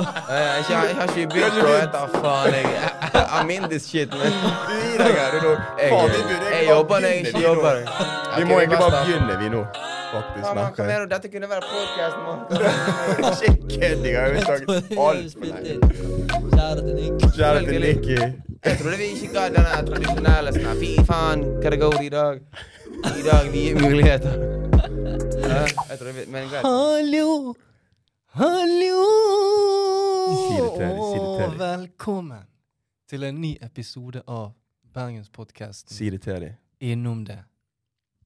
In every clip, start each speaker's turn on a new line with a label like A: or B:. A: ikke, jeg har ikke begynt, bro. Jeg tar faen, jeg. I'm in this shit, man.
B: Gi deg her, du. Faen, vi burde
A: Jeg, jeg
B: egentlig
A: jobber når jeg ikke
B: bare begynne, vi nå.
A: jobber.
B: Vi
A: Ok,
B: må egentlig bare
A: starter.
B: begynne, vi nå. Faktisk,
A: Ja, man, kom
B: merker jeg.
A: igjen, dette kunne være podcasten, man.
B: Ikke kødd engang. Vi har snakket altfor lenge.
C: Kjære til Nick.
B: Kjære til Nikki.
A: Jeg trodde vi ikke ga denne tradisjonelle sånn her, Fy faen, hva det går i dag? I dag nye muligheter. Ja, jeg trodde vi, men greit.
C: Hallo! Hallo!
B: Si det til deg, si det til deg.
C: Og velkommen til en ny episode av Bergenspodkasten
B: Si det til dem.
C: Innom det.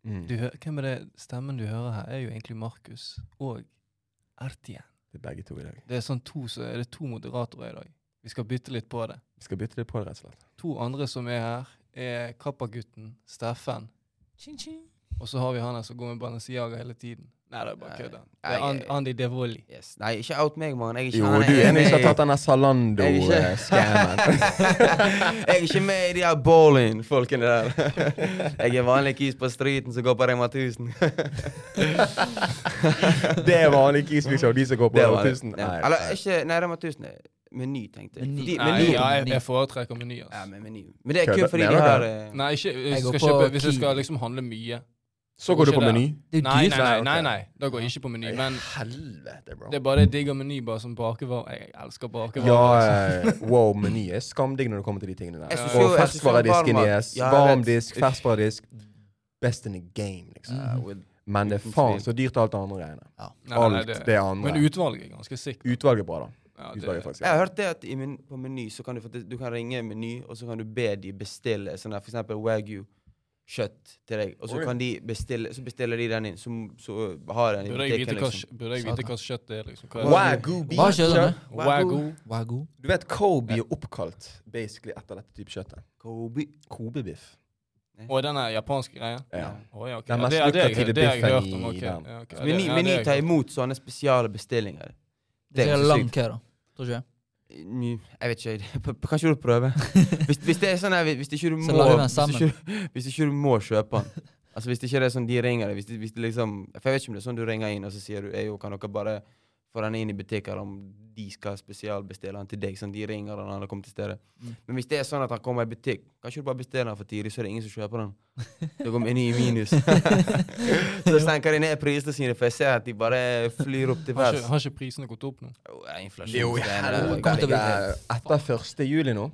A: Mm.
C: Du hø Hvem er det stemmen du hører her, er jo egentlig Markus og Ertien.
B: Det er begge to i dag.
C: Det er sånn to, så er det to moderatorer i dag. Vi skal bytte litt på det.
B: Vi skal bytte det på, rett og slett.
C: To andre som er her, er Kappa-gutten Steffen. Og så har vi han her som går med Balenciaga hele tiden. Nei, det er bare
A: Nei,
C: kødd. Det
A: nei,
C: er An
A: jeg-
C: Andy Devoli.
A: Yes. Nei, ikke out meg, mann. Jeg er ikke
B: Jo,
A: han
B: du er enig i ikke har tatt denne
A: Jeg er
B: eh,
A: ikke-
B: Zalando-skammen.
A: Jeg er ikke med i de her bowling-folkene der. Jeg er vanlig kis på streeten som går på Rema 1000.
B: Det er vanlig kisbishow, de som går på
A: Det
B: over
A: var det.
B: 1000.
A: Ja.
B: Nei,
A: Eller ikke Nei, Rema 1000 er Meny, tenkte jeg.
D: Meny.
A: Fordi-
C: Nei,
A: Meny-
C: ja, jeg, jeg foretrekker meny.
A: Ja,
C: Altså.
A: men meny. Men det er
B: Kødder-
A: kun fordi de
B: mener
A: har
B: dere?
A: eh,
C: Nei, ikke, hvis, jeg
D: går
C: skal
D: på
C: kjøpe, hvis jeg
D: Kiwi.
C: skal liksom handle mye.
B: Så går du på
C: Ikke det.
B: Meny?
D: Det er jo
C: Nei,
D: dyrt.
C: nei, nei,
B: ok.
C: nei, nei. da går jeg ikke på meny. Men
B: Helvete, bro.
C: det er bare digg av meny bare som bakevarer. Jeg elsker bakevarer.
B: Ja,
C: altså.
B: eh, wow, Meny er skamdigg når det kommer til de tingene
A: Jeg
B: der.
A: synes
C: Ja.
A: jo-
B: Og
A: jeg synes jo
B: ferskvaredisken
A: varmmat-
B: deres.
A: Ja, jeg vet.
B: Varmdisk,
A: Uff.
B: ferskvaredisk. Best in the game, liksom.
A: Ja, with-
B: Men det er
A: Uten
B: faen
A: tvil.
B: så dyrt alt det andre greiene.
C: Nei, nei,
B: Alt det andre.
C: Men utvalget er ganske sikkert.
B: Utvalget er bra, da.
C: Ja, det-
B: Utvalget er faktisk
A: Jeg har hørt det at i men på Meny så kan du, faktisk- du kan ringe Meny, og så kan du be de bestille sånn der, for eksempel Wagyu-kjøtt til deg. Og så
B: Oi.
A: kan de bestille, så bestiller de den inn, så, så har den i
C: Burde jeg vite
A: butikken,
C: hva,
A: liksom.
C: burde jeg vite hva kjøtt det er? liksom? Hva er det?
B: Wagyu
D: Hva skjer da?
B: beef-kjøtt.
C: Wagyu.
D: Wagyu.
B: Du vet Kobe er oppkalt basically etter dette type kjøttet.
A: Kobe.
B: Kobe-biff.
C: Og den er japanske greia?
B: Ja.
C: Å, ja, ok.
B: Den
C: Ja,
B: mest
C: det er det jeg-
B: lukrative
C: det har jeg
B: biffen
C: hørt om,
B: i
C: ok.
B: verden.
C: Ja, ok. Ja, det-
A: Meny,
C: ja,
A: meny
C: det er
A: tar
C: jeg-
A: imot sånne spesiale bestillinger.
D: Det
A: er
D: er
A: ganske
D: lang
A: sykt.
D: kø, da. Tror ikke jeg.
A: Ny- Jeg vet ikke. jeg- p- p- Kan ikke du prøve? Hvis, hvis det er sånn her, hvis ikke du
D: Så
A: må
D: lager vi den
A: hvis
D: sammen.
A: ikke, hvis ikke du må kjøpe den. Altså Hvis det ikke er sånn de ringer deg hvis, det- hvis det liksom, For jeg vet ikke om det er sånn du ringer inn og så sier du «Ei, jo, kan dere bare få den inn i butikker om de skal spesialbestille den til deg. Sånn de ringer og han har kommet til stedet.
D: Mm.
A: Men hvis det er sånn at han kommer i butikk, kan ikke du bare bestille den for tidlig, så er det ingen som kjøper den. Det går meny i minus. så senker de ned prisene sine, for jeg ser at de bare flyr opp til
C: Har ikke,
A: værs.
C: har ikke prisene gått opp nå?
A: Jo, det er inflasjon.
B: Det er jo i
A: det er-
B: helvete.
D: det er-
B: Etter 1. juli nå.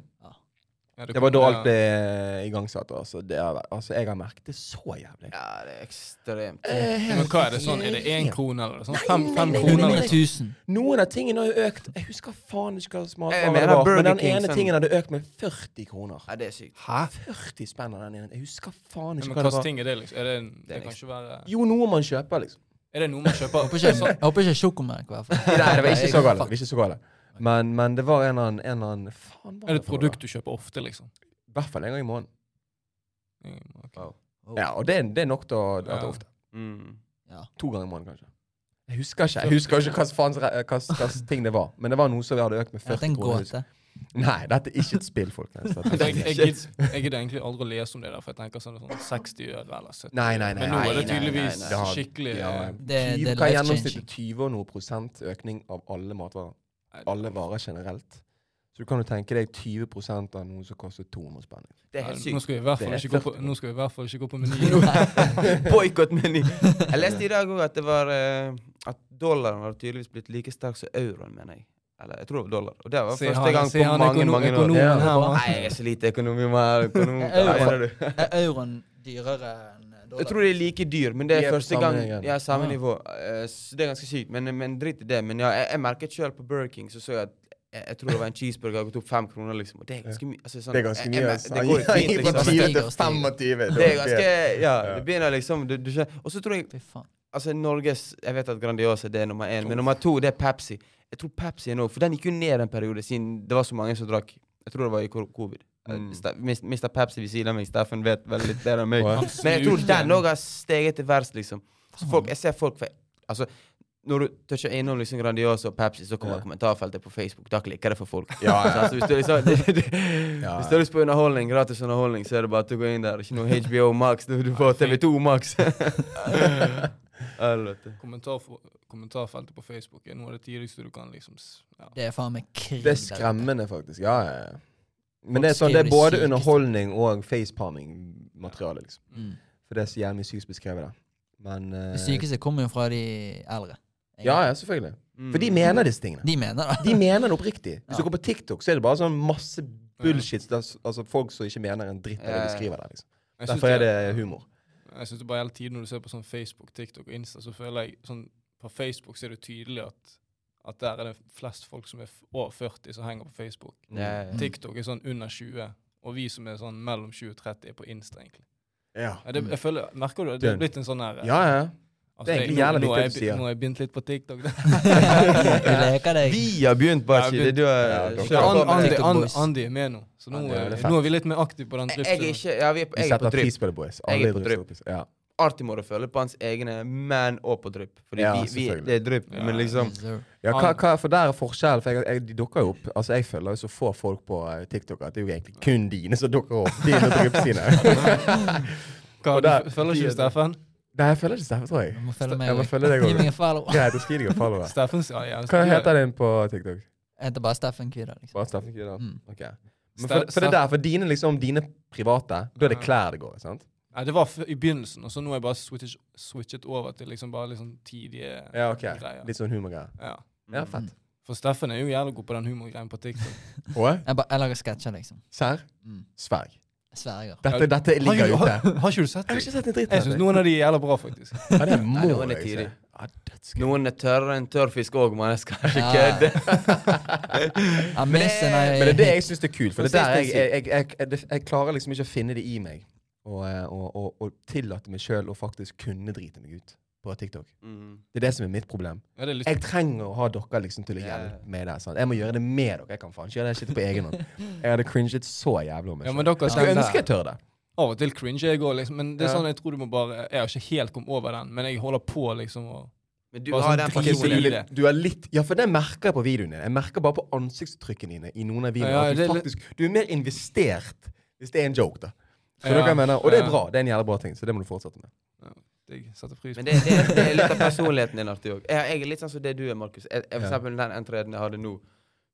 C: Ja,
B: Det var da
C: kommer-
B: alt ble igangsatt. Altså, det har, vært- altså, jeg har merket det så jævlig.
A: Ja, Eh, det er ekstremt.
B: Eh.
C: Men hva er det sånn? Er det én krone eller sånn? Fem, fem
B: nei, nei,
C: kroner?
B: nei,
C: liksom?
D: 1000.
B: Noen av tingene har jo økt Jeg husker faen ikke hva
A: Jeg
B: smartvarene
A: mener
B: var,
A: Burger
B: men den
A: King,
B: ene
A: sånn.
B: tingen hadde økt med 40 kroner.
A: Ja, det er sykt.
B: 40 spenn av den ene. Jeg husker faen
C: Men
B: ikke
C: hva
B: hva det
C: slags
B: var.
C: ting er det, liksom? Er det, en,
A: Det er
C: det kan ikke være
B: Jo, noe man kjøper, liksom.
C: Er det noe man kjøper?
D: Håper ikke- Jeg håper ikke sjokomelk, i hvert fall.
B: Nei, det var ikke så galt. det
D: Fuck.
B: var Ikke så galt. Men, men det var en eller annen, en eller annen Faen, hva
C: Er det et
B: for noe
C: produkt
B: da?
C: du kjøper ofte, liksom?
B: I hvert fall en gang i måneden.
C: Mm, ok.
B: Ja, og det, er- det er nok til å- at det er
C: Ja.
B: ofte.
A: Mm.
B: To ganger i måneden, kanskje. Jeg husker ikke jeg husker ikke hva faen hva- hva- hva ting det var, men det var noe som vi hadde økt med
D: Er dette
B: 40
D: en
B: kroner.
D: gåte?
B: Nei, dette er ikke et spill, folkens. Dette
C: Altså,
B: er-
C: Jeg, jeg, gidder- jeg gidder egentlig aldri å lese om det der, for jeg tenker sånn, sånn 60 øre eller 70
B: Nei, nei, nei.
C: Men nå er
B: nei,
C: det
B: nei, nei,
C: tydeligvis
B: nei. Det har-
C: skikkelig
B: ja,
C: eh,
D: Det-
B: 20
D: det er
B: Hva er
D: life-changing.
B: gjennomsnittet? 20 og noe prosent økning av alle matvarer.
C: nei,
B: Alle varer generelt. Så du kan jo tenke deg 20 prosent av noe som koster 200 spenn.
A: Det er
C: nei,
A: helt
C: Nå
A: sykt.
C: skal vi i hvert fall
B: Det er
C: ikke gå på,
B: 40.
C: nå skal vi i hvert fall ikke gå på menyen.
A: Boikottmeny. Jeg leste i dag òg at det var eh, At dollaren var tydeligvis blitt like sterk som euroen, mener jeg. Eller jeg tror det var dollar. Og det var
C: Se
A: første
C: han-
A: gang
C: se
A: på
C: han
A: mange,
C: økonom-
A: mange år.
C: økonomen
B: Ja, det
C: her,
D: var-
C: mann.
A: Nei, jeg er så lite økonomi. man. Økonom,
D: Jeg er
A: hva mener
D: euroen.
A: du?
D: Er euroen dyrere enn dollar?
A: Jeg tror det er like dyr, men det
B: Vi
A: er
B: er på
A: første
B: samme
A: gang
B: igjen.
A: Ja, samme
D: Ja.
A: nivå. Eh, så det er ganske sykt, men, men drit i det. Men ja, jeg, jeg merket sjøl på Burger King, så så jeg at jeg, jeg tror det var en cheeseburger har gått opp fem kroner, liksom. Og det er ganske mye. Altså, sånn,
B: Det er ganske
C: eh,
A: jeg-
B: mye.
A: jeg mer-
B: altså.
A: det går jo fint,
B: Gikk
A: liksom.
B: Fra 20
D: Det stiger
B: til
D: og stiger.
B: 25.
A: Det er ganske Ja,
B: Ja.
A: det begynner liksom du, du skjønner. Og så tror jeg
D: Fy faen.
A: Altså, Norges Jeg vet at Grandiosa det er nummer én, men nummer to det er Pepsi. Jeg tror Pepsi er nå For den gikk jo ned en periode siden det var så mange som drakk. Jeg tror det var i kor- covid. Eh,
B: Mm.
A: Mista Pepsi ved siden av meg. Steffen vet veldig litt bedre enn meg.
B: Hva?
A: Men jeg tror den òg har steget til verst, liksom. Så folk, jeg ser folk for, Altså, når du toucher innom liksom Grandiosa og Pepsi, så kommer
B: Ja.
A: kommentarfeltet på Facebook. Da klikker det for folk.
B: Ja,
A: Så altså, hvis du liksom
B: Ja,
A: Hvis du har lyst på underholdning, gratis underholdning, så er det bare til å gå inn der. Ikke noe HBO Max. Du, du får TV2 Max. Helvete.
C: Kommentarfo- kommentarfeltet på Facebook er noe av det tidligste du kan liksom s- ja.
D: Det er faen meg krig.
B: Det er
D: der ute.
B: skremmende, faktisk. Ja, ja, ja. Men
D: Folk
B: det er sånn, det er
D: skriver det
B: både
D: sykeste.
B: underholdning og facepalming-materiale. liksom.
D: Mm.
B: For det er så jævlig sykt beskrevet, da. Men eh,
D: Det sykeste kommer jo fra de eldre.
B: Ja, ja, selvfølgelig.
A: Mm.
B: For de mener disse tingene.
D: De mener det.
B: De mener det oppriktig. Hvis du
D: Ja.
B: går på TikTok, så er det bare sånn masse bullshit. der s- Altså folk som ikke mener en dritt av det
A: Ja,
B: de
A: ja.
B: skriver der. liksom.
C: Jeg synes
B: Derfor er det humor.
C: Jeg synes det bare hele tiden når du ser på sånn Facebook, TikTok og Insta, så føler jeg sånn På Facebook så er det tydelig at, at der er det flest folk som er f- over 40 som henger på Facebook.
B: Mm.
A: Ja, ja, ja.
C: TikTok er sånn under 20, og vi som er sånn mellom 20 og 30 er på Insta, egentlig.
B: Ja,
C: Ja, det, jeg føler, Merker du at det
B: Dønn.
C: er blitt en sånn her eh,
B: Mm. ja. ja.
C: altså,
B: det er
C: jeg-
B: egentlig
C: nå-
B: jævla
C: nå har
B: viktig det
C: jeg
B: du
C: be-
B: sier.
C: Nå har jeg begynt litt på TikTok. da.
D: du leker deg.
A: Vi har begynt på
C: Jeg har
A: shit. Du eh, har
B: Ja, dere-
A: kjørt
C: An-
A: på med det.
C: Andi,
D: Andre- TikTok
C: Andi,
D: boys.
C: Andi er med nå, så nå,
B: Andi, ja, det
C: er,
B: er fett.
C: nå er vi litt mer aktive på den
A: Jeg er
C: driften.
A: ikke ja, vi er på,
B: Vi
A: jeg er
B: setter
A: på drypp.
B: pris på det, boys.
A: Jeg er
B: Alle
A: på
B: drysser opp i seg. Ja.
A: Artimor å føle på hans egne man og på drypp. Fordi
B: Ja,
A: vi, vi,
B: selvfølgelig.
A: det er drypp,
C: Ja.
A: men liksom
D: Deserve.
B: Ja, hva,
C: Han-
B: hva, for der er forskjellen. For jeg, jeg, de dukker jo opp. Altså, Jeg følger jo så få folk på eh, TikTok at det er jo egentlig kun dine som dukker opp. Dine og Drup sine.
C: Hva,
B: Og der-
C: du f- føler ikke du Steffen?
B: Nei, jeg følger ikke Steffen, tror
D: Du
B: jeg.
D: må følge
B: Jeg må
D: med.
B: følge deg
D: Gi meg
B: òg.
D: en follow.
B: Greit, da skriver jeg og follower.
C: Steffen ja, ja,
B: Hva heter den på TikTok?
D: Jeg heter bare Steffen Kvidal. Liksom.
B: Bare Steffen Kydal?
D: Mm.
B: Ok. Men for, for det der, for dine liksom, dine private, da er det klær det går i, sant?
C: Nei, det var f i begynnelsen, og så nå har jeg bare switchet, switchet over til liksom bare liksom tidige
B: Ja, ok.
C: greier.
B: Litt sånn humorgreier.
C: Ja.
B: Ja, fett.
C: For Steffen er jo jævlig god på den humorgreien på TikTok.
B: Og
D: Jeg, bare, jeg lager sketsjer, liksom.
B: serr?
D: Mm.
B: Sverg.
D: Sverger.
B: Dette, dette ligger ute.
C: har, har, har ikke du sett
B: Jeg har
C: det?
B: ikke sett en dritt.
C: Jeg syns noen av de er jævla bra, faktisk.
B: Ja, det må
A: Nei, noen er
B: jeg
A: tidlig.
B: se. Ja, dødsgøy.
A: Noen er tørrere enn tørrfisk òg, men jeg skal ikke
D: Ja.
A: kødde.
D: Jeg mister når jeg
B: Men det er det jeg syns er kult. For
A: Men
B: det er der jeg,
A: sist jeg
B: jeg, jeg, jeg, jeg, jeg klarer liksom ikke å finne det i meg. Og, eh, og, og, og tillate meg sjøl å faktisk kunne drite meg ut på TikTok.
A: Mm.
B: Det er det som er mitt problem.
C: Ja, det er litt,
B: Jeg trenger å ha dere liksom til å
A: Ja, ja.
B: hjelpe meg der. Sant? Jeg må gjøre det med dere. Jeg kan faen ikke gjøre det shit på egen hånd. Jeg hadde cringet så jævlig om meg
C: ja,
B: selv.
C: men dere
B: Jeg skulle
C: den
B: ønske jeg
C: der-
B: tør det.
C: Av og til cringer jeg òg, liksom. Men det er
B: Ja.
C: sånn jeg tror du må bare Jeg har ikke helt kommet over den, men jeg holder på, liksom. Og,
A: Men du
C: Bare
A: har
C: sånn
A: den
C: drit i
B: Så du,
A: personen.
C: det.
B: du er litt Ja, for det merker jeg på videoen din. Jeg merker bare på ansiktsuttrykkene dine i noen av videoene.
C: Ja, ja,
B: at
C: det
B: du,
C: er litt-
B: faktisk, du er mer investert hvis det er en joke, da. Så
C: Ja,
B: dere mener, og det er
C: ja.
B: bra. Det er en jævla bra ting, så det må du fortsette med.
C: jeg setter pris
A: Men
C: på
A: det, det, er- det er litt av personligheten din artig òg. Jeg, jeg er litt sånn som det du er, Markus. Jeg, jeg, for
B: Ja.
A: eksempel den entreden jeg hadde nå,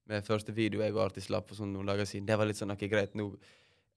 A: med første video jeg og Artis slapp for sånn noen dager siden, det var litt sånn OK, greit, nå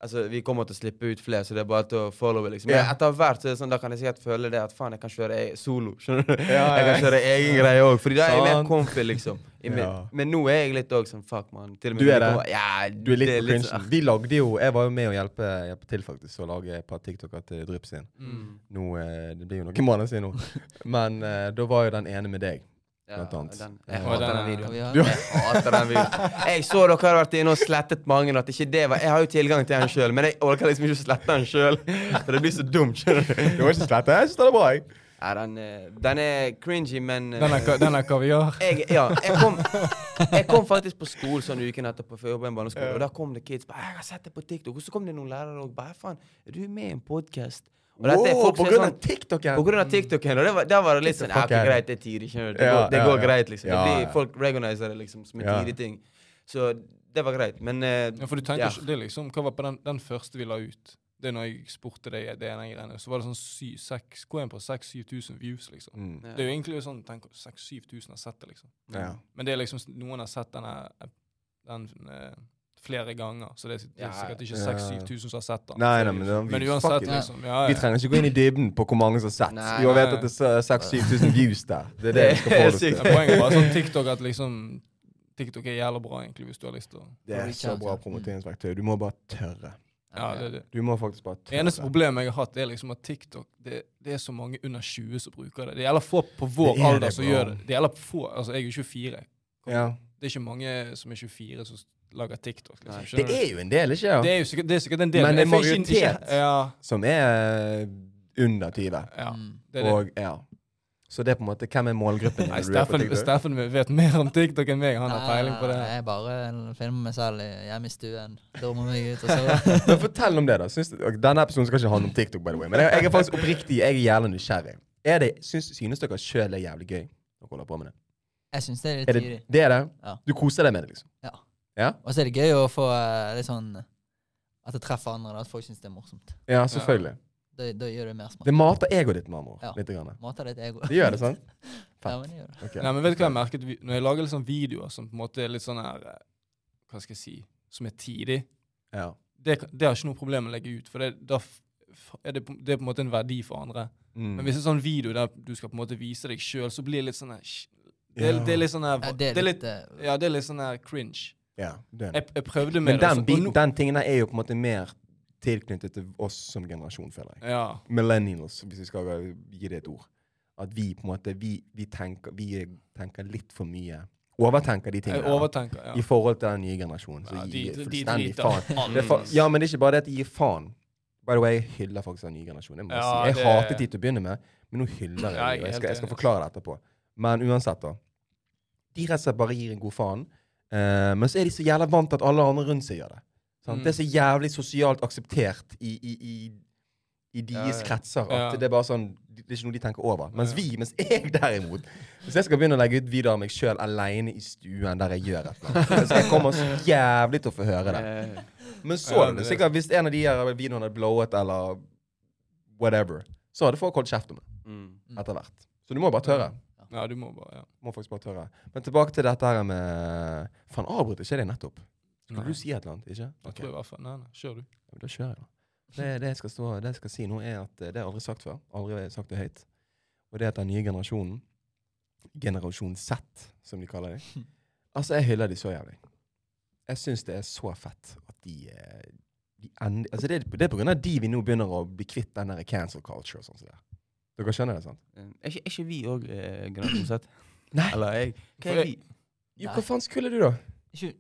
A: Altså, Vi kommer til å slippe ut flere, så det er bare til å followe. liksom. Men
B: Ja.
A: etter hvert så er det sånn, da kan jeg sikkert føle det at faen, jeg kan kjøre e solo. skjønner du?
B: ja,
A: Jeg kan kjøre egen greie òg, Fordi da er jeg mer
B: Sant.
A: comfy, liksom. I min-
B: Ja.
A: Men nå er jeg litt òg sånn fuck, man. Til og med
B: Du
A: når de
B: er det.
A: kommer- Ja,
B: Du er litt
A: det sånn-
B: på cringen. Vi lagde jo Jeg var jo med å hjelpe, hjelpe til faktisk å lage et par TikToker til Drypp sin.
C: Mm.
B: Nå, eh, det blir jo noen måneder siden nå. Men eh, da var jo den ene med deg. Blant annet.
A: Den, jeg hater
B: Ja.
C: Og den
A: den
C: er-
A: videoen.
D: Ja.
A: Jeg hater den videoen. Jeg så dere hadde vært inne og slettet mange. At ikke det var, jeg har jo tilgang til den sjøl, men jeg orker liksom ikke å slette den sjøl. For det blir så dumt. skjønner du?
B: Det var ikke slett, jeg synes det er bra. jeg.
A: Ja, den, eh, den er cringy, men eh,
C: Den er, ka- den er kaviar.
A: jeg, ja, jeg, kom, jeg kom faktisk på skolen sånn uken etterpå, for jeg jobbet i en barneskole, og da kom det kids. Bare, 'Jeg har sett det på TikTok.' Og så kom det noen lærere og bare 'Faen, er du med i en podkast?' Og dette er
B: Wow,
A: folk
B: på
A: som er
B: grunn av
A: sånn
B: TikTok,
A: på grunn av TikTok-en. Og det var, der var det litt
B: Get
A: sånn
B: the
A: ja,
B: fuck
A: ok,
B: out.
A: greit, det er tidlig. skjønner du. Det,
B: Ja,
A: går, det
B: ja,
A: går
B: ja.
A: greit, liksom.
B: Ja,
A: det
B: ja.
A: blir, folk recognizer det liksom som en
B: Ja.
A: tidlig ting. Så det var greit. Men eh,
C: Ja, for du tenker
A: Ja.
C: ikke, det er liksom, Hva var på den, den første vi la ut? Det er når jeg spurte deg det ene greiene, så var det sånn sy, seks, gå inn på 6000-7000 views, liksom.
B: Mm.
C: Det er jo egentlig sånn, tenk 6000-7000 har sett det, liksom.
B: Ja.
C: Men det er liksom, s- noen har sett denne, eh, den eh, flere ganger, så det er, det
A: Ja,
C: er sikkert ikke
B: ja.
C: 6000-7000 som har sett den.
B: Nei, nei, men det er en
C: Men
B: views.
C: uansett,
B: Fuck it.
C: liksom. Ja,
B: Vi
C: ja.
B: trenger ikke gå inn i dybden på hvor mange som har sett.
A: Nei,
B: Vi
C: nei.
B: vet at det er 6000-7000 views der. Det er det
A: Det er
B: vi skal forholde oss
A: sykt.
B: til.
C: Men Poenget var sånn TikTok at liksom TikTok er jævla bra, egentlig, hvis du har lyst til å
B: Det er så bra promoteringsverktøy. Du må bare tørre.
C: Ja, det er det.
B: Du må faktisk bare
C: Det
B: tørre.
C: eneste problemet jeg har hatt, er liksom at TikTok det, det er så mange under 20 som bruker det. Det gjelder få på
B: Det
C: vår
B: er det,
C: alder som
B: bro.
C: gjør det. Det gjelder få, altså Jeg er jo 24.
B: Ja.
C: Det er ikke mange som er 24 som lager TikTok.
A: Nei.
C: liksom,
B: Det
C: skjønner
B: er jo en del, ikke
C: du? det
B: sant?
C: er jo sikkert, det er sikkert en del.
B: Men det er
C: jeg får ikke- ikke-
B: majoritet.
C: Ja,
B: Som er eh, under 20.
C: ja,
D: Mm.
C: det er det.
B: Og ja. Så det er på en måte Hvem er målgruppen din?
C: Nei,
B: når du er på
C: Steffen,
B: TikTok?
C: Steffen vet mer om TikTok enn meg. Han har peiling på det.
D: Nei, Jeg bare filmer meg selv i- hjemme i stuen. Dormer meg ut og så.
B: Men fortell om det, da. Syns, ok, denne episoden skal ikke handle om TikTok, by the way. Men jeg, jeg er faktisk oppriktig jeg er jævlig nysgjerrig. Er det, syns, synes dere sjøl er jævlig gøy å holde på med det?
D: Jeg syns det er litt
B: Er det,
D: tidlig.
B: det er det?
D: Ja.
B: Du koser deg med det, liksom?
D: Og så er det gøy å få eh, litt sånn At jeg treffer andre, da, at folk syns det er morsomt.
B: Ja, selvfølgelig.
D: Da, da gjør det mer smak.
B: Det mater egoet ditt, med andre ord.
D: Ja.
B: Litt. Grann.
D: Mater litt ego.
B: Det gjør det, sant?
D: Ja, men det gjør det.
B: Ok.
C: Nei, men vet du hva jeg merket? Vi- Når jeg lager litt sånn videoer som på en måte er litt sånn her eh, Hva skal jeg si Som er tidig,
B: Ja.
C: det, kan- det har jeg ikke noe problem med å legge ut, for det, da f- f- er det, på- det er på en måte en verdi for andre.
B: Mm.
C: Men hvis det er sånn video der du skal på en måte vise deg sjøl, så blir det litt sånn her sh- det, er-
B: Ja.
C: det er litt sånn her
D: Ja, det er litt eh,
C: Ja, det er litt sånn her cringe.
B: ja, den.
C: Jeg, jeg prøvde med
B: Men
C: det.
B: den,
C: og så- og
B: biten, den tingen der er jo på en måte mer tilknyttet til oss som generasjon, føler jeg.
C: nå- Ja.
B: Millennials, hvis vi skal gi det et ord. At vi på en måte, vi, vi, tenker, vi tenker litt for mye. Overtenker de
C: Jeg
B: tingene.
C: overtenker. ja.
B: I forhold til den nye generasjonen. Så
C: Ja,
B: gir
C: de- de
B: de fullstendig
C: driter
B: faen.
C: alt.
B: Det er fa ja, men det er ikke bare det at de gir faen. By the way, jeg hyller faktisk den nye generasjonen. Jeg, må
C: Ja,
B: si. jeg
C: det-
B: hatet de til å begynne med, men nå hyller jeg
C: Ja, jeg er
B: dem. og Jeg,
C: helt
B: skal- jeg skal
C: enig.
B: forklare det etterpå. Men uansett, da. De rett og slett bare gir en god faen. Eh, men så er de så jævla vant til at alle andre rundt seg gjør det. Sant?
C: Mm.
B: Det er så jævlig sosialt akseptert i, i, i, i deres
A: Ja, ja.
B: kretser at
C: Ja.
B: det er bare sånn Det er ikke noe de tenker over. Mens
C: Ja.
B: vi, mens jeg derimot hvis jeg skal begynne å legge ut videoer av meg sjøl aleine i stuen der jeg gjør et eller annet, så jeg kommer så jævlig til å få høre det.
A: Eh,
B: Men så
C: Ja,
B: er det
C: det-
B: sikkert hvis en av de her videoene hadde blowet eller whatever, så hadde folk holdt kjeft om det
A: mm.
B: etter hvert. Så du må bare tørre.
C: ja, du må bare ja.
B: Må faktisk bare tørre. Men tilbake til dette her med Faen, avbrøt ikke det nettopp? Skulle
C: Nei.
B: du si et eller annet? Ikke?
C: Jeg
B: Ok,
C: tror i hvert fall Nei, nei, kjør du.
B: Ja, men Da kjører jeg, da. Det, det, jeg skal stå, det jeg skal si nå, er at eh, det har jeg aldri sagt før. Aldri har jeg sagt det høyt. Og det er at den nye generasjonen, generasjon Z, som de kaller det Altså, jeg hyller de så jævlig. Jeg syns det er så fett at de, eh, de end, altså det, er- det er på grunn av de vi nå begynner å bli kvitt den der cancel culture og sånn. som det er. Dere skjønner det, sant?
A: Eh, Er ikke, er ikke vi òg eh, generasjon Z?
B: Nei.
A: Eller jeg? Hva
C: For
A: er vi?
B: Jo,
D: Nei.
B: hva faen skulle du, da?
D: Ikke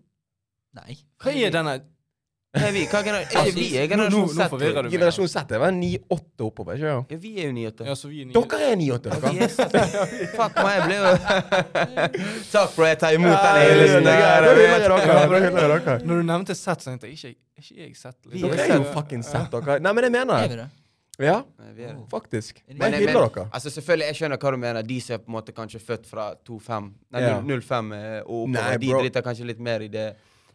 D: Nei.
C: Hva er denne
A: Hva er vi? Hva er gener- er ikke vi er
C: Altså, Nå- nå-
A: generasjon
C: nå
A: Z?
C: forvirrer du meg.
B: Generasjon Z er vel 9-8 oppover, ikke sant?
A: Ja, vi er jo nyheter.
C: Ja, så vi er nye.
B: Dere er 9-8,
A: Ja,
B: dere!
A: vi er Z. Fuck meg, jeg ble jo Takk, bro. Jeg tar imot den
B: Ja, det er
A: hyllesten
B: greit.
A: der.
B: Da
A: jeg
B: hyller jeg
A: vet.
B: dere. Da hyller jeg dere.
C: Når du nevnte Sett, så tenkte jeg ikke jeg- er ikke jeg liksom. Sett.
A: Vi
B: Dere
A: er
B: er jo fucking sett, dere. Nei, men jeg
D: Er
B: mener
D: vi
B: det.
D: det?
B: Ja,
A: Nei, vi er det.
B: faktisk.
D: Men-
B: Men
A: Men-
B: jeg hyller
A: men-
B: dere.
A: Altså Selvfølgelig, jeg skjønner hva du mener. De som er på en måte kanskje født fra 2-5 Nei,
B: Ja.
A: 0-5 eh, og
B: Nei,
A: oppover, de
B: bro.
A: driter kanskje litt mer i det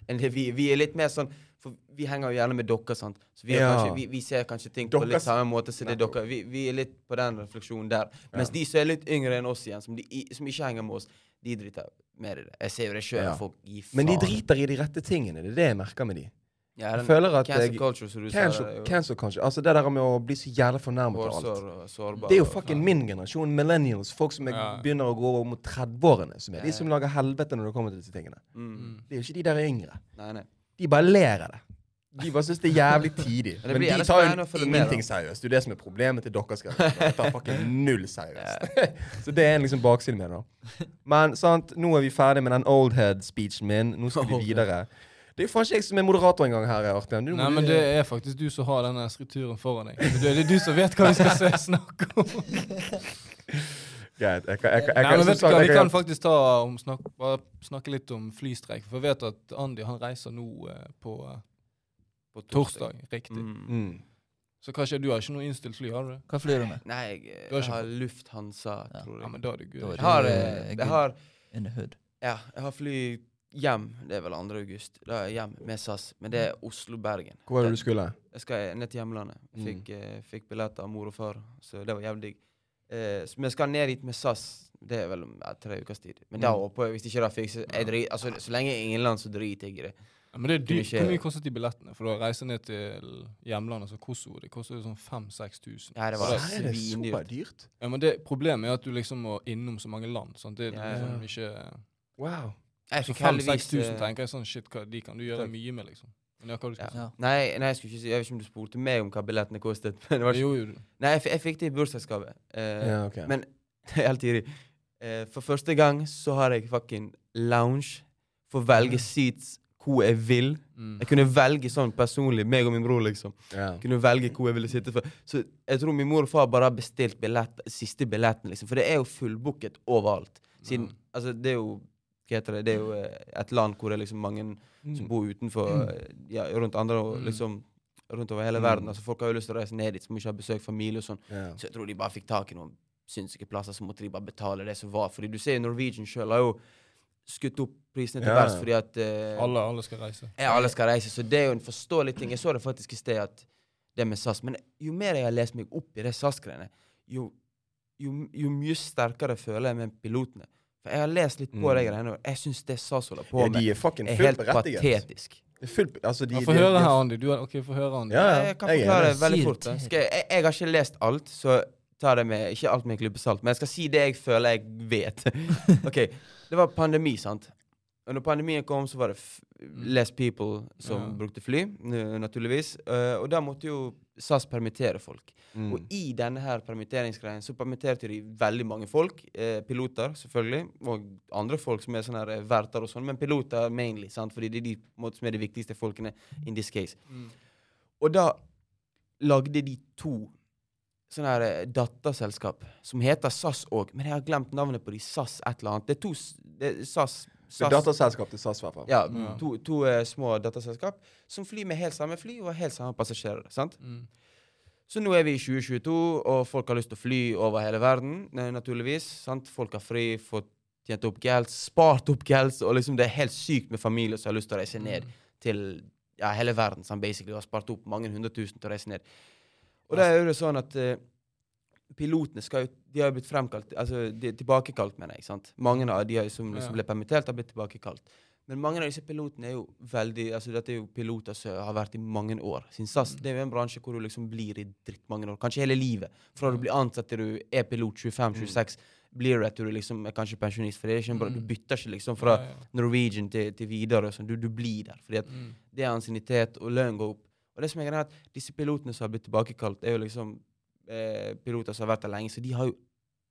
A: enn det vi Vi er litt mer sånn For vi henger jo gjerne med dere, sant. Så vi, er
B: Ja.
A: kanskje, vi, vi ser kanskje ting på
B: Dere
A: litt
B: s-
A: samme måte som det er dere. Vi, vi er litt på den refleksjonen der. Mens de som er litt yngre enn oss igjen, som, de, i- som ikke henger med oss, de driter mer i det. Jeg ser jo det sjøl.
B: Ja.
A: Folk gir faen.
B: Men de driter i de rette tingene. Det er det jeg merker med de.
A: Ja,
B: Jeg
A: den
B: føler at
A: cancel
B: jeg
A: culture, eh, som du
B: Cancel,
A: sa. det er jo
B: cancel kanskje. Altså Det der med å bli så jævlig fornærmet av alt.
A: Hårsår og sårbar.
B: Det er jo
A: og-
B: fucking min generasjon, millennials, folk som er,
C: Ja.
B: begynner å gå over mot 30-årene, som er
A: Ja,
B: de
A: ja.
B: som lager helvete når det kommer til disse tingene.
A: mm.
C: Mm.
B: Det er jo ikke de der yngre.
A: Nei, nei.
B: De bare ler av det. De bare syns det er jævlig tidig.
A: Men det
B: Men
A: blir
B: de
A: jævlig
B: tar
A: spennende å
B: jo
A: følge med, da.
B: ingenting seriøst. Det er jo det som er problemet til deres generasjon. De tar fucking null seriøst. Så det er en liksom baksiden med det. da. Men sant, nå er vi ferdig med den old head-speechen min. Nå skal vi videre. Det er jo faen ikke jeg som er moderator engang her, Artian. Du må-
C: Nei, men det er faktisk du som har denne strukturen foran deg. Det er du som vet hva vi skal se- snakke om.
B: Greit. Jeg kan, jeg kan, jeg
C: Nei,
B: kan,
C: men
B: som
C: vet du hva,
B: sagt,
C: Vi
B: jeg
C: kan
B: kan,
C: faktisk ta om snak bare snakke litt om flystreik. For jeg vet at Andy han reiser nå eh, på eh,
A: På
C: torsdag. Riktig.
A: Mm.
B: Mm.
C: Så hva skjer? Du har ikke noe innstilt fly, har du det?
D: Hva flyr du med?
A: Nei, jeg,
C: Du har
A: jeg
C: ikke
A: har Lufthansa,
D: Ja.
A: tror
C: Ja,
A: jeg.
C: men da er det
D: Da
C: gøy.
D: er
A: Jeg har,
D: det
A: eh,
D: er
A: jeg
D: good.
A: har,
D: In the hood.
A: ja, jeg har fly hjem, det er vel 2. august. Da er jeg hjem med SAS, men det er
C: Mm.
A: Oslo-Bergen.
B: Hvor var det du skulle?
A: Jeg skal ned til hjemlandet. Jeg Fikk, eh, fikk billetter av mor og far, så det var jævlig digg. Eh, s- men jeg skal ned dit med SAS, det er vel om ja, tre ukers tid. Men da
B: Mm.
A: håper jeg, hvis ikke det fikser jeg drit, altså, Så lenge jeg er innenlands, så driter jeg i det.
C: Ja, men det er dyrt.
A: ikke-
C: Hvor mye kostet de billettene? For å reise ned til hjemlandet, altså Kosovo, det koster jo sånn 5000-6000.
A: Ja, det var
B: Her er det
A: svindyrt.
B: superdyrt.
C: Ja, men det problemet er at du liksom må innom så mange land. Sant? Det er
A: Ja, ja.
C: liksom ikke
B: Wow.
A: Jeg
C: Så
A: fikk heldigvis
C: 5000-6000
A: eh,
C: tenker jeg sånn shit, hva, de kan du gjøre
A: Takk.
C: mye med, liksom. Men ja, hva du skal
D: Ja.
A: Nei, nei, jeg skulle ikke si Jeg vet ikke om du spurte meg om hva billettene kostet. Men det var
C: si.
A: ikke,
C: Jo, jo, du.
A: nei, jeg, f jeg fikk det i bursdagsgave. Eh,
B: Ja, ok.
A: Men det er helt tidlig. Eh, for første gang så har jeg fucking lounge. Får velge seats hvor jeg vil.
C: Mm.
A: Jeg kunne velge sånn personlig, meg og min bror, liksom.
B: Ja.
A: Jeg kunne velge hvor jeg ville sitte for. Så jeg tror min mor og far bare har bestilt billett, siste billetten, liksom. For det er jo fullbooket overalt. Siden,
C: Mm.
A: altså, det er jo hva heter det? Det er jo eh, et land hvor det er liksom mange
B: Mm.
A: som bor utenfor eh, ja, rundt andre og
C: Mm.
A: liksom rundt over hele
B: Mm.
A: verden. Altså, folk har jo lyst til å reise ned dit, som ikke har besøkt familie og sånn.
B: Ja.
A: Så jeg tror de bare fikk tak i noen sinnssyke plasser, så måtte de bare betale det som var. Fordi du ser jo Norwegian sjøl har jo skutt opp prisene til
B: Ja, ja.
A: vers fordi at eh,
C: Alle, alle skal reise.
A: ja, alle skal reise. Så det er jo en forståelig ting. Jeg så det faktisk i sted at det med SAS. Men jo mer jeg har lest meg opp i det SAS-greiene, jo, jo, jo mye sterkere føler jeg med pilotene. For jeg har lest litt på
B: Mm.
A: de greiene, og jeg syns det SAS holder på
B: Ja,
A: med,
B: de er fucking
A: er
B: fullt
A: helt
B: berettiget.
A: patetisk.
B: Det er fullt, altså de,
C: Ja, Få
B: de-
C: høre
B: de-
C: her, Andy. Du, er- ok, få høre, Andy.
B: Ja, ja.
A: Jeg Eh, kan
B: Jeg er
A: forklare
B: enig.
A: det veldig
D: Sier
A: fort.
D: det.
A: da. Skal jeg, jeg, jeg har ikke lest alt, så ta det med ikke alt med en klype salt. Men jeg skal si det jeg føler jeg vet. ok, Det var pandemi, sant? Og når pandemien kom, så var det f less people som
C: Ja.
A: brukte fly, n- naturligvis. Eh, og da måtte jo SAS permittere folk.
B: Mm.
A: Og i denne her permitteringsgreien så permitterte de veldig mange folk. Eh, piloter, selvfølgelig, og andre folk som er sånne her, eh, verter og sånn, men piloter mainly, sant? fordi det er de på en måte, som er de viktigste folkene in this case.
C: Mm.
A: Og da lagde de to sånne her eh, datterselskap som heter SAS òg, men jeg har glemt navnet på de SAS et eller annet. Det er to s- det er SAS,
B: Det er
A: SAS
B: dataselskap til SAS, i hvert fall.
A: ja,
C: Ja.
A: to, to eh, små datterselskap som flyr med helt samme fly og helt samme passasjerer. sant?
C: Mm.
A: Så nå er vi i 2022, og folk har lyst til å fly over hele verden, eh, naturligvis. sant? Folk har fri, fått tjent opp gels, spart opp gels, og liksom det er helt sykt med familier som har lyst til å reise ned
C: Mm.
A: til ja, hele verden, sånn basically, og har spart opp mange hundre tusen til å reise ned. Og da er det sånn at eh, pilotene skal jo, de har jo blitt fremkalt, altså de er tilbakekalt, mener jeg, sant? Mange av de har jo som
C: Ja.
A: liksom ble permittert, har blitt tilbakekalt. Men mange av disse pilotene er jo veldig, altså dette er jo piloter som har vært i mange år. Sin SAS,
C: Mm.
A: det er jo en bransje hvor du liksom blir i dritt mange år, kanskje hele livet. Fra
C: Mm.
A: du blir ansatt til du er pilot 25-26, blir du etter du liksom er kanskje pensjonist, for det er ikke en bra, du
C: Mm.
A: bytter ikke liksom fra
C: Ja, ja.
A: Norwegian til, til videre, og sånn. du, du blir der. Fordi at
C: Mm.
A: det er ansiennitet, og lønnen går opp. Og det som er greia er at Disse pilotene som har blitt tilbakekalt, er jo liksom eh, piloter som har vært der lenge, så de har jo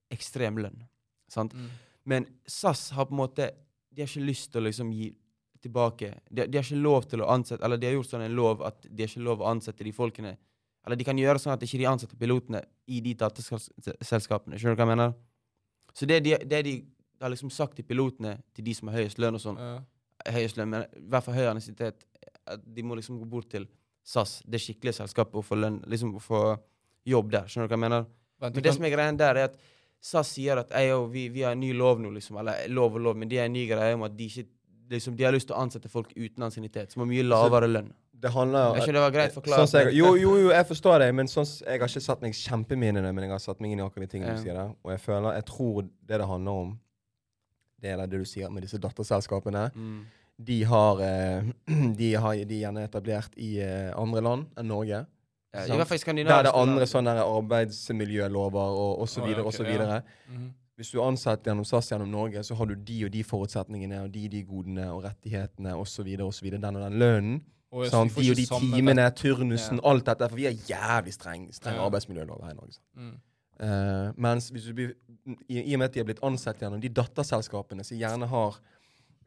A: ekstrem lønn. sant?
C: Mm.
A: Men SAS har på en måte De har ikke lyst til å liksom gi tilbake De, de har ikke lov til å ansette Eller de har gjort sånn en lov at de har ikke lov å ansette de folkene Eller de kan gjøre sånn at ikke de ansetter pilotene i de datterselskapene. Skjønner du hva jeg mener? Så det de, det de har liksom sagt til pilotene, til de som har høyest lønn og sånn
C: Ja.
A: høyest lønn, men i hvert fall høy ansiennitet. at De må liksom gå bort til SAS, det skikkelige selskapet, og få lønn, liksom å få jobb der. Skjønner du hva jeg mener?
C: Vent, du
A: Men det
C: kan-
A: som er greien der, er at SAS sier at «Ei, jo, vi, vi har en ny lov nå, liksom. Eller lov og lov, men de har en ny greie om at de ikke liksom, de har lyst til å ansette folk uten ansiennitet, som har mye lavere lønn.
B: Det handler
A: Jeg skjønner det var greit
B: Sånn
A: forklart.
B: som jeg, jo, jo, jo, jeg forstår deg, men sånn, som- jeg har ikke satt meg kjempemye inn i det, men jeg har satt meg inn i akkurat de tingene du
A: Ja.
B: sier der. Og jeg føler, jeg tror det det handler om, det er det du sier med disse datterselskapene.
A: Mm.
B: De har, eh, de har de er gjerne etablert i eh, andre land enn Norge.
A: Ja,
B: Sant.
A: I hvert fall i
B: Der er
A: skandinaviske
B: det andre
A: land.
B: sånne der arbeidsmiljølover og osv.
C: Å, ja, ok,
B: videre.
C: Mhm.
B: Hvis du er ansatt gjennom SAS gjennom Norge, så har du de og de forutsetningene og de og de godene og rettighetene osv. osv. Den og den lønnen.
C: Og
A: Sånn,
C: jeg-
B: Sant?
C: vi får
B: De og
C: ikke
B: de
C: samme
B: timene,
C: rett.
B: turnusen, alt dette. For vi har jævlig streng, streng
C: Ja.
B: arbeidsmiljølov her i Norge. sant?
C: Mm.
B: Eh, mens hvis du blir, i, i og med at de har blitt ansatt gjennom de datterselskapene som gjerne har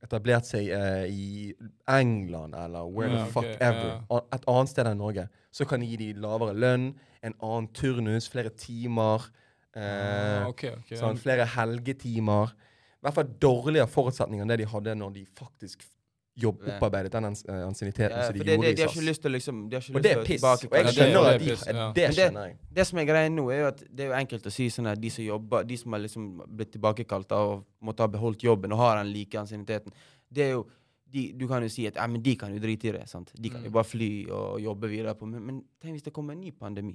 B: etablert seg eh, i England eller where
C: Ja,
B: the fuck
C: Mm, ok,
B: ever,
C: ja.
B: a- et annet sted enn Norge, så kan de gi de lavere lønn, en annen turnus, flere timer, eh,
C: Ah, ok, ok. Ja,
B: sånn, flere helgetimer. I hvert fall dårligere forutsetninger enn det de hadde når de faktisk jobb,
A: Ja.
B: opparbeidet den ans- eh, ansienniteten
A: Ja,
B: som
A: for
B: de
A: det,
B: gjorde
A: det, de
B: i
A: har ikke
B: SAS.
A: lyst til å liksom de har ikke
B: Og det er
A: lyst til å
B: piss. Og jeg
A: tilbake-
C: Ja, det er-
B: skjønner
C: det er
B: at de,
C: piss, ja.
B: det
A: Men det-
B: skjønner jeg.
A: Det som er greia nå, er jo at det er jo enkelt å si sånn at de som jobber, de som har liksom blitt tilbakekalt da, og måtte ha beholdt jobben og har den like ansienniteten, det er jo de, Du kan jo si at «Ja, men de kan jo drite i det. sant? De kan jo
C: Mm.
A: bare fly og jobbe videre. på, Men, men tenk hvis det kommer en ny pandemi?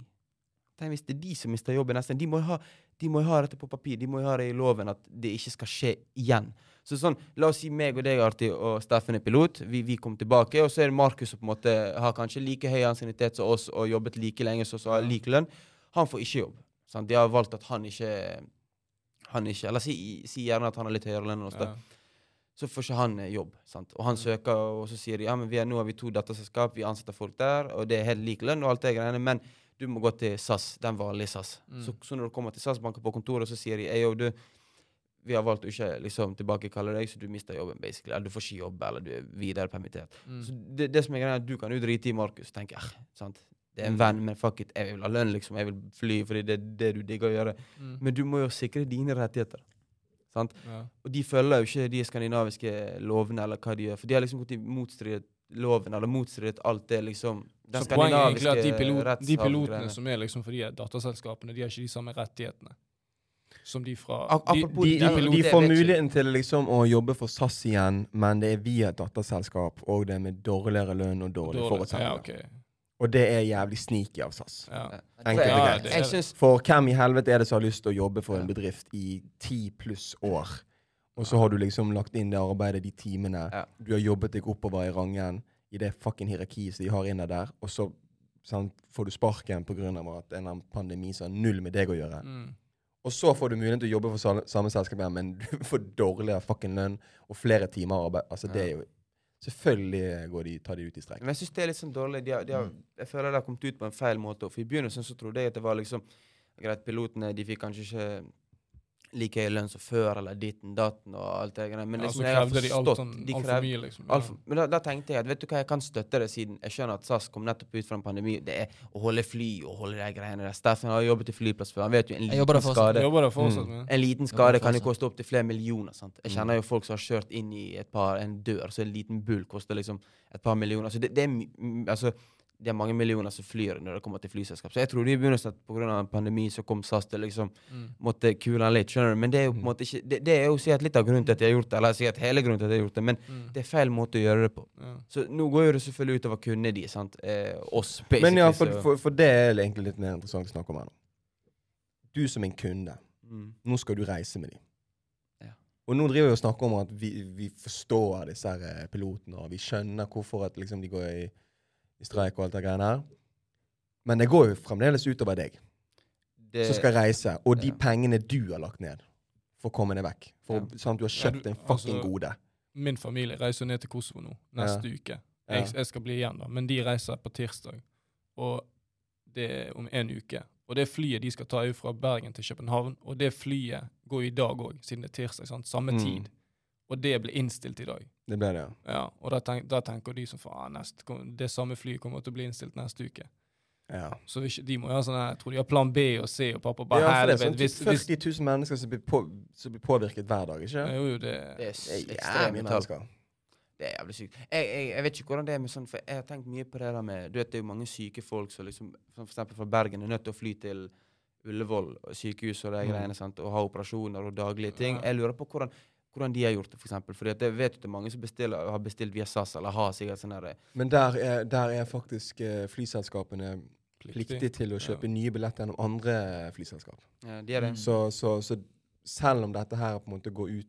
A: Tenk hvis det er de som mister jobben neste De må jo ha, de må jo ha dette på papir. De må jo ha det i loven at det ikke skal skje igjen. Så sånn, La oss si meg og deg, Arti, og Steffen er pilot. Vi, vi kom tilbake. Og så er det Markus som på en måte har kanskje like høy ansiennitet som oss og jobbet like lenge som oss og har lik lønn. Han får ikke jobb. Sant? De har valgt at han ikke han ikke, Eller si, si gjerne at han har litt høyere lønn enn oss. da.
C: ja.
A: Så får ikke han eh, jobb. sant? Og han
C: Mm.
A: søker, og så sier de ja, men vi er, nå har vi to datterselskap, vi ansetter folk der, og det er helt lik lønn, og alt det greiene, men du må gå til SAS, den vanlige SAS.
C: Mm.
A: Så, så når du kommer til SAS, banker på kontoret, så sier de «Ei, jo, du, vi har valgt å ikke liksom, tilbakekalle deg, så du mister jobben, basically. Eller du får ikke jobb, eller du er videre permittert.
C: Mm.
A: Så det, det som er greia, er at du kan jo drite i Markus, tenker jeg. sant? Det er
C: Mm.
A: en venn, men fuck it, jeg vil ha lønn, liksom. Jeg vil fly fordi det er det du digger å gjøre.
C: Mm.
A: Men du må jo sikre dine rettigheter. sant?
C: Ja.
A: Og de følger jo ikke de skandinaviske lovene, eller hva de gjør. For de har liksom gått i motstrid loven, eller motstridet alt det liksom Den
C: Så poenget er egentlig at de, pilot, de
A: rettssaken-
C: pilotene
A: greiene.
C: som er liksom for de her datterselskapene, de har ikke de samme rettighetene som de fra
A: Ap-
C: de,
A: apropos-
B: de,
A: Ja,
B: de,
A: det
B: de
A: vet
B: får
A: jeg ikke.
B: muligheten til liksom å jobbe for SAS igjen, men det er via et datterselskap, og det er med dårligere lønn og dårlige
C: dårlig-
B: forutsetninger.
C: Ja, ok.
B: Og det er jævlig sneaky av SAS.
C: Ja.
B: Enkelt og
C: Ja,
B: greit.
C: det er
A: Jeg
C: det.
A: syns
B: For hvem i helvete er det som har lyst til å jobbe for en
A: Ja.
B: bedrift i ti pluss år? Og så har du liksom lagt inn det arbeidet, de timene.
A: Ja.
B: Du har jobbet deg oppover i rangen, i det fucking hierarkiet som de har inne der. Og så sant, får du sparken pga. at en eller annen pandemi som har null med deg å gjøre.
C: Mm.
B: Og så får du muligheten til å jobbe for sal- samme selskap igjen, men du får dårligere fucking lønn og flere timer arbeid. Altså, det er jo Selvfølgelig går de, tar de ut i streik.
A: Men jeg syns det er litt sånn dårlig. De har, de
B: Mm.
A: har, jeg føler det har kommet ut på en feil måte. For I begynnelsen så trodde jeg at det var liksom Greit, pilotene de fikk kanskje ikke like høy lønn som før, eller ditten datten og alt det greiene. Men
C: Ja,
A: liksom,
C: så
A: jeg har
C: krevde Altså, de alt
A: forstått
C: sånn,
A: de
C: alt
A: krev-
C: for mye, liksom.
A: alt for- Mm. men da, da tenkte jeg at vet du hva, jeg kan støtte det, siden jeg skjønner at SAS kom nettopp ut fra en pandemi. Det er å holde fly og holde de greiene der. Steffen har jobbet i flyplass før. Han vet jo en
D: Jeg jobber der
A: liten
D: fortsatt.
A: skade.
C: Jeg Jobber der fortsatt
B: Mm.
C: med.
A: En liten
D: Ja,
A: skade
D: det er
A: kan jo
D: sant.
A: koste opptil flere millioner. sant? Jeg
B: Mm.
A: kjenner jo folk som har kjørt inn i et par, en dør, så en liten bull koster liksom et par millioner. Altså det, det, er, my- m- altså, det er mange millioner som flyr når det kommer til flyselskap. Så jeg tror i begynnelsen at pga. en pandemi så kom SAS til liksom
C: Mm.
A: måtte kule han litt, skjønner du. Men det er jo på
B: Mm.
A: en måte ikke Det, det er jo sikkert litt av grunnen til at de har gjort det, eller sikkert hele grunnen til at de har gjort det, men
C: Mm.
A: det er feil måte å gjøre det på.
C: Ja.
A: Så nå går jo det selvfølgelig utover kundene de, sant. Eh, oss, basically.
B: Men ja, for,
A: så-
B: for, for det er egentlig litt mer interessant å snakke om her nå. Du som en kunde,
A: mm.
B: nå skal du reise med dem.
A: Ja.
B: Og nå driver vi og snakker om at vi, vi forstår disse her eh, pilotene, og vi skjønner hvorfor at liksom de går i, i streik og alt det greiene her. Men det går jo fremdeles utover deg,
A: det,
B: som skal reise, og de
A: ja.
B: pengene du har lagt ned for å komme deg vekk. For
A: Ja.
B: sånn at du har
C: Ja, du-
B: kjøpt en fucking
C: altså,
B: gode.
C: Min familie reiser jo ned til Kosovo nå, neste uke.
B: Ja.
C: Jeg, jeg skal bli igjen, da. Men de reiser på tirsdag. Og det er om en uke. Og det flyet de skal ta, er jo fra Bergen til København. Og det flyet går jo i dag òg, siden det er tirsdag. sant? Samme
B: Mm.
C: tid. Og det ble innstilt i dag.
B: Det ble det, ja.
C: Ja, Og da, tenk, da tenker de som faen, neste kom- det samme flyet kommer til å bli innstilt neste uke.
B: ja.
C: Så hvis, de må jo ha sånn her, jeg tror de har plan B og C, og pappa bare
B: Ja, for det er
C: helvete,
B: sånn
C: hvis,
B: 40
C: hvis,
B: 000 mennesker som blir, på, som blir påvirket hver dag, ikke?
C: Jo, jo, det,
A: det er s-
B: Det er
A: ekstreme
B: jævlig
A: tall.
B: mennesker.
A: Det er jævlig sykt. Jeg, jeg, jeg vet ikke hvordan det er med sånn, for jeg har tenkt mye på det der med Du vet, det er jo mange syke folk som liksom som For eksempel fra Bergen er nødt til å fly til Ullevål og sykehus og de
B: Mm.
A: greiene, sant, og ha operasjoner og daglige ting.
C: Ja.
A: Jeg lurer på hvordan, hvordan de har gjort det, for eksempel. Fordi at jeg vet jo at det er mange som bestiller, har bestilt via SAS, eller har sikkert sånn derre
B: Men der er, der er faktisk eh, flyselskapene pliktige til å kjøpe nye billetter gjennom andre flyselskap.
A: ja, eh, De er det.
D: Mm.
B: Så, så, så selv om dette her på en måte går ut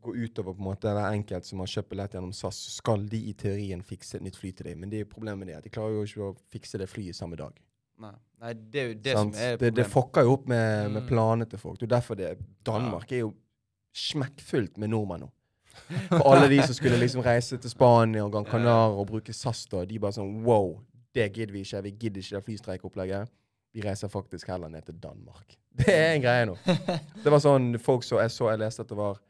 B: går utover på en måte hver enkelt som har kjøpt billett gjennom SAS, så skal de i teorien fikse et nytt fly til deg. Men det er jo problemet med det, at de klarer jo ikke å fikse det flyet samme dag.
A: Nei. Nei, det er jo det
B: sant?
A: som er
B: det, det
A: problemet.
B: fucker jo opp med, med
C: Mm.
B: planene til folk. Det er jo derfor det Danmark er jo smekkfullt med nordmenn nå. For alle de som skulle liksom reise til Spania og Gran Canaria og bruke SAS, da, de bare sånn Wow, det gidder vi ikke. Vi gidder ikke det flystreikeopplegget. Vi reiser faktisk heller ned til Danmark. Det er en greie nå. Det var sånn folk så jeg så jeg leste at det var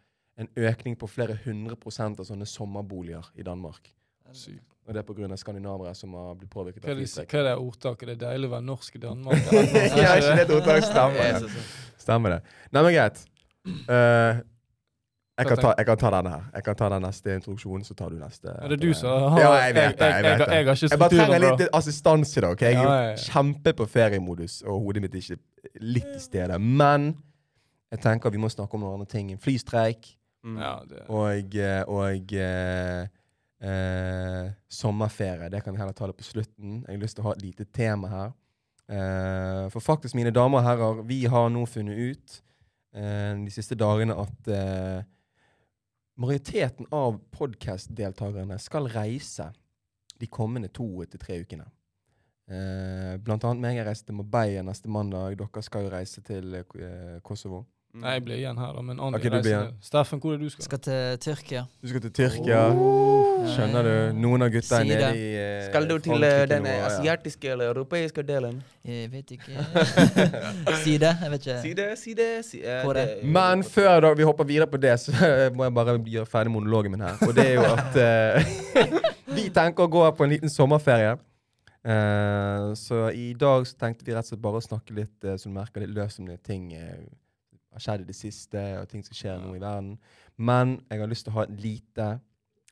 B: en økning på flere hundre prosent av sånne sommerboliger i Danmark.
C: Sykt.
B: Og det er pga. skandinavere som har blitt påvirket
C: Hva
B: av
C: er, det,
B: flystreik.
C: hva er det ordtaket? Det er deilig å være norsk i Danmark.
B: Ja, ikke det
A: Det
B: ordtaket stemmer.
A: er
B: det.
A: så sant.
B: Stemmer det. Nei, men greit. Eh, jeg, kan ta, jeg kan ta denne her. Jeg kan ta den neste introduksjonen, så tar du neste.
C: Er det du som har
B: Ja, jeg vet det. Jeg, vet
C: jeg,
B: det.
C: jeg har ikke
B: jeg bare
C: strukturen,
B: trenger litt
C: bro.
B: assistanse i dag. ok? Jeg er
C: Ja, ja,
B: jo
C: ja.
B: kjempe på feriemodus, og hodet mitt er ikke litt til stede. Men jeg tenker vi må snakke om noen andre ting. En flystreik
A: Mm.
C: Ja, det.
B: og, eh, og eh, eh, sommerferie. Det kan vi heller ta det på slutten. Jeg har lyst til å ha et lite tema her. Eh, for faktisk, mine damer og herrer, vi har nå funnet ut eh, de siste dagene at eh, majoriteten av podkast-deltakerne skal reise de kommende to til tre ukene. Eh, blant annet meg. Jeg reiser til Marbella neste mandag. Dere skal jo reise til eh, Kosovo.
A: Mm.
C: Nei, jeg blir igjen her, da. Men Andi
B: Ok, du blir
C: reiser
B: igjen.
C: ned. Steffen, hvor er det du skal?
D: Skal til Tyrkia.
B: Du skal til Tyrkia. Skjønner du? Noen av gutta er
D: Si det.
B: nede i eh,
A: Skal du til eh,
B: Frankrike
A: den
B: nå,
A: eh,
B: ja.
A: asiatiske eller europeiske delen?
D: Eh, Jeg vet ikke. si det. Jeg vet
A: Si
D: ikke.
A: det, si det, si eh,
D: Hvor er-
A: det er jo-
B: Men før da, vi hopper videre på det, så må jeg bare gjøre ferdig monologen min her. Og det er jo at eh, vi tenker å gå på en liten sommerferie. Eh, så i dag så tenkte vi rett og slett bare å snakke litt, eh, som du merker, litt løst om det ting eh, har skjedd i det siste, og ting som skjer nå i verden. Men jeg har lyst til å ha et lite,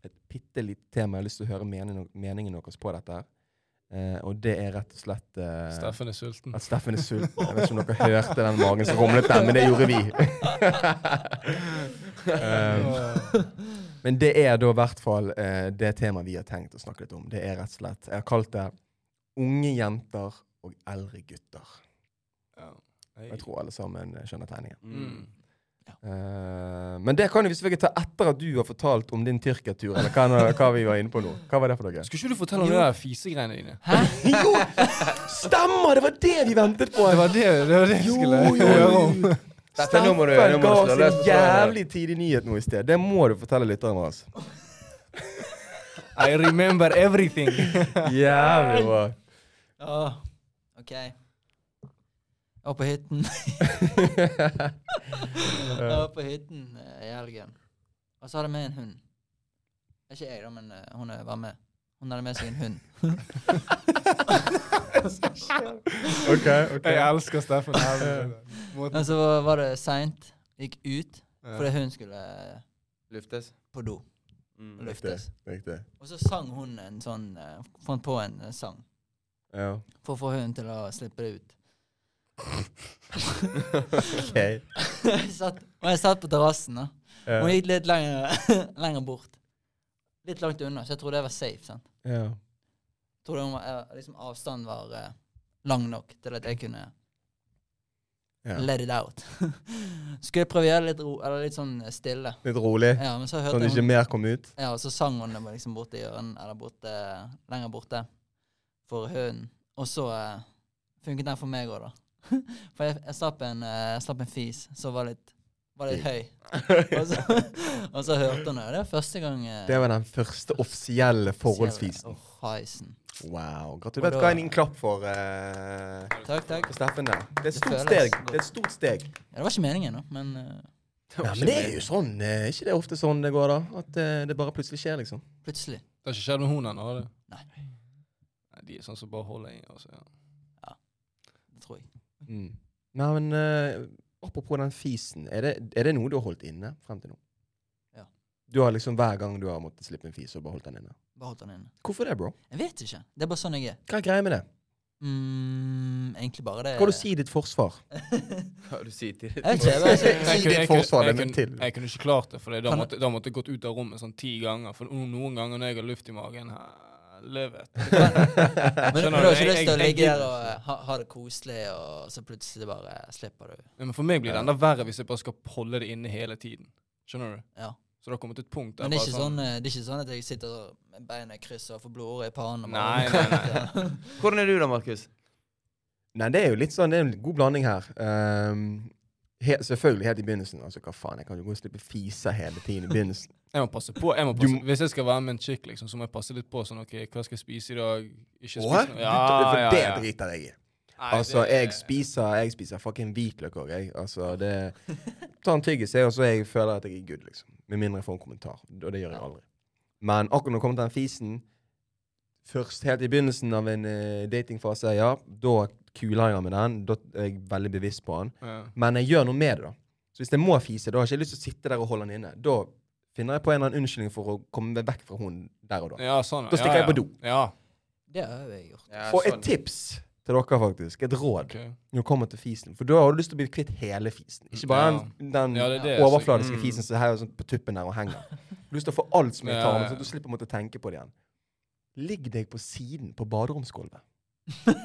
B: et bitte lite tema. Jeg har lyst til å høre meningen, meningen deres på dette. her. Eh, og det er rett og slett eh,
C: Steffen er sulten.
B: at Steffen er sulten. Jeg vet ikke om dere hørte den magen som rumlet der, men det gjorde vi. um, men det er da i hvert fall eh, det temaet vi har tenkt å snakke litt om. Det er rett og slett Jeg har kalt det unge jenter og eldre gutter.
C: Ja.
B: Jeg tror alle sammen skjønner tegningen.
C: Mm.
B: Eh, men det kan jo vi selvfølgelig ta etter at du har fortalt om din Tyrkia-tur, eller hva, hva vi var inne på nå. Hva var det for noe?
C: Skulle ikke du fortelle om
D: Jo.
C: de der fisegreiene dine?
B: Jo! Stemmer! Det var det vi ventet på!
C: Det var det, det, var det jeg
B: Jo,
C: skulle
B: jo,
C: høre
B: jo.
C: om.
A: Dette nå må du- nå
B: Steffen
A: må du
B: ga oss
A: slå løs
B: en
A: på tråden her.
B: jævlig tidlig nyhet nå i sted. Det må du fortelle lytterne våre. altså.
C: I remember everything.
B: Jævlig bra.
D: Ja. OK. Jeg var på hytten. jeg var på hytten eh, i helgen. Og så hadde jeg med en hund. Ikke jeg, da, men eh, hun eh, var med. Hun hadde med seg en hund.
B: OK. ok.
C: Jeg elsker Steffen. Helvete. Måten-
D: Men så var det seint. Gikk ut fordi hun skulle eh,
A: Luftes.
D: på do og
A: Mm.
D: luftes.
B: Riktig.
D: Og så sang hun en sånn eh, Fant på en eh, sang
B: Ja.
D: for å få hunden til å slippe det ut.
B: OK.
D: Jeg satt, og jeg satt på terrassen, da.
B: Ja.
D: Hun gikk litt lenger, lenger bort. Litt langt unna, så jeg trodde jeg var safe. sant?
B: Ja.
D: Jeg trodde hun var, eh, liksom avstanden var eh, lang nok til at jeg kunne
B: Ja.
D: let it out. Skulle jeg prøve å gjøre det litt, ro, eller litt sånn stille.
B: Litt rolig,
D: Ja, men så
B: sånn
D: hørte
B: at ikke
D: hun
B: mer kom ut.
D: Ja, og så sang hun det bare liksom borte i ørene, eller borte, lenger borte, for hunden. Og så eh, funket den for meg òg, da. For jeg, jeg, slapp en, eh, jeg slapp en fis som var litt, var litt høy. Og så, og så hørte hun det. og Det er første gang eh,
B: Det var den første offisielle forholdsfisen.
D: Åh, heisen.
B: Wow.
D: Og
B: Gratulerer.
D: da-
B: Skal en liten klapp for eh,
D: Takk, takk.
B: for Steffen der. Det er et
D: Det
B: stort
D: føles
B: steg.
D: godt.
B: Det er et stort steg.
D: Ja, det var ikke meningen, da, men eh,
B: Nei, men det er jo sånn. eh, ikke det ofte sånn det går, da? At eh, det bare plutselig skjer, liksom.
D: plutselig.
C: Det har ikke skjedd med hun ennå, har det?
D: Nei.
C: Nei, De er sånn som bare holder i. Altså, ja.
D: Det tror jeg.
B: Mm. Nei, men eh, apropos den fisen. Er det, er det noe du har holdt inne frem til nå?
D: Ja.
B: Du har liksom Hver gang du har måttet slippe en fis, så har du bare holdt den inne?
D: Bare holdt den inne.
B: Hvorfor det, bro?
D: Jeg vet ikke. Det er bare sånn jeg er.
B: Hva er greia med det?
D: Mm, egentlig bare det
B: Hva har du si i ditt forsvar?
A: Hva du sier til
D: Jeg vet ikke. Jeg bare,
B: Si
C: Jeg
B: ditt
C: kunne- jeg
B: forsvar, det
C: kunne- jeg
B: må
C: kunne-
B: til.
C: Jeg kunne ikke klart det, for da
D: Kan-
C: måtte da måtte jeg gått ut av rommet sånn ti ganger. For no- noen ganger når jeg har luft i magen Helvete.
D: men,
C: Skjønner
D: men du har
C: du,
D: ikke
C: jeg-
D: lyst
C: jeg-
D: til å
C: jeg
D: ligge der
C: gidder
D: og eh, ha, ha det koselig, og så plutselig bare slipper du.
C: Men for meg blir det enda verre hvis jeg bare skal holde det inne hele tiden. Skjønner du?
D: Ja.
C: Så det har kommet et punkt der
D: Men det er
C: bare
D: ikke sånn, eh, det er ikke sånn at jeg sitter og- med beina i kryss og får blodårer i pannen. og
C: Nei,
D: bare-
C: nei,
A: Hvordan er du da, Markus?
B: Nei, det er jo litt sånn, det er en god blanding her. Ehm, he, selvfølgelig helt i begynnelsen. Altså, hva faen, jeg kan jo gå og slippe fise hele tiden i begynnelsen.
D: sånn-
C: Jeg må passe på. Jeg må
B: Du
C: passe.
B: må-
C: Hvis jeg skal være med en chick, liksom, så må jeg passe litt på. sånn, ok, Hva skal jeg spise i dag? Ikke
B: Åh,
C: spise
B: du-
C: noe.
B: For
C: Ja, ja,
B: det
C: ja.
B: driter jeg i.
C: Nei,
B: Altså,
C: det-
B: jeg spiser, jeg spiser fucking hvitløk òg, jeg. Altså, det Ta en tyggis, jeg, og så jeg føler at jeg er good, liksom. Med mindre jeg får en kommentar. Og det gjør jeg aldri. Men akkurat når det kommer til den fisen Først helt i begynnelsen av en eh, datingfase, ja, da kuler jeg med den. Da er jeg veldig bevisst på den.
C: Ja.
B: Men jeg gjør noe med det, da. Så hvis jeg må fise, da har jeg ikke lyst til å sitte der og holde den inne. Da finner jeg på en eller annen unnskyldning for å komme meg vekk fra hunden der og da.
C: Ja, sånn. ja.
B: Da stikker
C: ja,
B: jeg på do.
C: Ja. ja.
D: Det har jo jeg gjort.
A: Ja,
B: Og
A: sånn.
B: et tips til dere, faktisk. Et råd
C: ok.
B: når det kommer til fisen. For da har du lyst til å bli kvitt hele fisen. Ikke bare
C: Ja.
B: den, den
C: Ja, det er det.
B: overfladiske
A: Mm.
B: fisen som er sånn på tuppen der og henger. Du har lyst til å få alt som er i
C: Ja,
B: tarmen,
C: ja, ja.
B: så du slipper å måtte tenke på det igjen. Ligg deg på siden på baderomsgulvet.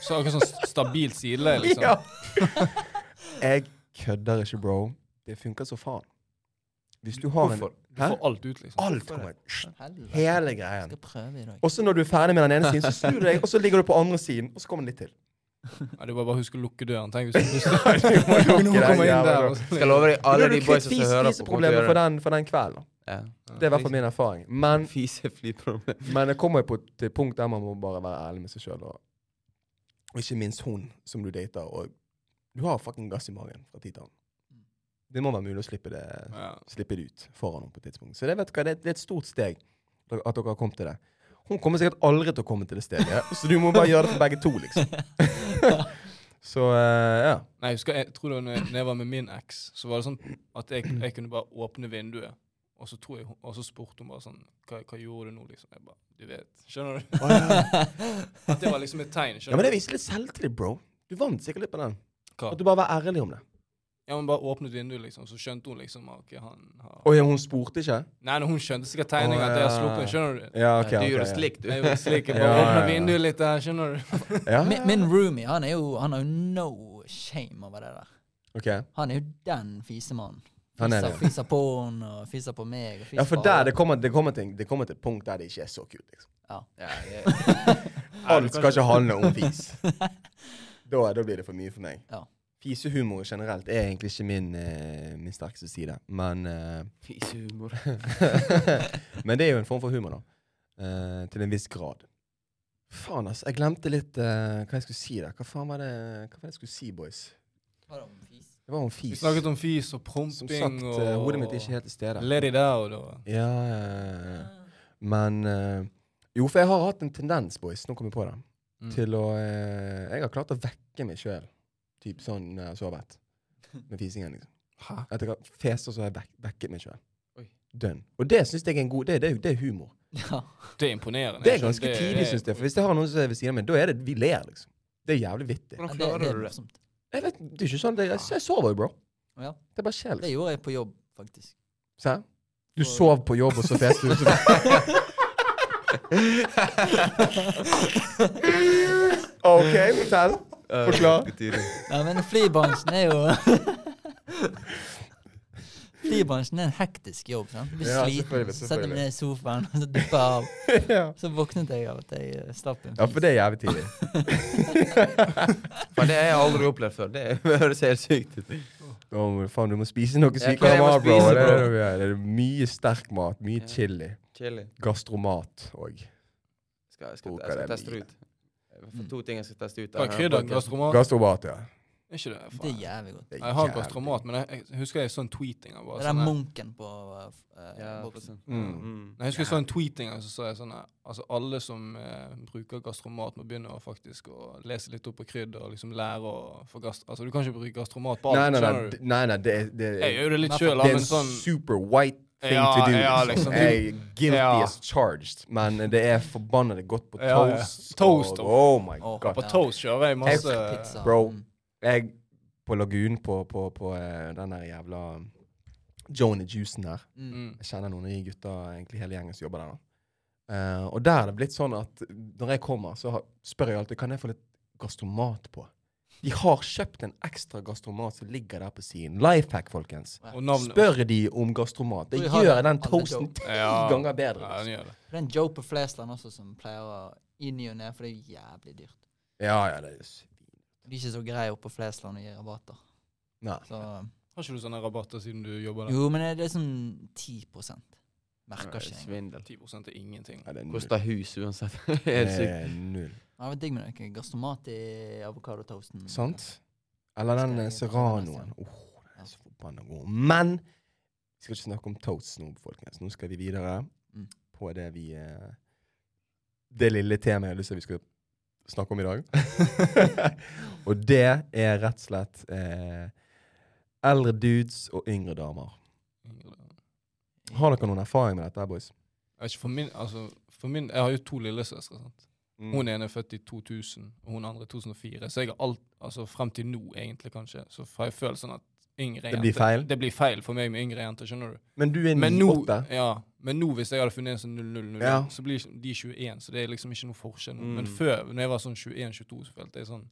C: Så akkurat sånn stabilt sideleie, liksom.
B: Ja. jeg kødder ikke, bro. Det funker så faen. Hvis du har en
A: Hvorfor?
C: Du får alt ut, liksom.
B: Alt kommer Sst,
D: Helvete.
B: Hele
D: Jeg
B: greien.
D: skal prøve i dag.
B: Og så når du er ferdig med den ene siden, så snur du deg, og så ligger du på andre siden, og så kommer den litt til.
C: Ja, du bare, bare husker å lukke døren. Tenk hvis du
B: Noen
C: Noen kommer inn der. og
A: Skal love deg
B: Da
A: alle
B: er du
A: de
B: kvitt
A: boysa som
B: fis,
A: hører på. kommer til å
B: fiseproblemet
A: gjøre
B: for den, for den kvelden.
A: Ja.
B: Det er i hvert fall min erfaring. Men,
A: Fiseflyproblem.
B: men det kommer jo på et punkt der man må bare være ærlig med seg sjøl. Og, og ikke minst hun som du dater. Og du har fucking gass i magen fra tid til annen. Det må være mulig å slippe det,
C: Ja.
B: slippe det ut foran henne på et tidspunkt. Så det, vet du hva, det, er- det er et stort steg at dere har kommet til det. Hun kommer sikkert aldri til å komme til det steget, så du må bare gjøre det for begge to, liksom. så eh, ja.
C: Nei, jeg husker, jeg tror det var når jeg- når jeg var med min eks, så var det sånn at jeg, jeg kunne bare åpne vinduet. Og så, tror jeg, hun- og så spurte hun bare sånn hva, hva gjorde du nå, liksom? Jeg bare Du vet. Skjønner du? At det var liksom et
B: ja.
C: tegn.
B: Men
C: skjønner
B: det
C: du?
B: viser litt selvtillit, bro. Du vant sikkert litt på den.
C: Hva?
B: At du bare var ærlig om det.
C: Ja, men bare åpnet vinduet, liksom, så skjønte hun liksom at ok, han har
B: Å ja, hun spurte ikke?
C: Nei, nei, hun skjønte sikkert tegninga at jeg har sluppet, skjønner du?
B: Ja, ok.
A: du
B: ok,
A: gjorde
B: ja.
A: slikt, du.
C: Jeg var slik, jeg
B: Ja,
C: bare
B: ja,
C: åpnet
B: ja.
C: vinduet litt der, skjønner du?
B: Ah, Ja?
D: Min, min roomie, han er jo Han har jo no shame over det der.
B: Ok.
D: Han er jo den fisemannen.
B: Han er
D: Fiser,
B: det, ja.
D: fiser på han, og fiser på meg. Og fiser
B: Ja, for
D: på
B: der
D: alle.
B: det kommer, det kommer ting. Det kommer til et punkt der det ikke er så kult. liksom.
A: Ja, det-
B: Alt skal ikke handle om fis. Da, da blir det for mye for meg.
D: Ja.
B: Fisehumor generelt er egentlig ikke min, eh, min sterkeste side, men eh,
A: Fisehumor.
B: Men det er jo en form for humor, da. Eh, til en viss grad. Faen, altså. Jeg glemte litt eh, hva jeg skulle si der. Hva faen var det Hva var det jeg skulle si, boys?
D: Hva er det om fis?
B: Det var om
C: Vi
B: fis.
C: snakket om fis
B: Som
C: og promping
B: sagt,
C: og
B: eh, hodet mitt er ikke helt til stede.
C: Let it out og
B: Ja, ja, ja, ja. Men eh, Jo, for jeg har hatt en tendens, boys, nå kom jeg på det,
C: Mm.
B: til å eh, Jeg har klart å vekke meg sjøl, typ sånn når jeg har sovet. Med fisingen, liksom.
C: Hæ?
B: At jeg har fest, og så har jeg vek vekket meg sjøl.
A: Oi.
B: Dønn. Og det syns jeg er en god Det, det, er- det er humor.
D: Ja.
C: Det er imponerende.
B: Det er
C: jeg skjønner.
B: ganske tidlig, syns jeg. For hvis jeg har noen som er ved siden av meg, da er det vi ler, liksom. Det er jævlig vittig.
A: Hvordan
D: Ja,
A: klarer
D: det, det
A: du
D: er
A: det?
D: morsomt.
B: Jeg vet, det er ikke sånn, det, jeg, jeg sover jo, bro.
D: Ja.
B: Det er bare skjer,
D: Det
B: liksom.
D: gjorde jeg på jobb, faktisk.
B: Se her. Du sov på jobb, og så fester du. så- OK, fortell.
A: Eh,
B: Forklar.
D: Nei, men flybransjen er jo Flybransjen er en hektisk jobb. sant? Du blir
B: Ja,
D: sliten,
B: selvfølgelig,
D: så setter
B: selvfølgelig.
D: du deg ned i sofaen og så dupper jeg av.
B: ja.
D: Så våknet jeg av at jeg eh, slapp en
B: ja, for det er jævlig tidlig.
A: Men det har jeg aldri opplevd før. Det høres helt sykt ut.
B: Å, faen, du må spise noe
A: Ja, hva er det
B: sykere
A: jeg må
B: mat, bro.
A: spise,
B: Det er, det,
A: bro?
B: vi gjør. det er mye sterk mat, mye
A: Ja.
B: chili.
A: Chili.
B: Gastromat òg.
A: Skal, jeg skal, jeg
B: Koker
A: skal
B: det
A: teste det
B: mye.
A: ut. Jeg
B: Mm.
A: får to ting jeg skal teste ut.
C: Hva
A: av
C: er
A: denne
C: krydder?
A: podcasten.
C: Gastromat?
B: Gastromat, ja.
C: Er ikke det?
D: Det er
C: Faen.
D: jævlig godt.
B: Det er
C: Jeg har
B: jævlig-
C: gastromat, men jeg, jeg husker jeg så en tweet en gang. bare
D: Det er
C: sånn
D: den
C: her-
D: munken på eh,
A: Ja,
D: boksen.
A: sånn.
B: Mm.
A: Mm.
C: Nei, Jeg husker jeg så en tweet en gang så sa jeg sånn her, altså alle som eh, bruker gastromat må begynne å faktisk å lese litt opp på krydder og liksom lære å få gast... Altså du kan ikke bruke gastromat på alt,
B: Nei, nei, nei.
C: skjønner du?
B: d- nei, nei det, er- det, er-
C: Jeg gjør det litt
D: Nei,
C: sjøl,
B: det er
C: men
B: en
C: sånn
B: super white thing
C: Ja,
B: to do.
C: ja,
B: liksom.
C: liksom, du-
B: Jeg er guilty
C: Ja.
B: as charged, men det er forbannet godt på
C: Ja, ja.
B: toast.
C: Toast,
B: og,
C: og-
B: oh my
D: og
B: god.
C: På toast kjører jeg masse
D: Pizza.
B: Bro.
D: Mm.
B: Jeg på Lagun, på, på, på eh, den der jævla Joan and Juicen der
D: Mm.
C: Mm.
B: Jeg kjenner noen av de gutta, egentlig hele gjengen som jobber der. da. Eh, og der er det blitt sånn at når jeg kommer, så har, spør jeg alltid kan jeg få litt gastromat på. De har kjøpt en ekstra gastromat som ligger der på siden. Lifehack, folkens.
C: Og navnet
B: Spør de om gastromat. Det
D: Og de har
B: gjør
D: det.
B: den
D: Alle
B: toasten ti
C: Ja.
B: ganger bedre.
C: Ja, den
B: liksom.
C: gjør det.
D: Det er en Joe på Flesland også som pleier å i ny og ne, for det er jo jævlig dyrt.
B: Ja, ja, det er s-
D: De er ikke så greie oppe på Flesland å gi rabatter.
B: Nei.
D: Så,
C: Har ikke du sånne rabatter siden du jobber der?
D: jo, men det er sånn 10 Merker ikke engang.
A: Svindel.
C: 10 er ingenting.
B: Ja, det er null.
A: Koster hus uansett.
B: Det
A: helt sykt.
B: er null.
D: Det var digg med noe gastromat i avokadotoasten.
B: Sant? Eller den eh, serranoen. Åh, den
D: Ja.
B: er så forbanna god. Men vi skal ikke snakke om toast nå, folkens. Nå skal vi videre
D: Mm.
B: på det vi eh, Det lille temaet jeg har lyst til at vi skal snakke om i dag. og det er rett og slett eh, eldre dudes og yngre damer. Har dere noen erfaring med dette, boys?
C: Jeg vet ikke, for min, altså, for min, jeg har jo to lillesøstre. sant?
B: Mm.
C: Hun ene er født i 2000, og hun andre i 2004. Så jeg har alt, altså frem til nå, egentlig, kanskje, så har jeg følt sånn at yngre
B: Det blir
C: jenter-
B: feil?
C: Det blir feil for meg med yngre jenter, skjønner du.
B: Men du er
C: Men nå,
B: 98.
C: ja, men nå hvis jeg hadde funnet en sånn 0000,
B: Ja.
C: så blir ikke- de 21, så det er liksom ikke noe forskjell. nå.
A: Mm.
C: Men før, når jeg var sånn 21-22, så følte jeg sånn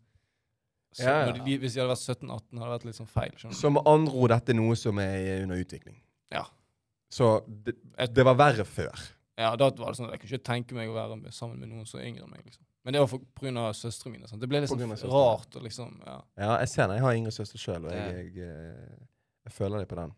C: så,
B: Ja, ja.
C: Når de, Hvis jeg hadde vært 17-18, hadde det vært litt sånn feil. skjønner du.
B: Så med andre ord, dette er noe som er under utvikling.
C: Ja.
B: Så det, det var verre før.
C: Ja, da var det sånn at Jeg kunne ikke tenke meg å være med, sammen med noen som er yngre enn meg. liksom. Men det var for- på grunn av søstrene mine. sant? Det ble litt
B: På
C: sånn
B: grunn av søstrene.
C: rart. og liksom, ja.
B: Ja, jeg ser det. Jeg har yngre søster sjøl, og
A: Ja.
B: jeg, jeg, eh, jeg føler det på den.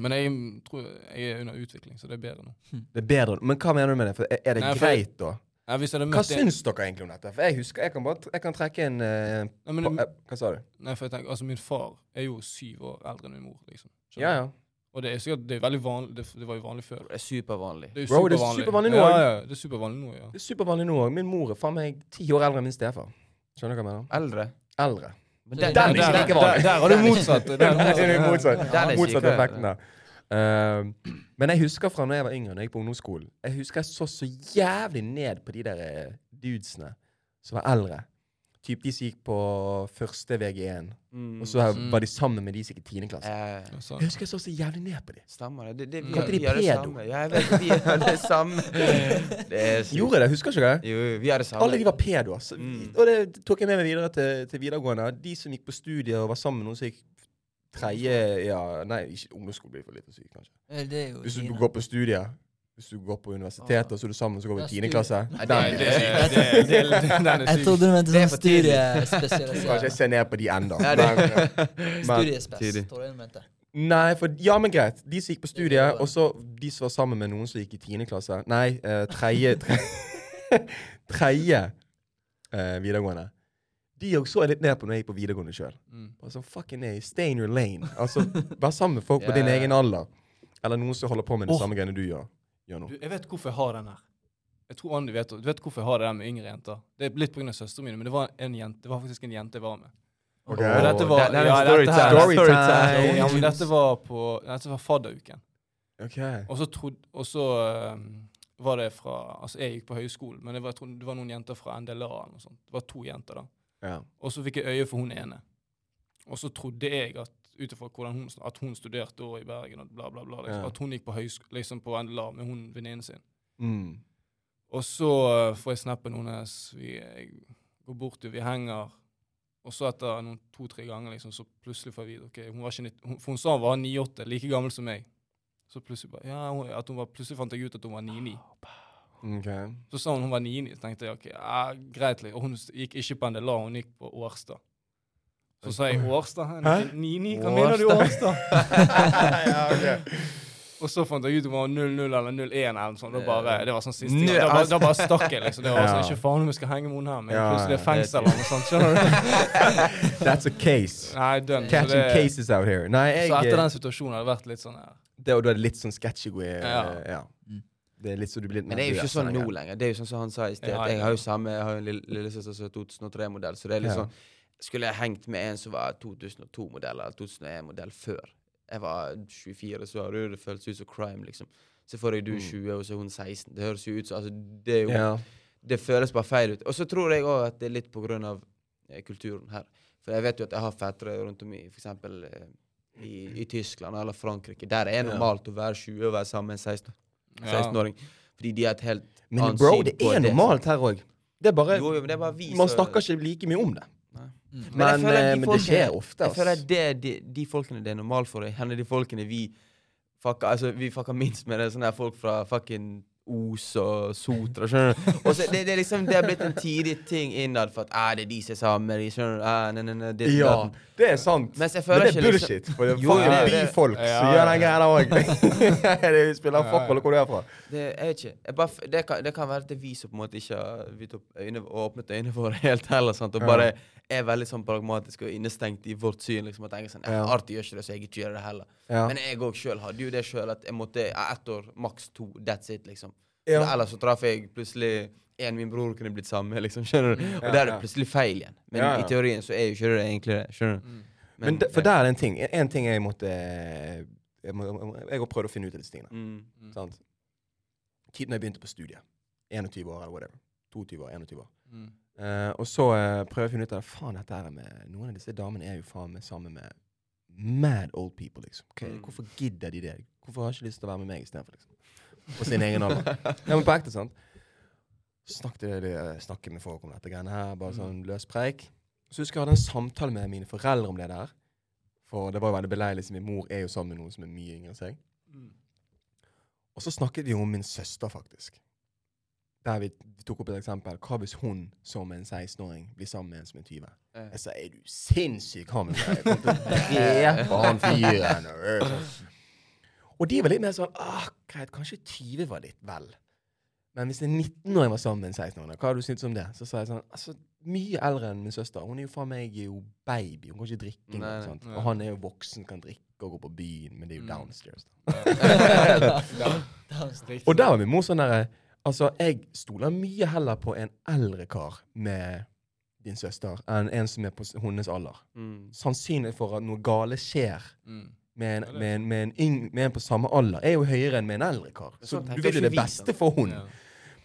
C: Men jeg mm, tror jeg er under utvikling, så det er bedre nå.
B: Det er bedre. Men hva mener du med det? For er- er det
C: Nei, for-
B: greit, da?
C: Nei, hvis jeg hadde
B: Hva
C: møtt en,
B: syns dere egentlig om dette? For jeg husker Jeg kan, bare, tr- jeg kan trekke en eh,
C: nei,
B: på,
C: men,
B: eh, Hva sa du?
C: nei, for jeg tenker, altså Min far er jo syv år eldre enn min mor. liksom. Skjønner
B: Ja,
C: du?
B: ja.
C: Og det er sikkert, det er veldig vanlig, det, det var jo vanlig før.
A: Det er supervanlig.
C: Det er jo
B: Bro, det er supervanlig nå,
C: Ja,
B: ja.
C: ja, det er supervanlig nå, ja.
B: Det er supervanlig nå òg. Min mor er faen meg ti år eldre enn min stefar. Skjønner du hva jeg mener?
A: Eldre.
B: Eldre.
A: Men den-
D: Den-
B: Den er
C: der-
B: ikke like
A: der-
B: vanlig.
C: der- der har du motsatt.
B: Det
C: Der har du
B: er det
C: motsatt.
B: motsatt.
A: Ja, det er
B: Motsatt
A: sykere.
B: effekten der. Ehm, men jeg husker fra når jeg var yngre, når jeg gikk på ungdomsskolen. Jeg husker jeg så så jævlig ned på de der eh, dudesene som var eldre. Typ de som gikk på første Vg1,
A: Mm.
B: og så her
C: Mm.
B: var de sammen med de som gikk i 10. klasse.
A: Eh,
C: Ja, sant.
B: Jeg husker jeg så så jævlig ned på de.
A: Stemmer det. det, det vi,
C: Kalte
A: har-
C: de
A: vi har det
B: pedo?
A: samme. Ja, jeg vet, vi har det samme. Det er sykt.
B: Gjorde jeg det? Husker ikke det?
A: Jo, vi har det samme.
B: Alle de var pedoer. Så,
A: Mm.
B: Og det tok jeg med meg videre til, til videregående. De som gikk på studier og var sammen med noen som gikk tredje ja, Nei, ikke ungdomsskole blir for lite syk, kanskje.
D: Eh, Det er jo
B: Hvis du
D: Kina.
B: går på studier, hvis du går på universitetet, og så er du sammen, så går du
D: Ja,
B: i tiende
D: studier.
B: klasse
D: Nei,
B: Nei,
C: Nei, det, det,
B: det-
C: det, det, den er
D: Jeg trodde
C: syk.
D: du mente
A: Det er
D: sånn
A: for tidlig.
B: Kanskje jeg
D: studiespesialisering.
B: ser ned på de ennå.
A: Ja, det- Tidlig.
D: Studiespes, tror jeg du mente.
B: Nei, for Ja, men greit. De som gikk på
D: Det er
B: studiet,
D: videregående.
B: og så de som var sammen med noen som gikk i tiende klasse Nei, eh, tredje tre- Tredje eh, videregående. De òg så jeg litt ned på når jeg gikk på videregående sjøl.
C: Mm.
B: Altså, fucking A, stay in your lane. Altså, Vær sammen med folk på
A: Ja,
B: din
A: ja, ja.
B: egen alder. Eller noen som holder på med det
C: Åh.
B: samme greiene du gjør. gjør nå.
C: Du, jeg vet hvorfor jeg har den her. Jeg tror Andy vet, du vet hvorfor jeg har det der med yngre jenter. Det er litt pga. søstrene mine, men det var, en jente, det var faktisk en jente jeg var med.
B: Ok.
C: Og dette var,
A: det- det er
C: ja, dette her-
A: storytime.
B: Storytime.
C: Ja, men dette var på dette var fadderuken.
B: Ok.
C: Og så trodd- og så ehm, var det fra Altså, jeg gikk på høyskolen, men det var, jeg tror det var noen jenter fra NDLA eller noe sånt. Det var to jenter, da.
B: Ja.
C: Og så fikk jeg øye for hun ene. Og så trodde jeg at ut ifra hvordan hun, at hun studerte år i Bergen, og bla, bla, bla, liksom,
B: Ja.
C: at hun gikk på, høysk liksom på NDLA med hun venninnen sin.
B: Mm.
C: Og så eh, får jeg snappen hennes. Vi jeg går bort, og vi henger. Og så etter noen to-tre ganger liksom, så plutselig får jeg vite ok, hun var ikke nitt- hun, For hun sa hun var 98, like gammel som meg. Så plutselig bare, ja, hun, at hun var, plutselig fant jeg ut at hun var 99.
B: Ok.
C: Så sa hun hun var 99, så tenkte jeg ok, ja, greit. litt. Og hun s- gikk ikke på NDLA, hun gikk på Årstad. Så sa jeg Årstad?
B: Hæ?
C: 99? Hva mener du Årstad?
B: ja, ok.
C: Og så fant jeg ut om hun var 00 eller 01 eller noe sånt. Da bare, det var sånn siste
A: Null,
C: gang. Da bare,
A: altså.
C: da bare stakk jeg, liksom. Det var
B: Ja.
C: sånn, ikke faen om jeg skal henge med henne her, men
B: Ja, ja.
C: plutselig er det fengsel eller noe sånt. Skjønner du?
B: That's a case.
C: Nei, dønn. Så,
B: Catching
C: det-
B: cases out here. Nei, jeg,
C: så etter den situasjonen har det vært litt sånn her.
B: det, og da er det litt sånn sketchy. eh,
C: Ja.
B: ja.
D: Mm.
B: Det er litt så du blir litt
A: Men det er jo ikke
B: nervøs av
A: sånn
B: den
A: nå
B: greien.
A: lenger. Det er jo sånn som han sa i sted.
C: Ja, ja.
A: Jeg har jo samme, jeg har jo en lille- lillesøster som er 2003-modell, så det er litt
B: Ja.
A: sånn Skulle jeg hengt med en som var 2002-modell eller 2001-modell før jeg var 24, så hadde jo det føltes ut som crime, liksom. Så får jeg du
B: Mm.
A: 20, og så er hun 16. Det høres jo ut som altså, det, er jo-
B: Ja.
A: det føles bare feil ut. Og så tror jeg òg at det er litt på grunn av eh, kulturen her. For jeg vet jo at jeg har fettere rundt om i f.eks. Eh, i, i Tyskland eller Frankrike. Der er det
B: Ja.
A: normalt å være 20 og være sammen med en 16
C: Ja.
A: 16-åring. Fordi de har et helt
B: Men
A: annet
B: bro,
A: syn
B: det
A: på
B: er normalt her òg. Det er bare
A: Jo, jo, men det er bare vi
B: Man
A: som-
B: snakker ikke like mye om det.
D: Mm.
A: Men jeg
B: Men,
A: føler at de
B: eh, men det
A: folkene-
B: skjer ofte,
A: Jeg føler
B: ass.
A: at det, de, de folkene det er normalt for, er hender de folkene vi fucker, altså, vi fucker minst med. det er Sånne her folk fra fucking Os og Sotra. skjønner du? Og så det, det, er liksom, det har blitt en tidig ting innad for at ah, det er de som er sammen. de, skjønner du? Ah, nei, nei, nei, det,
B: Ja,
A: det.
B: det er sant.
A: Mens jeg
B: Men
A: føler
B: det er
A: ikke liksom-
B: bullshit. For det er
A: Jo,
B: fucking
A: ja, det-
B: byfolk som gjør
C: Ja, ja,
B: den greia der òg. Det spiller
C: Ja,
B: fuck all hvor du er fra.
A: Det, jeg vet ikke. Jeg bare, f- det, kan, det kan være at det er vi som på en måte ikke har vidt opp øyne, og åpnet øynene våre helt heller. Sant? Og
B: Ja.
A: bare er veldig sånn pragmatisk og innestengt i vårt syn. liksom, Og tenker sånn, ja.
B: Ja.
A: Artig gjør ikke det, så jeg ikke gjør det heller.
B: Ja.
A: Men jeg òg sjøl hadde jo det sjøl at jeg måtte ja, ett år, maks to. That's it, liksom.
B: Ja.
A: Så Ellers så traff jeg plutselig en min bror kunne blitt sammen med, liksom. skjønner du? Og
B: Ja,
A: da er det
B: ja.
A: plutselig feil igjen. Men
B: Ja, ja.
A: i teorien så er jo ikke det egentlig det. skjønner du? eh,
C: Mm.
B: Men de, for der er det en ting En ting jeg måtte eh, Jeg må- jeg må- jeg har prøvd å finne ut av disse tingene.
A: mm.
C: Mm.
B: Sant? Tid når jeg begynte på studiet. 21 år eller whatever. 22 år, 21 år.
C: Mm.
B: Eh, og så eh, prøver jeg å finne ut av Faen, dette her med Noen av disse damene er jo faen meg sammen med mad old people, liksom. Hva-
A: Mm.
B: Hvorfor gidder de det? Hvorfor har de ikke lyst til å være med meg istedenfor, liksom? På sin egen alder. Nei, men på ekte, sant. Så Snakket jeg jeg snakket med folk om dette greiene her,
C: Mm.
B: bare sånn løs preik. Så husker jeg hadde en samtale med mine foreldre om det der. For det var jo veldig beleilig, siden min mor er jo sammen med noen som er mye yngre enn seg.
C: Mm.
B: Og så snakket vi om min søster, faktisk. Der vi vi tok opp et eksempel. Hva hvis hun som en 16-åring blir sammen med en som er 20?
A: Eh.
B: Jeg sa er du sinnssyk, han Jeg kommer til å drepe han fyren. Og de var litt mer sånn ah, greit, kanskje 20 var litt vel. Men hvis en 19-åring var sammen med en 16-åring, hva hadde du syntes om det? Så sa jeg sånn altså, Mye eldre enn min søster. Hun er jo faen meg jo baby. Hun kan ikke drikke. engang,
A: Nei, nei.
B: sant?
C: Nei.
B: Og han er jo voksen, kan drikke og gå på byen, men det er jo
C: Mm.
B: downstairs. da.
D: Downstairs.
B: Og der var min mor sånn derre Altså, jeg stoler mye heller på en eldre kar med din søster enn en som er på s- hennes alder.
A: Mm.
B: Sannsynlig for at noe gale skjer
C: Mm.
B: med
C: Ja,
B: en,
C: det-
B: med en, med en, yng, med en på samme alder, er jo høyere enn med en eldre kar. Så
A: Sånn
B: du
A: tenker
B: vil jo
A: ikke
B: det
A: vi, sant?
B: beste for hun.
C: Ja.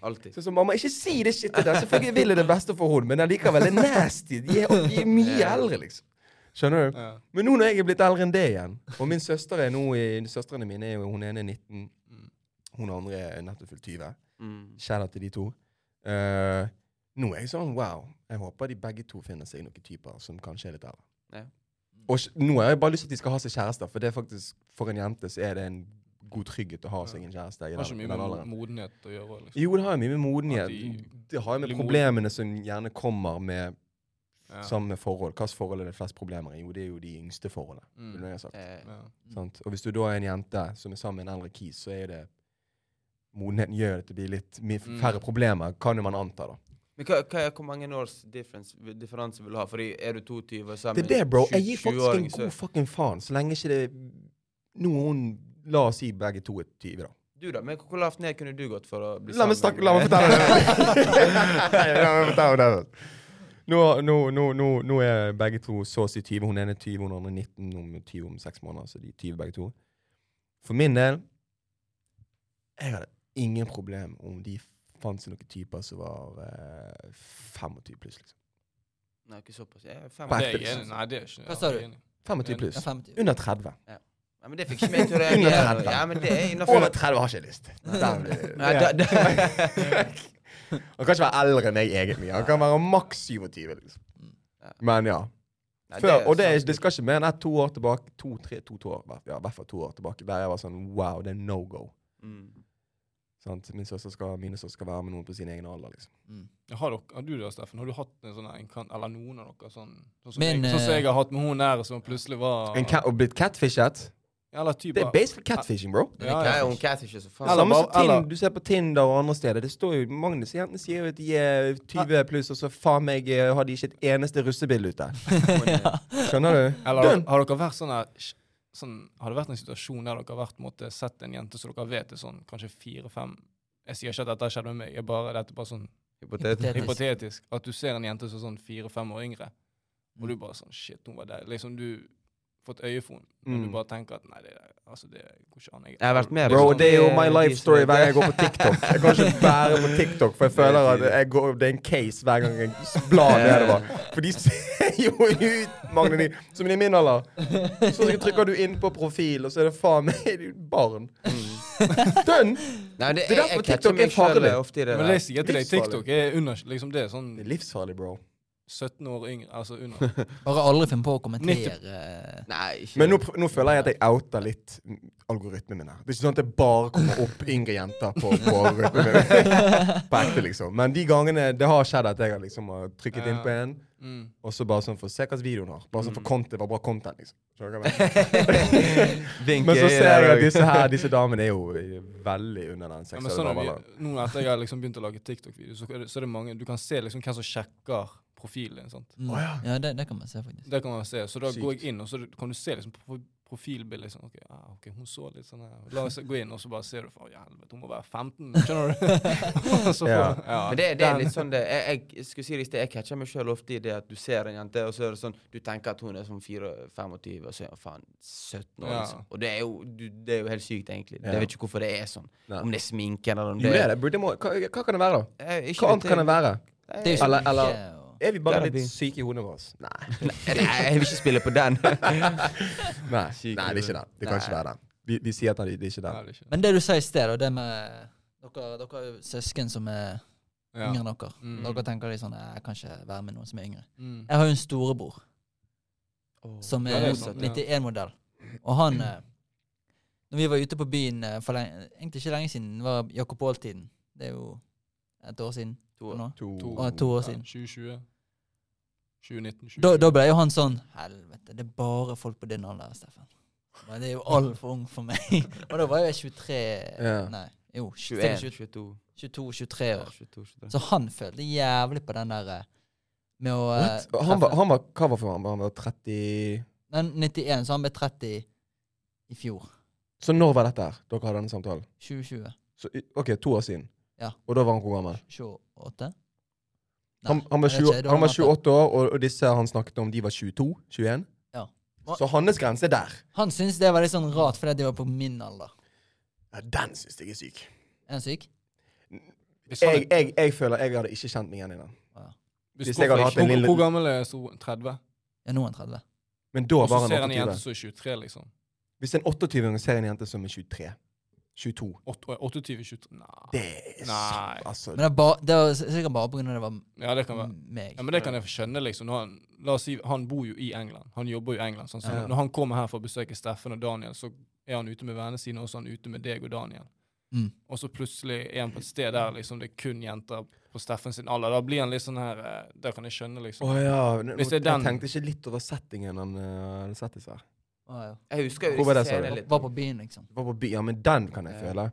A: Alltid.
B: Sånn som mamma, ikke si det shitet der! Selvfølgelig vil jeg det beste for henne, men allikevel, det er nasty. De er, de er mye
A: Ja.
B: eldre, liksom. Skjønner du?
C: Ja.
B: Men nå når jeg er blitt eldre enn det igjen, og min søster er nå i, søstrene mine er jo, hun ene er 19,
C: Mm.
B: hun andre er nettopp fylt 20.
A: Mm.
B: Kjære til de to. Eh, nå er jeg sånn wow. Jeg håper de begge to finner seg noen typer som kanskje er litt eldre.
A: Ja.
B: Og s- nå har jeg bare lyst til at de skal ha seg kjærester, for det er faktisk, for en jente så er det en god trygghet å ha seg en kjæreste. i
C: Det
B: den,
C: har ikke
B: i
C: mye
B: den
C: med
B: alderen.
C: mo- modenhet å gjøre. Liksom.
B: Jo, det har jo mye med
C: At
B: modenhet
C: de
B: Det har jo med
C: blir moden.
B: problemene som gjerne kommer med
C: Ja.
B: samme forhold. Hvilke forhold er det flest problemer i? Jo, det er jo de yngste forholdene.
C: Mm.
B: vil jeg ha sagt.
A: Eh,
C: Ja.
B: Sant? Og hvis du da er en jente som er sammen med en eldre kis, så er det Modenheten gjør at det blir litt mi-
C: Mm.
B: færre problemer, kan jo man anta, da.
A: Men hva, hva er, hvor mange års difference, differanse vil du ha? Fordi er du 22 og sammen
B: Det er det, bro. Jeg
A: tjue-
B: gir faktisk
A: 20-åring,
B: en god fucking faen, så lenge ikke det er noen La oss si begge to er 20, da.
A: Du da, men hvor lavt ned kunne du gått for å bli
B: La meg snakke, la meg fortelle det. la meg fortelle det. Nå, nå, nå, nå, nå er begge to så å si 20. Hun ene er 20, hun andre er 19, hun er 20 om seks måneder. Så de er 20 begge to. For min del Jeg hadde ingen problem om de fant seg noen typer som var eh, 25 pluss, liksom.
A: Nei, ikke såpass. Jeg er fem
C: Det
A: år.
C: er jeg
B: Backpacks.
C: enig i. Nei, det er ikke
D: Hva sa du?
C: jeg er enig i.
B: 25
D: Ja,
B: pluss.
D: 50.
B: Under 30.
A: Nei, men det fikk ikke meg til å
B: Under
A: reagere.
B: 30.
A: Ja, men det er
B: Over
A: innenfor.
B: 30 har ikke jeg lyst. Der blir det-
A: Nei, da- da-
B: Han kan ikke være eldre enn jeg egentlig. Han kan være maks 27, liksom.
A: Ja.
B: Men ja.
A: Nei,
B: Før, og det, er,
A: sant.
B: det skal ikke mer enn ett, to år tilbake. To, tre, to, to år, ja, i hvert fall to år tilbake. Der jeg var sånn wow, det er no go.
A: Mm.
B: Sant? Min søster skal, mine søster skal være med noen på sin egen alder. liksom.
D: Mm.
C: Ja, Har, dere, har du det, Steffen? Har du hatt en sånn her, en kan, eller noen av dere sånn Sånn som,
D: Men,
C: jeg, sånn som
D: eh,
C: jeg har hatt med hun der som plutselig var
B: En cat, og blitt catfishet?
C: Ja, Eller type
B: Det er basically catfishing, bro.
A: Men
C: Ja,
A: det
C: ja.
A: er jo en catfish, så faen.
C: Eller
B: Samme som
C: bare-
B: Tinder,
C: eller-
B: du ser på Tinder og andre steder. Det står jo, Magnus jentene sier jo at de er 20 pluss, og så faen meg eh, har de ikke et eneste russebilde ute. Skjønner du?
C: Eller har,
B: Dønn.
C: har dere vært sånn her sj- sånn, Har det vært en situasjon der dere har vært, på en måte, sett en jente som dere vet er sånn kanskje fire-fem Jeg sier ikke at dette har skjedd med meg, jeg bare, dette er bare sånn
D: Hypotetisk.
C: hypotetisk. At du ser en jente som er sånn fire-fem år yngre, og
D: Mm.
C: du bare sånn Shit, hun var der. Liksom du fått øye for henne, men
B: Mm.
C: du bare tenker at nei, det, er- altså, det går ikke an. Liksom.
A: Jeg har vært med,
B: Bro,
A: Sånn,
B: det er jo
A: det-
B: my
A: de
B: life
A: som
B: story
A: er-
B: hver gang jeg går på TikTok. Jeg kan ikke bære på TikTok, for jeg
A: Det er
B: føler at
A: tydelig.
B: jeg går, det er en case hver gang jeg blar nedover. For de ser jo ut, Magne, de, som de er i min alder. Så trykker du inn på profil, og så er det faen meg det er jo et barn. Dønn!
A: Nei, det,
B: Det er
A: jeg-
B: derfor
A: jeg catcher
B: TikTok er
A: meg selv
B: farlig.
A: Ofte i det
C: Men
A: der.
C: det sier jeg til deg,
B: Livsfarlig.
C: TikTok er under liksom det er sånn
B: Det er livsfarlig, bro.
C: 17 år yngre, altså under.
D: Bare aldri finn på å kommentere eh,
A: Nei, ikke
B: Men nå, pr- nå føler jeg at jeg outer litt algoritmen min her. Det er ikke sånn at det bare kommer opp yngre jenter på, på algoritmen min. På ekte, liksom. Men de gangene det har skjedd at jeg har liksom har trykket inn på en,
C: Mm.
B: og så bare sånn for se hva slags videoen har. Bare sånn for content, var bra content, liksom. Skjønner du hva jeg mener?
A: Vinke
B: Men så
A: i
B: ser
A: der
B: jeg at
A: også.
B: disse, her, disse damene er jo eh, veldig under den
C: Ja, men sånn er vi,
B: seksuelle
C: nå etter jeg har liksom begynt å lage TikTok-videoer, så, er det- så er det mange Du kan se liksom hvem som sjekker profilen din. sant?
D: mm.
B: Åja.
D: Ja, det, det kan man se, faktisk.
C: Det kan man se. Så da
B: Sykt.
C: går jeg inn, og så kan du se liksom på profilbildet liksom, ok, ah, OK, hun så litt sånn her La oss gå inn, og så bare ser du Å, ja, helvete, hun må være 15, skjønner du? Og så får,
B: Ja.
C: ja.
A: Men det, det er litt sånn det Jeg, jeg skulle si det i sted, jeg catcher meg sjøl ofte i det at du ser en jente, og så er det sånn Du tenker at hun er sånn 24-25, og så er hun faen 17 år,
C: Ja.
A: liksom. Og det er, jo, du, det er jo helt sykt, egentlig.
B: Ja.
A: Jeg vet ikke hvorfor det er sånn.
B: Nei.
A: Om det er sminken eller om
B: Jo, det er det. Burde må, hva, hva kan det være, da?
A: Jeg, ikke
B: Hva
A: vet
B: annet kan det være?
D: Det er jo ikke
B: Eller-
D: mye
B: eller-
D: å-
B: Er vi bare
A: Gotta
B: litt
A: be.
B: syke i hodene våre? Nei.
A: Nei, jeg vil ikke spille på den.
B: Nei.
A: Syke i
B: Nei, det er ikke
A: hodet.
B: det. Det kan ikke
A: Nei.
B: være det. Vi, vi sier at det, det er ikke det.
C: Ja, det er ikke-
D: Men det du sa i sted, og det med dere, dere er jo søsken som er
C: ja.
D: yngre enn dere.
C: Mm.
D: Dere tenker litt sånn "Eh, Jeg kan ikke være med noen som er yngre.
C: Mm.
D: Jeg har jo en storebror som
C: Ja,
D: er
C: det er sant, ja.
D: 91-modell. Og han eh, Når vi var ute på byen eh, for lenge, egentlig ikke lenge siden, det var Jakob Aall-tiden. Det er jo et år siden nå.
B: To.
D: Og to
C: Ja,
D: år siden.
C: 2020. 2019.
D: Da, da ble jo han sånn Helvete, det er bare folk på din alder, Steffen. Men det er jo altfor ung for meg. og da var jeg 23
B: Ja.
D: Nei, jo,
A: 21,
D: 21,
A: 22,
D: 22-23
A: ja,
D: år.
A: 22, 23.
D: Så han følte jævlig på den der eh, med å eh,
B: What? Og Han
D: treffe-
B: var, han var, hva var for han? Han var 30
D: Men 91, så han ble 30 i fjor.
B: Så når var dette her? Dere hadde denne samtalen?
D: 2020.
B: Så, i- OK, to år siden.
D: Ja.
B: Og da var han hvor gammel?
D: 28? Nei,
B: Han, han, var,
D: jeg vet
B: 20,
D: ikke, da
B: han var
D: han var
B: 28 år, og, og disse han snakket om, de var 22? 21?
D: Ja.
B: Så hans grense er der.
D: Han syntes det var litt sånn rart, fordi de var på min alder.
B: Ja, den syns jeg er syk.
D: Er han syk?
C: Hvis han er-
B: Jeg, jeg, jeg føler jeg hadde ikke kjent meg igjen i den.
C: hvis
B: hvis jeg hadde
C: hvorfor
B: hatt
C: ikke?
B: en
C: Hvor-
B: lille-
C: Hvor gammel er Stoen? 30?
D: Ja, nå er han 30.
B: Men da
C: Og så
B: var
C: ser
B: han
C: han en jente
B: 28.
C: som er 23, liksom.
B: Hvis en 28-åring ser en jente som er 23 22
C: 28-23? Nei.
B: Det er
C: Nei.
B: så- altså,
D: Men det, er ba, det var sikkert bare pga. det var m-
C: Ja, det kan være.
D: meg.
C: Ja, men det kan jeg skjønne, liksom. Når han, la oss si, han bor jo i England. Han jobber jo i England. Sånn, så
B: Ja.
C: Når han kommer her for å besøke Steffen og Daniel, så er han ute med vennene sine, og så er han ute med deg og Daniel.
D: Mm.
C: Og så plutselig er han på et sted der liksom, det er kun jenter på Steffen sin alder. Da blir han litt sånn her eh, Det kan jeg skjønne,
B: Å
C: liksom.
B: ja. nå-
C: Hvis det er
B: Jeg
C: den-
B: tenkte ikke litt over settingen han eh, hadde sett disse her.
D: Å, ja.
A: Jeg husker jo
B: Hvor var
A: disse
B: det, sa du?
A: scenene
D: Var-
A: litt.
D: Var på byen, liksom.
B: Var på by, ja, men den kan jeg
A: Ja.
B: føle.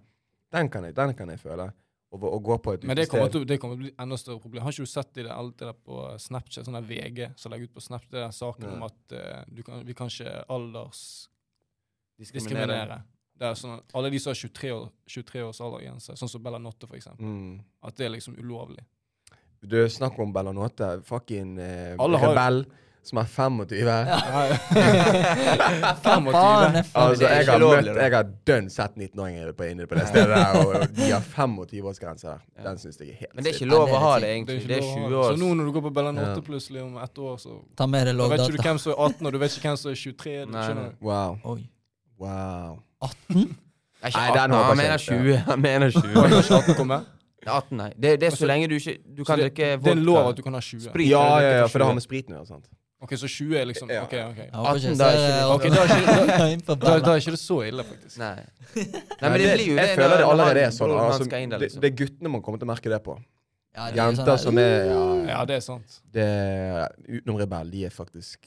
B: Den kan jeg, den kan jeg føle. Å gå- å gå på et
C: Men det kommer,
B: utested
C: til, det kommer til å bli enda større problem. Har ikke du sett det, der- alt det der på Snapchat, sånn der VG som legger ut på Snapchat, det der saken
B: Nei.
C: om at eh, du kan, vi kan ikke aldersdiskriminere?
A: Diskriminere.
C: Det er sånn, at alle de som har 23 år- 23 års aldersgrense, sånn som Bella Notte, for eksempel.
B: mm.
C: At det er liksom ulovlig.
B: Du snakk om Bellanote. Fucking eh,
C: Alle har-
B: rebell som er 25.
D: Faen, det er faen
B: Altså,
A: det er
B: jeg
A: ikke
B: har,
A: lovlig,
B: møtt,
A: da.
B: jeg har dønn sett 19-åringer på- inne på det stedet der, og og de har 25-årsgrense der.
A: Ja.
B: Den syns jeg er helt
A: Men det er
B: sykt.
A: ikke lov
D: Ja, det
A: å
D: er
A: ha
D: helt
A: det,
D: sykt.
A: egentlig. Det er
C: lov å ha
A: 20
C: Så nå
A: år.
C: når du går på Bella Norte
B: Ja.
C: plutselig om ett år, så
D: Ta med deg
C: Da vet ikke du
D: loggdata.
C: hvem som er 18, og du vet ikke hvem som er 23. Du
A: Nei,
C: skjønner
A: nei.
C: du?
B: Wow.
D: Oi.
B: wow.
D: 18?
A: Det er ikke
B: Nei,
A: 18,
B: den håper
A: Han
B: jeg
A: mener
B: ikke.
A: 20. Han mener 20.
C: Kan ikke 18 komme?
A: 18, nei. Det, det er så
C: Altså,
A: lenge du ikke Du
C: Så
A: kan
C: det,
A: drikke
C: det er en lov at
A: vodka.
C: du kan ha 20.
A: Sprit.
B: Ja,
A: kan du
B: ja,
A: drikke
B: ja,
A: for
B: for det har
A: 20.
B: med spriten å gjøre. sant?
C: Ok, så 20 er liksom
B: Ja.
C: Ok, ok.
D: Jeg håper
A: 18
D: ikke
A: da er
D: jeg ser
A: ikke
C: Ok, da er ikke, da,
D: eh, inn på
C: da, da
D: Bella.
C: er ikke det så ille, faktisk.
A: Nei. Nei, men det
B: Nei,
A: blir jo
B: jeg
A: det
B: føler
A: når-
B: det
A: når
B: allerede
A: han-
B: er sånn.
A: når han
B: Altså,
A: skal inn der,
B: det,
A: liksom.
B: det er guttene man kommer til å merke det på.
D: Ja, det er jo sånn
B: Jenter
D: der-
B: som er ja,
C: Ja,
B: ja.
C: det er sant.
B: Det, Utenom rebell, de er faktisk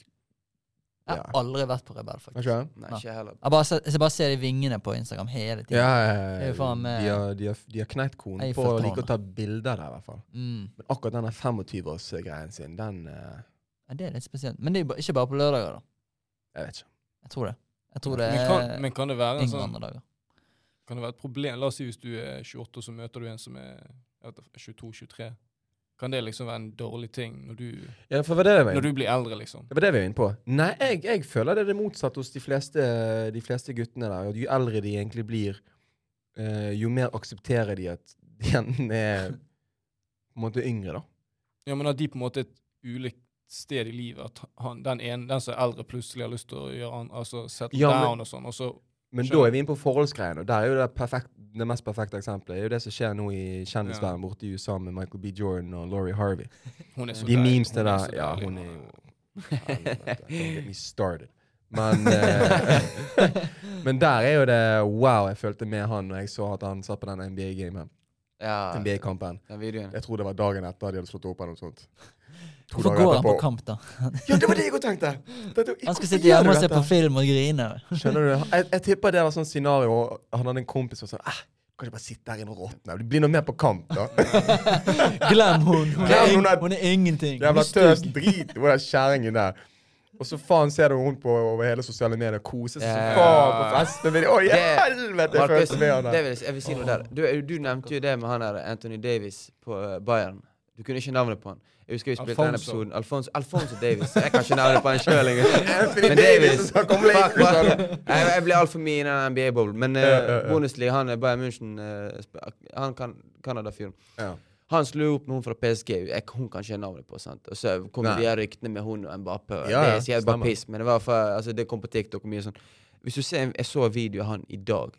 D: Jeg har aldri vært på Rebell,
B: Hva
D: faktisk.
B: skjer?
A: Nei, ikke jeg heller.
D: Jeg bare, ser- jeg bare ser de vingene på Instagram hele tiden.
B: Ja, ja, ja,
D: Det er jo faen meg-
B: de har, de har, de har knekt konen
D: Jeg
B: på å
D: forstår
B: like
D: det.
B: å ta bilder der, i hvert fall.
D: Mm.
B: Men akkurat denne 25-årsgreien sin, den eh,
D: Ja, det er litt spesielt. Men det er jo ba- ikke bare på lørdager, da.
B: Jeg vet ikke.
D: Jeg tror det. Jeg tror det
C: Men kan,
D: er
C: men kan det være en
D: ingen
C: sånn
D: andre dager.
C: Kan det være et problem? La oss si hvis du er 28, og så møter du en som er 22-23. Kan det liksom være en dårlig ting når du,
B: Ja, for det var det jeg var inne på.
C: når du blir eldre, liksom?
B: Det var det vi var inne på. Nei, jeg, jeg føler det er det motsatte hos de fleste, de fleste guttene der. At jo eldre de egentlig blir, eh, jo mer aksepterer de at jentene er på en måte yngre, da.
C: Ja, men at de på en måte er et ulikt sted i livet. At han, den, ene, den som er eldre, plutselig har lyst til å gjøre han, altså settle
B: Ja, men-
C: down og sånn. Og så
B: Men da
C: Skjønner.
B: er vi inne på forholdsgreiene, og der er jo det, perfekt, det mest perfekte eksempelet. Det er jo det som skjer nå i kjendisverden borte i USA med Michael B. Jordan og Laurie Harvey.
C: Hun er så
B: De
C: deilig,
B: memesene
C: hun er
B: der
C: så liksom.
B: Ja,
C: deilig.
B: hun er jo Helvete, Don't get me started. Men, eh, men der er jo det wow jeg følte med han når jeg så at han satt på den NBA-gamen.
A: Ja,
B: NBA-kampen.
A: den videoen.
B: Jeg tror det var dagen etter de hadde slått opp eller noe sånt. To
D: Hvorfor
B: dager
D: går han på
B: etterpå.
D: kamp, da?
B: Ja, det var det jeg også tenkte! Tenkte jeg,
D: Han skal
B: hvorfor
D: sitte
B: gjør
D: hjemme
B: du
D: og se
B: dette?
D: på film og grine.
B: Skjønner du? Jeg, jeg tipper det var sånn scenario. Han hadde en kompis som var sånn eh, Kan ikke bare sitte her inne og råtne? Bli nå med på kamp, da.
D: Glem hun! Hun er,
B: Glem hun
D: ing-
B: er-
D: hun er ingenting. Hun
B: Jævla
D: er stygg.
B: tøs drit, hun der kjerringen der. Og så faen ser du hun på over hele sosiale medier kose seg
A: Ja.
B: som faen på festene. med de. Å, i
A: Det-
B: helvete! Jeg
A: Markus,
B: følte med han
A: det
B: der.
A: vil jeg, si- jeg vil si noe der. Du, du nevnte jo det med han der Anthony Davis på eh, Bayern. Du kunne ikke navnet på han. Jeg husker vi spilte den
C: Alfonso.
A: episoden. Alfonso, Alfonso Davis. Jeg kan ikke navnet på han sjøl engang.
B: Anthony
A: Men
B: Davis
A: Davis
B: som kom lenge
A: Fuck, fuck. Jeg, jeg ble altfor mye i den NBA-boblen. Men eh,
B: Ja, ja, ja.
A: Bundesliga, han er Bayern München eh, sp- Han kan Canada-fyren.
B: Ja.
A: Han slo opp noen fra PSG. Jeg, hun kan ikke navnet på. sant? Og så kom
B: Nei.
A: de her ryktene med hun og Mbappé. og
B: Ja, ja,
A: det er så jævlig
B: stemmer.
A: bare piss, men det, var for, altså, det kom på TikTok og mye sånn. Hvis du ser, en- Jeg så en video av han i dag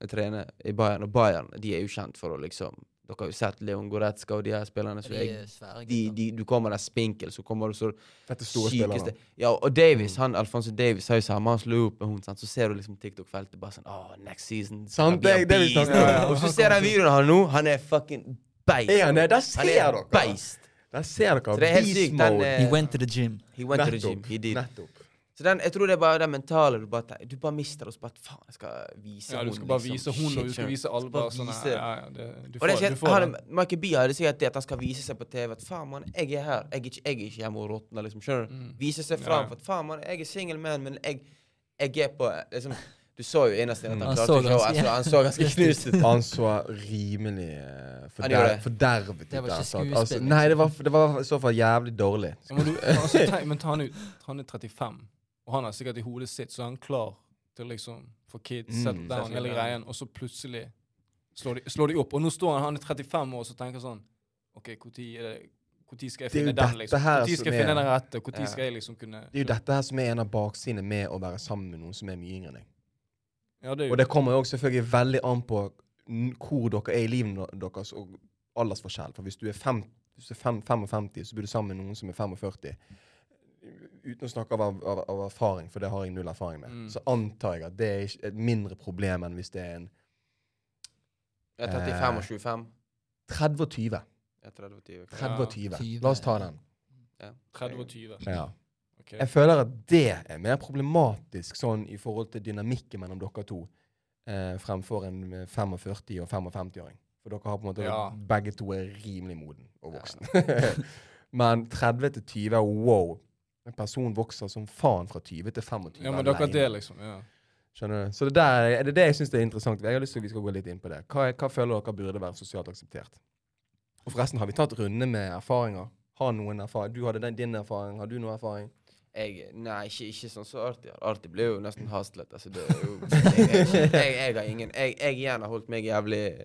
A: jeg trener i Bayern, og Bayern de er jo kjent for å liksom Dere har jo sett Leon Goretzka og de her spillerne. Så
D: De
A: jeg,
D: er svære
A: de,
D: gutter.
A: de, du kommer der spinkel, så kommer du så
B: Dette er store
A: Sykeste.
B: spillere. Mm.
A: Ja, og Davis, han, Alfonso Davis har jo samme, han slo opp med hun, sant? så ser du liksom TikTok-feltet bare sånn Åh, next season
B: Sant,
A: blir han
B: det- det vi
A: beast».
B: snakker om, ja.
A: Og så ser jeg videoen av han nå, han er fucking beist.
B: Er han det? Der ser
A: Han er
B: dere! altså.
A: beist.
B: Der ser dere.
A: Så det er helt
B: Beast
A: sykt. Den,
B: mode.
A: eh,
D: He went to the gym.
A: He went to the gym.
B: Nettopp.
A: He did.
B: Nettopp.
A: Så den, jeg tror det er bare det mentale. Du bare, te- du bare mister oss. Bare, faen, jeg skal vise
C: Ja,
A: hun,
C: du skal bare
A: liksom.
C: vise hun, og
A: Shit,
C: du skal
A: sure.
C: vise alle
A: Skal bare
C: bare sånn
A: vise.
C: ja, ja, det- Du
A: Og det er
C: får,
A: sikkert-
C: du får
A: han,
C: den.
A: Michael B hadde sikkert det at han skal vise seg på TV. At faen, mann, jeg er her. Jeg er ikke, jeg er ikke hjemme og råtner, liksom. Skjønner du?
C: Mm.
A: Vise seg
C: Ja,
A: fram.
C: ja.
A: For at faen, mann, jeg er single man, men jeg, jeg er på liksom, Du så jo innerst inne at
C: Mm.
D: Han
A: han klarte
D: så
A: ikke å
D: ganske-
A: altså, Han så ganske knust ut.
B: Han så rimelig eh,
A: gjorde
B: forder
A: det.
B: fordervet ut.
D: Det var ikke
B: der, sant?
D: skuespill,
A: liksom.
B: Altså, nei, det var, det var i så fall jævlig dårlig.
C: Ja, men, du, altså, tenk, men ta han, ut, han er 35, og han er sikkert i hodet sitt, så er han klar til liksom få kids,
B: Mm.
C: settle down, hele
A: Settle down.
C: greien, og så plutselig slår de, slår de opp. Og nå står han, han er 35 år og så tenker sånn OK, når skal jeg
B: Det er jo
C: finne den,
B: dette
C: liksom?
B: her
C: Når skal jeg
B: som er-
C: finne den rette? Når
A: Ja.
C: skal jeg liksom kunne
B: Det er jo dette her som er en av baksidene med å være sammen med noen som er mye yngre enn deg.
C: Ja, det er
B: Og
C: jo
B: det kommer jo også selvfølgelig veldig an på n- hvor dere er i livet no- deres, og aldersforskjell. For hvis du er, fem, hvis du er fem, 55, så blir du sammen med noen som er 45. Uten å snakke av, av, av erfaring, for det har jeg null erfaring med,
C: Mm.
B: så antar jeg at det er ikke- et mindre problem enn hvis det er en
A: Jeg er 35 og 25.
B: 30 og 20.
A: Jeg er 30 og 20. kanskje.
B: 30 og 20.
D: 20,
B: La oss ta den.
A: Ja.
C: 30 og 20.
B: Ja.
C: ok.
B: Jeg føler at det er mer problematisk sånn i forhold til dynamikken mellom dere to, eh, fremfor en 45- og 55-åring. For dere har på en måte
C: Ja.
B: begge to er rimelig moden og voksen. men 30 til 20, wow. En person vokser som faen fra 20 til 25
C: Ja, men dere har
B: alene.
C: det, liksom. Ja.
B: Skjønner du? Så det, der, er det er det jeg syns er interessant. Jeg har lyst til at vi skal gå litt inn på det. Hva, er- hva føler dere burde være sosialt akseptert? Og forresten, har vi tatt runde med erfaringer? Har noen erfaring? Du hadde den, din erfaring. Har du noen erfaring?
A: Jeg, nei, ikke, ikke sånn så artig. Artig blir jo nesten hastlet. Altså, det er jo, jeg, jeg, jeg, jeg har ingen Jeg, jeg gjerne har holdt meg jævlig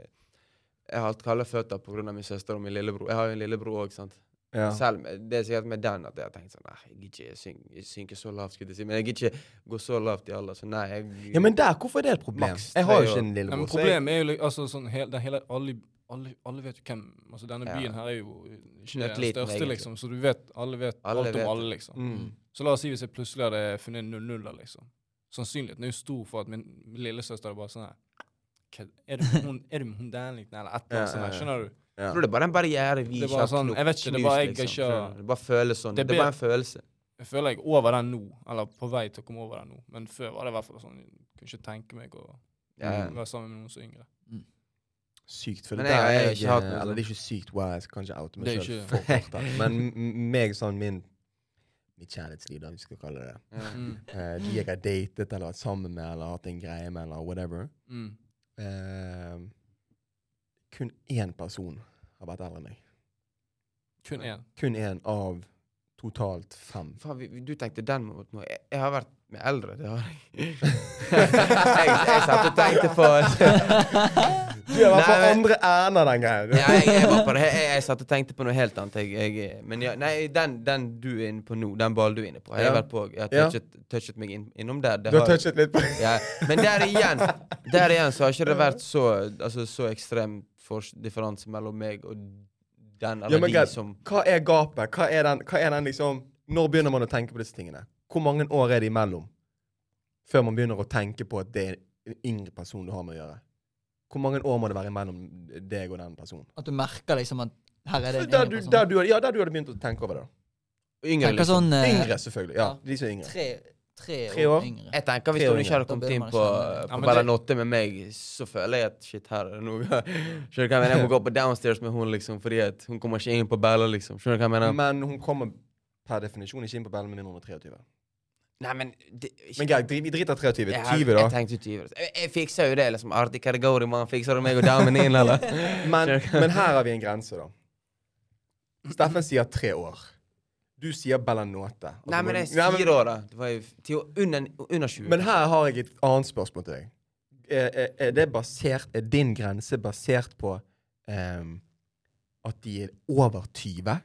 A: Jeg har hatt kalde føtter pga. min søster og min lillebror. Jeg har jo en lillebror òg, sant.
B: Ja.
A: Selv med, det er sikkert med den at jeg har tenkt sånn Nei, jeg gidder ikke syn- jeg synker så lavt, skulle jeg si. Men jeg gidder ikke gå så lavt i alder, så nei. Jeg,
B: Ja, men der, hvorfor er det et problem?
A: Maks
B: jeg har jo
A: tre
B: ikke
A: år.
B: en
C: Nei,
B: lillebror.
C: men
B: så jeg-
C: problemet er jo li- altså, sånn, hel, den hele, alle, alle, alle vet jo hvem altså, Denne
A: Ja.
C: byen her er jo ikke den
A: Knøttliten,
C: største,
A: egentlig.
C: liksom, så du vet, alle vet
A: Alle
C: alt
A: vet
C: om alle. liksom.
B: Mm.
C: Så la oss si hvis jeg plutselig hadde funnet en 0-0-er, liksom. Sannsynligheten er jo stor for at min lillesøster er bare sånn her «Kødd, Er det med hun, er det med hun der, liksom? Eller et eller
B: Ja,
C: annet sånt.
B: ja,
C: her,
B: ja.
C: Skjønner du?
A: Jeg tror det er bare den barrieren vi
C: Det er
A: ikke
C: bare
A: har
C: sånn,
A: knust,
C: jeg vet ikke, det er bare jeg
A: liksom,
C: ikke har-
A: skjønner du? Det bare føles sånn.
C: Det er
A: Det er bare en følelse.
C: Jeg føler jeg er over den nå, eller på vei til å komme over den nå. Men før var det i hvert fall sånn Jeg kunne ikke tenke meg å
A: Ja, ja.
C: være sammen med noen så yngre.
B: Sykt, for
A: Men
B: det der
A: jeg- jeg har
B: er
A: ikke hatt noe
B: jeg Eller
A: sånt.
B: det er ikke sykt wow, jeg skal kanskje oute meg
C: Det er
B: selv
C: ikke-
B: for hardt her. Men m- m- meg, sånn min Mitt kjærlighetsliv, da, vi skal kalle det det.
A: Ja.
C: Mm.
B: Eh, de jeg har datet eller vært sammen med eller hatt en greie med eller whatever.
C: Mm.
B: Eh, kun én person har vært eldre enn meg.
C: Kun én.
B: Kun én av totalt fem.
A: Faen, vi, vi- du tenkte den måten nå. Jeg, jeg har vært med eldre, det har jeg. jeg, jeg satt og tenkte på
B: Du har vært på
A: Nei, men-
B: andre enden av den greia.
A: Ja, jeg, jeg, var på det. Jeg, jeg satt og tenkte på noe helt annet. Jeg, jeg, men ja, nei, den, den du er inne på nå, den ballen du er inne på, har jeg
B: Ja.
A: vært på. Jeg har
B: Ja.
A: touchet, touchet meg inn, innom der. Det
B: Du har
A: har-
B: touchet litt på
A: ja. Men der igjen, der igjen så har ikke det vært så, altså, så ekstrem fors- differanse mellom meg og den eller
B: men
A: de
B: greit.
A: som
B: Hva er gapet? Hva er, den, hva er den liksom Når begynner man å tenke på disse tingene? Hvor mange år er det imellom før man begynner å tenke på at det er en yngre person du har med å gjøre? Hvor mange år må det være imellom deg og den personen?
D: At du merker liksom at her er det en
B: Der du,
D: yngre person.
B: der du, ja, der du hadde begynt å tenke over det. da.
A: yngre.
D: Tenker
A: Liksom.
D: sånn eh,
B: Yngre, selvfølgelig. Ja,
D: ja.
B: de som er yngre.
D: tre, tre,
B: Tre
D: år
B: år?
D: yngre.
A: Jeg tenker Hvis
B: Tre
A: hun ikke
B: år
A: hadde
D: igjen. Da
A: kommet
D: blir
A: inn
D: man
A: på,
D: kjenne det.
A: på
C: Ja, men
A: Bella
C: det-
A: Notte med meg, så føler jeg at shit, her er det noe Skjønner du hva jeg mener? Jeg må gå på downstairs med hun liksom, fordi at hun kommer ikke inn på Bella, liksom. Skjønner du hva jeg mener?
B: Men hun kommer per definisjon ikke inn på bellen med mindre enn 23.
A: Nei, men det,
B: Men greit, dri- vi driter i 23.
A: Jeg-
B: 20,
A: Jeg
B: da.
A: tenkte 20. Jeg, jeg fikser jo det, liksom. Artig kategori, mann. Fikser du meg og damen inn, eller?
B: Men, men her har vi en grense, da. Steffen sier tre år. Du sier Bellanote.
A: Nei, men det
B: Nei,
A: er
B: men-
A: fire år, da. Det var jo til å- under, under 20.
B: Men her har jeg et annet spørsmål til deg. Er, er, er, det basert, er din grense basert på ehm, at de er over 20?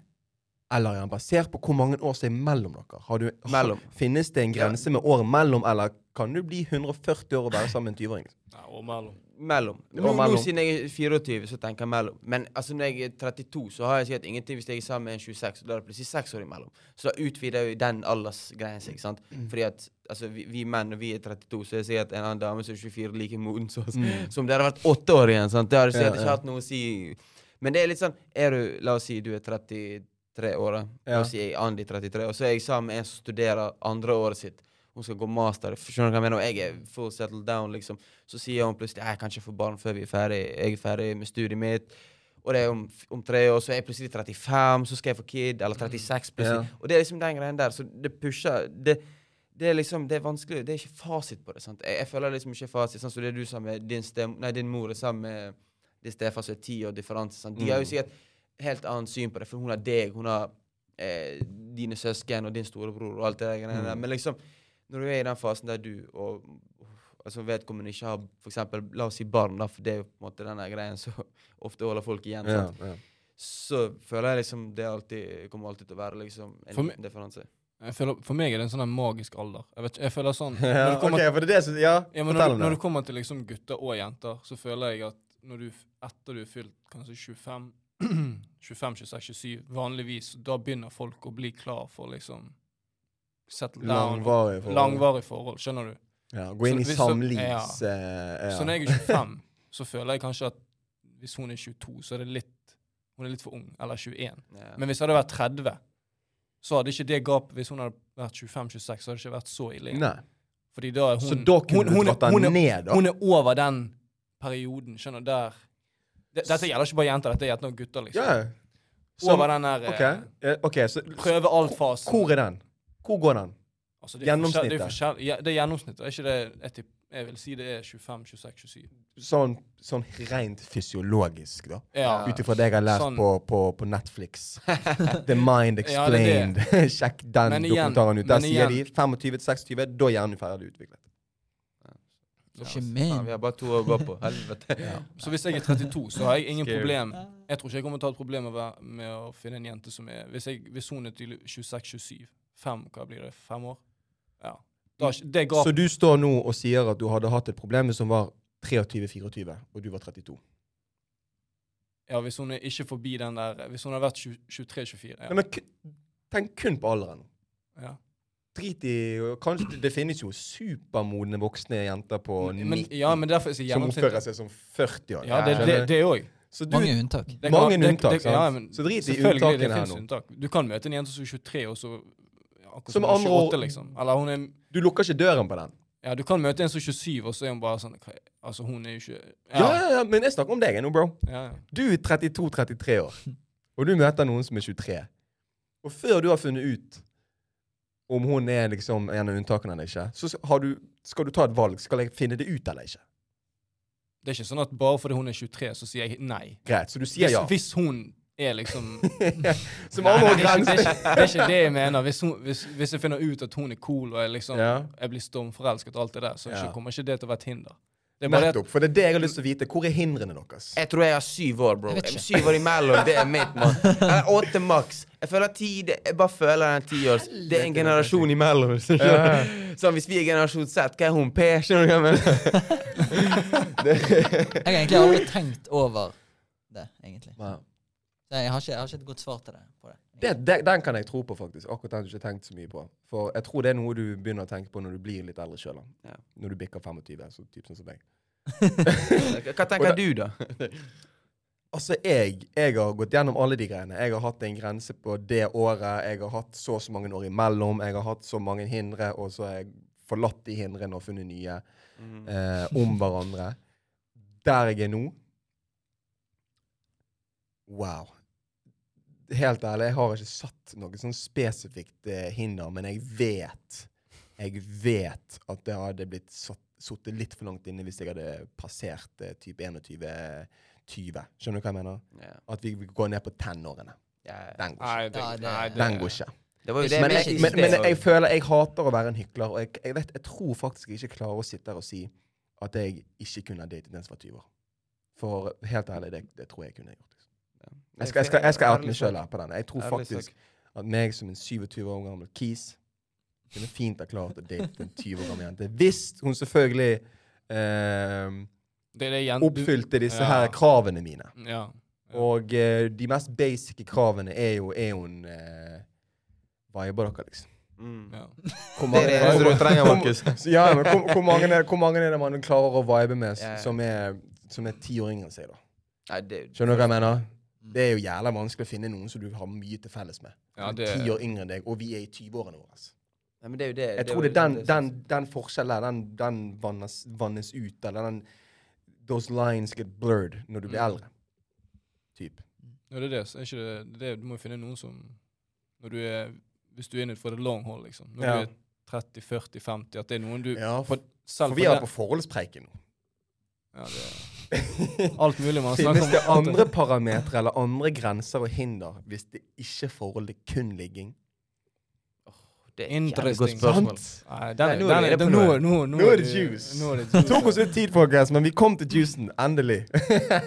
B: Eller er den basert på hvor mange år som er mellom dere? Har du, har-
A: Mellom.
B: Finnes det en grense med år mellom, eller kan du bli 140 år og være sammen med en 20-åring?
C: Ja, og mellom.
A: Mellom.
B: Det
A: Nå,
B: var mellom.
A: nå siden jeg er 24, så tenker jeg mellom. Men altså, når jeg er 32, så har jeg sikkert ingenting hvis jeg er sammen med en 26. og Da er det plutselig seks år imellom. Så da utvider jo den aldersgreien seg. sant?
B: Mm.
A: Fordi at altså, vi, vi menn, når vi er 32, så er det sikkert en annen dame som er 24, like moden som oss. Som dere har vært åtte år igjen. sant? Det har sikkert
B: Mm. Ja,
A: ikke
B: ja.
A: hatt noe å si. Men det er litt sånn er du, La oss si du er 33 år, da.
B: Ja.
A: La oss si jeg er Andi 33, og så er jeg sammen med en som studerer andre året sitt. Hun skal gå master. Skjønner du hva jeg mener? Og jeg er full settled down, liksom. Så sier hun plutselig jeg kan ikke få barn før vi er ferdig. Jeg er ferdig med studiet mitt. Og det er om, om tre år, så er jeg plutselig 35, så skal jeg få kid. Eller 36 plutselig. Og det er liksom den greien der. Så det pusher det, det er liksom, det er vanskelig. Det er ikke fasit på det. sant? Jeg, jeg føler liksom ikke fasit. Sånn som det du sa med din, stem, nei, din mor er sammen med din stefar som er ti år differanse. sant? De har jo sikkert helt annet syn på det, for hun har deg, hun har eh, dine søsken og din storebror og alt det der. greiene der. Men liksom, når du er i den fasen der du og og så vedkommende ikke har for eksempel, La oss si barn, da, for det er jo på en måte denne greien som ofte holder folk igjen.
B: Ja,
A: Sant?
B: ja.
A: Så føler jeg liksom det alltid, kommer alltid til å være liksom, en
C: For meg-
A: liten differanse.
C: Jeg føler, for meg er det en sånn her magisk alder. Jeg, vet, ikke- jeg føler sånn
B: ja
C: når det kommer,
B: ok, for det er det som Ja,
C: ja, men
B: fortell
C: når,
B: om
C: når
B: det.
C: det kommer til liksom gutter og jenter, så føler jeg at når du, f- etter du er fylt kanskje 25 25, 26, 27, vanligvis, da begynner folk å bli klar for liksom settle down. og-
B: Langvarig forhold.
C: Langvarig forhold, skjønner du?
B: Ja, gå inn
C: Så
B: i
C: hvis-
B: samlivs...
C: ja.
B: eh, ja.
C: Så når jeg er 25, så føler jeg kanskje at hvis hun er 22, så er det litt Hun er litt for ung. Eller 21.
A: Ja.
C: Men hvis jeg hadde vært 30, så hadde ikke det gapet Hvis hun hadde vært 25-26, så hadde det ikke vært så ille.
B: Nei.
C: Fordi da er hun
B: Så da
C: hun,
B: kunne du
C: hun,
B: dratt
C: er, hun,
B: den
C: er,
B: ned, da?
C: hun er over den perioden, skjønner du, der Det- Dette gjelder ikke bare jenter, dette gjelder noen gutter, liksom.
B: Ja. Så,
C: over den der
B: ok,
C: eh,
B: eh, ok, så
C: prøve-alt-fasen.
B: hvor er den? Hvor går den?
C: Altså, det er
B: Gjennomsnittet.
C: forskjell- Det er, forskjell- ja, det er gjennomsnittet. Er ikke det jeg, tipp- jeg vil si det er 25-26-27.
B: Sånn, sånn rent fysiologisk, da.
C: Ja.
B: Ut ifra det jeg har lært
C: Sånn.
B: på, på, på Netflix. The Mind
C: Ja, det er
B: Explained. Sjekk den
C: Men igjen-
B: dokumentaren ut. Der
C: men
B: sier de
C: igjen-
B: 25-26, da er hjernen ferdig utviklet.
D: Ikke
A: Ja,
D: min.
A: vi har bare to år å gå på. Helvete.
C: Så hvis jeg er 32, så har jeg ingen
A: Scary.
C: problem. Jeg tror ikke jeg kommer til å ha et problem med å være- med å finne en jente som er Hvis, jeg, hvis hun er tydelig 26-27, fem, hva blir det, fem år? Ja. Da, er ikke- det
B: Så
C: gapet
B: du står nå og sier at du hadde hatt et problem som var 23-24, og du var 32.
C: Ja, hvis hun er ikke forbi den der Hvis hun har vært 20 23-24, ja.
B: Nei, men ku- tenk kun på alderen.
C: ja.
B: Drit i Kanskje det- det finnes jo supermodne voksne jenter på
C: Mm, Men,
B: 90
C: ja, men derfor sier
B: som oppfører
C: gjennomsnittet
B: seg som 40 år.
C: Ja, det
B: Skjønner
C: det-
B: du?
C: det òg.
B: Så du,
D: Mange unntak.
C: Det
B: Mange
C: kan- det-
B: unntak,
C: det-
B: sant?
C: ja, men
B: Så drit i
C: selvfølgelig,
B: unntakene
C: det
B: her
C: finnes
B: nå.
C: Unntak. Du kan møte en jente som er 23, og så ja, akkurat
B: Som
C: hun er
B: andre år-
C: 28, liksom. Eller hun er
B: du lukker ikke døren på den.
C: Ja, du kan møte en som er 27, og så er hun bare sånn hva- Altså, hun er jo ikke
B: Ja, ja, ja, Men jeg snakker om deg nå, bro.
C: ja, ja.
B: Du er 32-33 år, og du møter noen som er 23. Og før du har funnet ut om hun er liksom en av unntakene eller ikke, så har du, skal du ta et valg. Skal jeg finne det ut eller ikke?
C: Det er ikke sånn at bare fordi hun er 23, så sier jeg nei.
B: Greit, så du sier
C: Hvis,
B: ja.
C: hvis hun er liksom
B: Som andre ord
C: det, er ikke, det, er
B: grenser.
C: ikke, det er ikke det jeg mener. Hvis, hun, hvis, hvis jeg finner ut at hun er cool, og jeg liksom
B: Ja.
C: jeg blir stormforelsket og alt det der, så
B: Ja.
C: ikke, kommer ikke det til å være et hinder. Det er bare det at
B: Nettopp. For det er det jeg har lyst til å vite. Hvor er hindrene deres?
A: Jeg tror jeg har syv år, bro.
D: Jeg vet ikke.
A: Syv år imellom, det er mitt, mann. Eller åtte maks. Jeg føler ti det- Jeg bare føler den tiårs. Det er en generasjon imellom. Så, så hvis vi er generasjon Z, hva er hun? P? Skjønner du hva jeg mener?
D: Jeg har egentlig aldri tenkt over det, egentlig.
B: Wow.
D: Nei, jeg, har ikke, jeg har ikke et godt svar til det. På det.
B: Det, det, den kan jeg tro på, faktisk. Akkurat den du ikke har tenkt så mye på. For jeg tror det er noe du begynner å tenke på når du blir litt eldre sjøl.
A: Ja.
B: Når du bikker 25. Så typ sånn som deg.
A: Hva tenker du, da?
B: Altså, jeg, jeg har gått gjennom alle de greiene. Jeg har hatt en grense på det året. Jeg har hatt så og så mange år imellom. Jeg har hatt så mange hindre, og så har jeg forlatt de hindrene og funnet nye eh, om hverandre. Der jeg er nå Wow. Helt ærlig, jeg har ikke satt noe sånn spesifikt eh, hinder, men jeg vet jeg vet at det hadde blitt satt- sittet litt for langt inne hvis jeg hadde passert eh, type 21-20. Skjønner du hva jeg mener?
A: Ja.
B: At vi går ned på tenårene.
A: Ja.
B: Den går ikke.
C: Nei, det,
D: Ja, det-
C: nei, det,
B: Den går ikke.
A: Det var jo det
B: Men
A: vi
B: jeg,
A: ikke
B: men, men
A: visste.
B: jeg føler jeg hater å være en hykler, og jeg, jeg, vet, jeg tror faktisk jeg ikke klarer å sitte her og si at jeg ikke kunne ha datet en som var 20 år. For helt ærlig, det, det tror jeg jeg kunne gjort. liksom. Jeg skal, jeg skal, jeg skal oute meg sjøl her på den. Jeg tror faktisk at meg som en 27 år gammel kis kunne fint ha klart å date en 20 år gammel jente. Hvis hun selvfølgelig eh,
C: det, det er jen-
B: oppfylte disse
C: Ja.
B: her kravene mine.
C: du- Ja.
B: Og eh, de mest basic kravene er jo er hun eh, Viber dere, liksom.
A: Mm.
C: ja.
B: Hvor
A: Det er det eneste du trenger, Markus.
B: Så ja, men hvor, hvor, mange er, hvor mange er det man klarer å vibe med s-
A: Ja, ja.
B: som er, som er ti år yngre enn seg? da?
A: Nei, det-
B: Skjønner du hva jeg mener?
A: Mm.
B: Det er jo jævla vanskelig å finne noen som du har mye til felles med.
C: ja
B: Som
C: det,
B: er ti år yngre enn deg, og vi er i 20-årene våre. altså.
A: Nei, men det er jo det.
B: Jeg
A: det
B: tror
A: var
B: det er
A: jo
B: den,
A: det som-
B: den, den forskjellen der, den, den vannes, vannes ut, eller den Those lines get blurred når du blir
C: Mm.
B: eldre. Typ.
C: ja, det er det. Så er ikke det, det er, du må jo finne noen som når du er, Hvis du er inne for the long haul, liksom. Når
B: Ja.
C: du er 30, 40, 50, at det er noen du
B: Ja,
C: for,
B: for,
C: selv
B: for vi
C: for
B: er
C: det-
B: på forholdspreiken nå.
C: ja, det, er- Alt mulig man snakker
B: Finnes
C: om.
B: det
C: alt
B: andre parametere eller andre grenser og hinder hvis det ikke er forholdet kun ligging?
A: Det er et jævlig
C: Interesting.
A: godt spørsmål.
C: Nei, den,
A: Nei,
C: den,
A: nå er det-
C: den, nå, nå, nå,
B: Nå er
C: du-
B: det juice.
C: Nå er det
B: Det tok oss
C: juice.
B: litt tid, folkens, men vi kom til juicen. Endelig.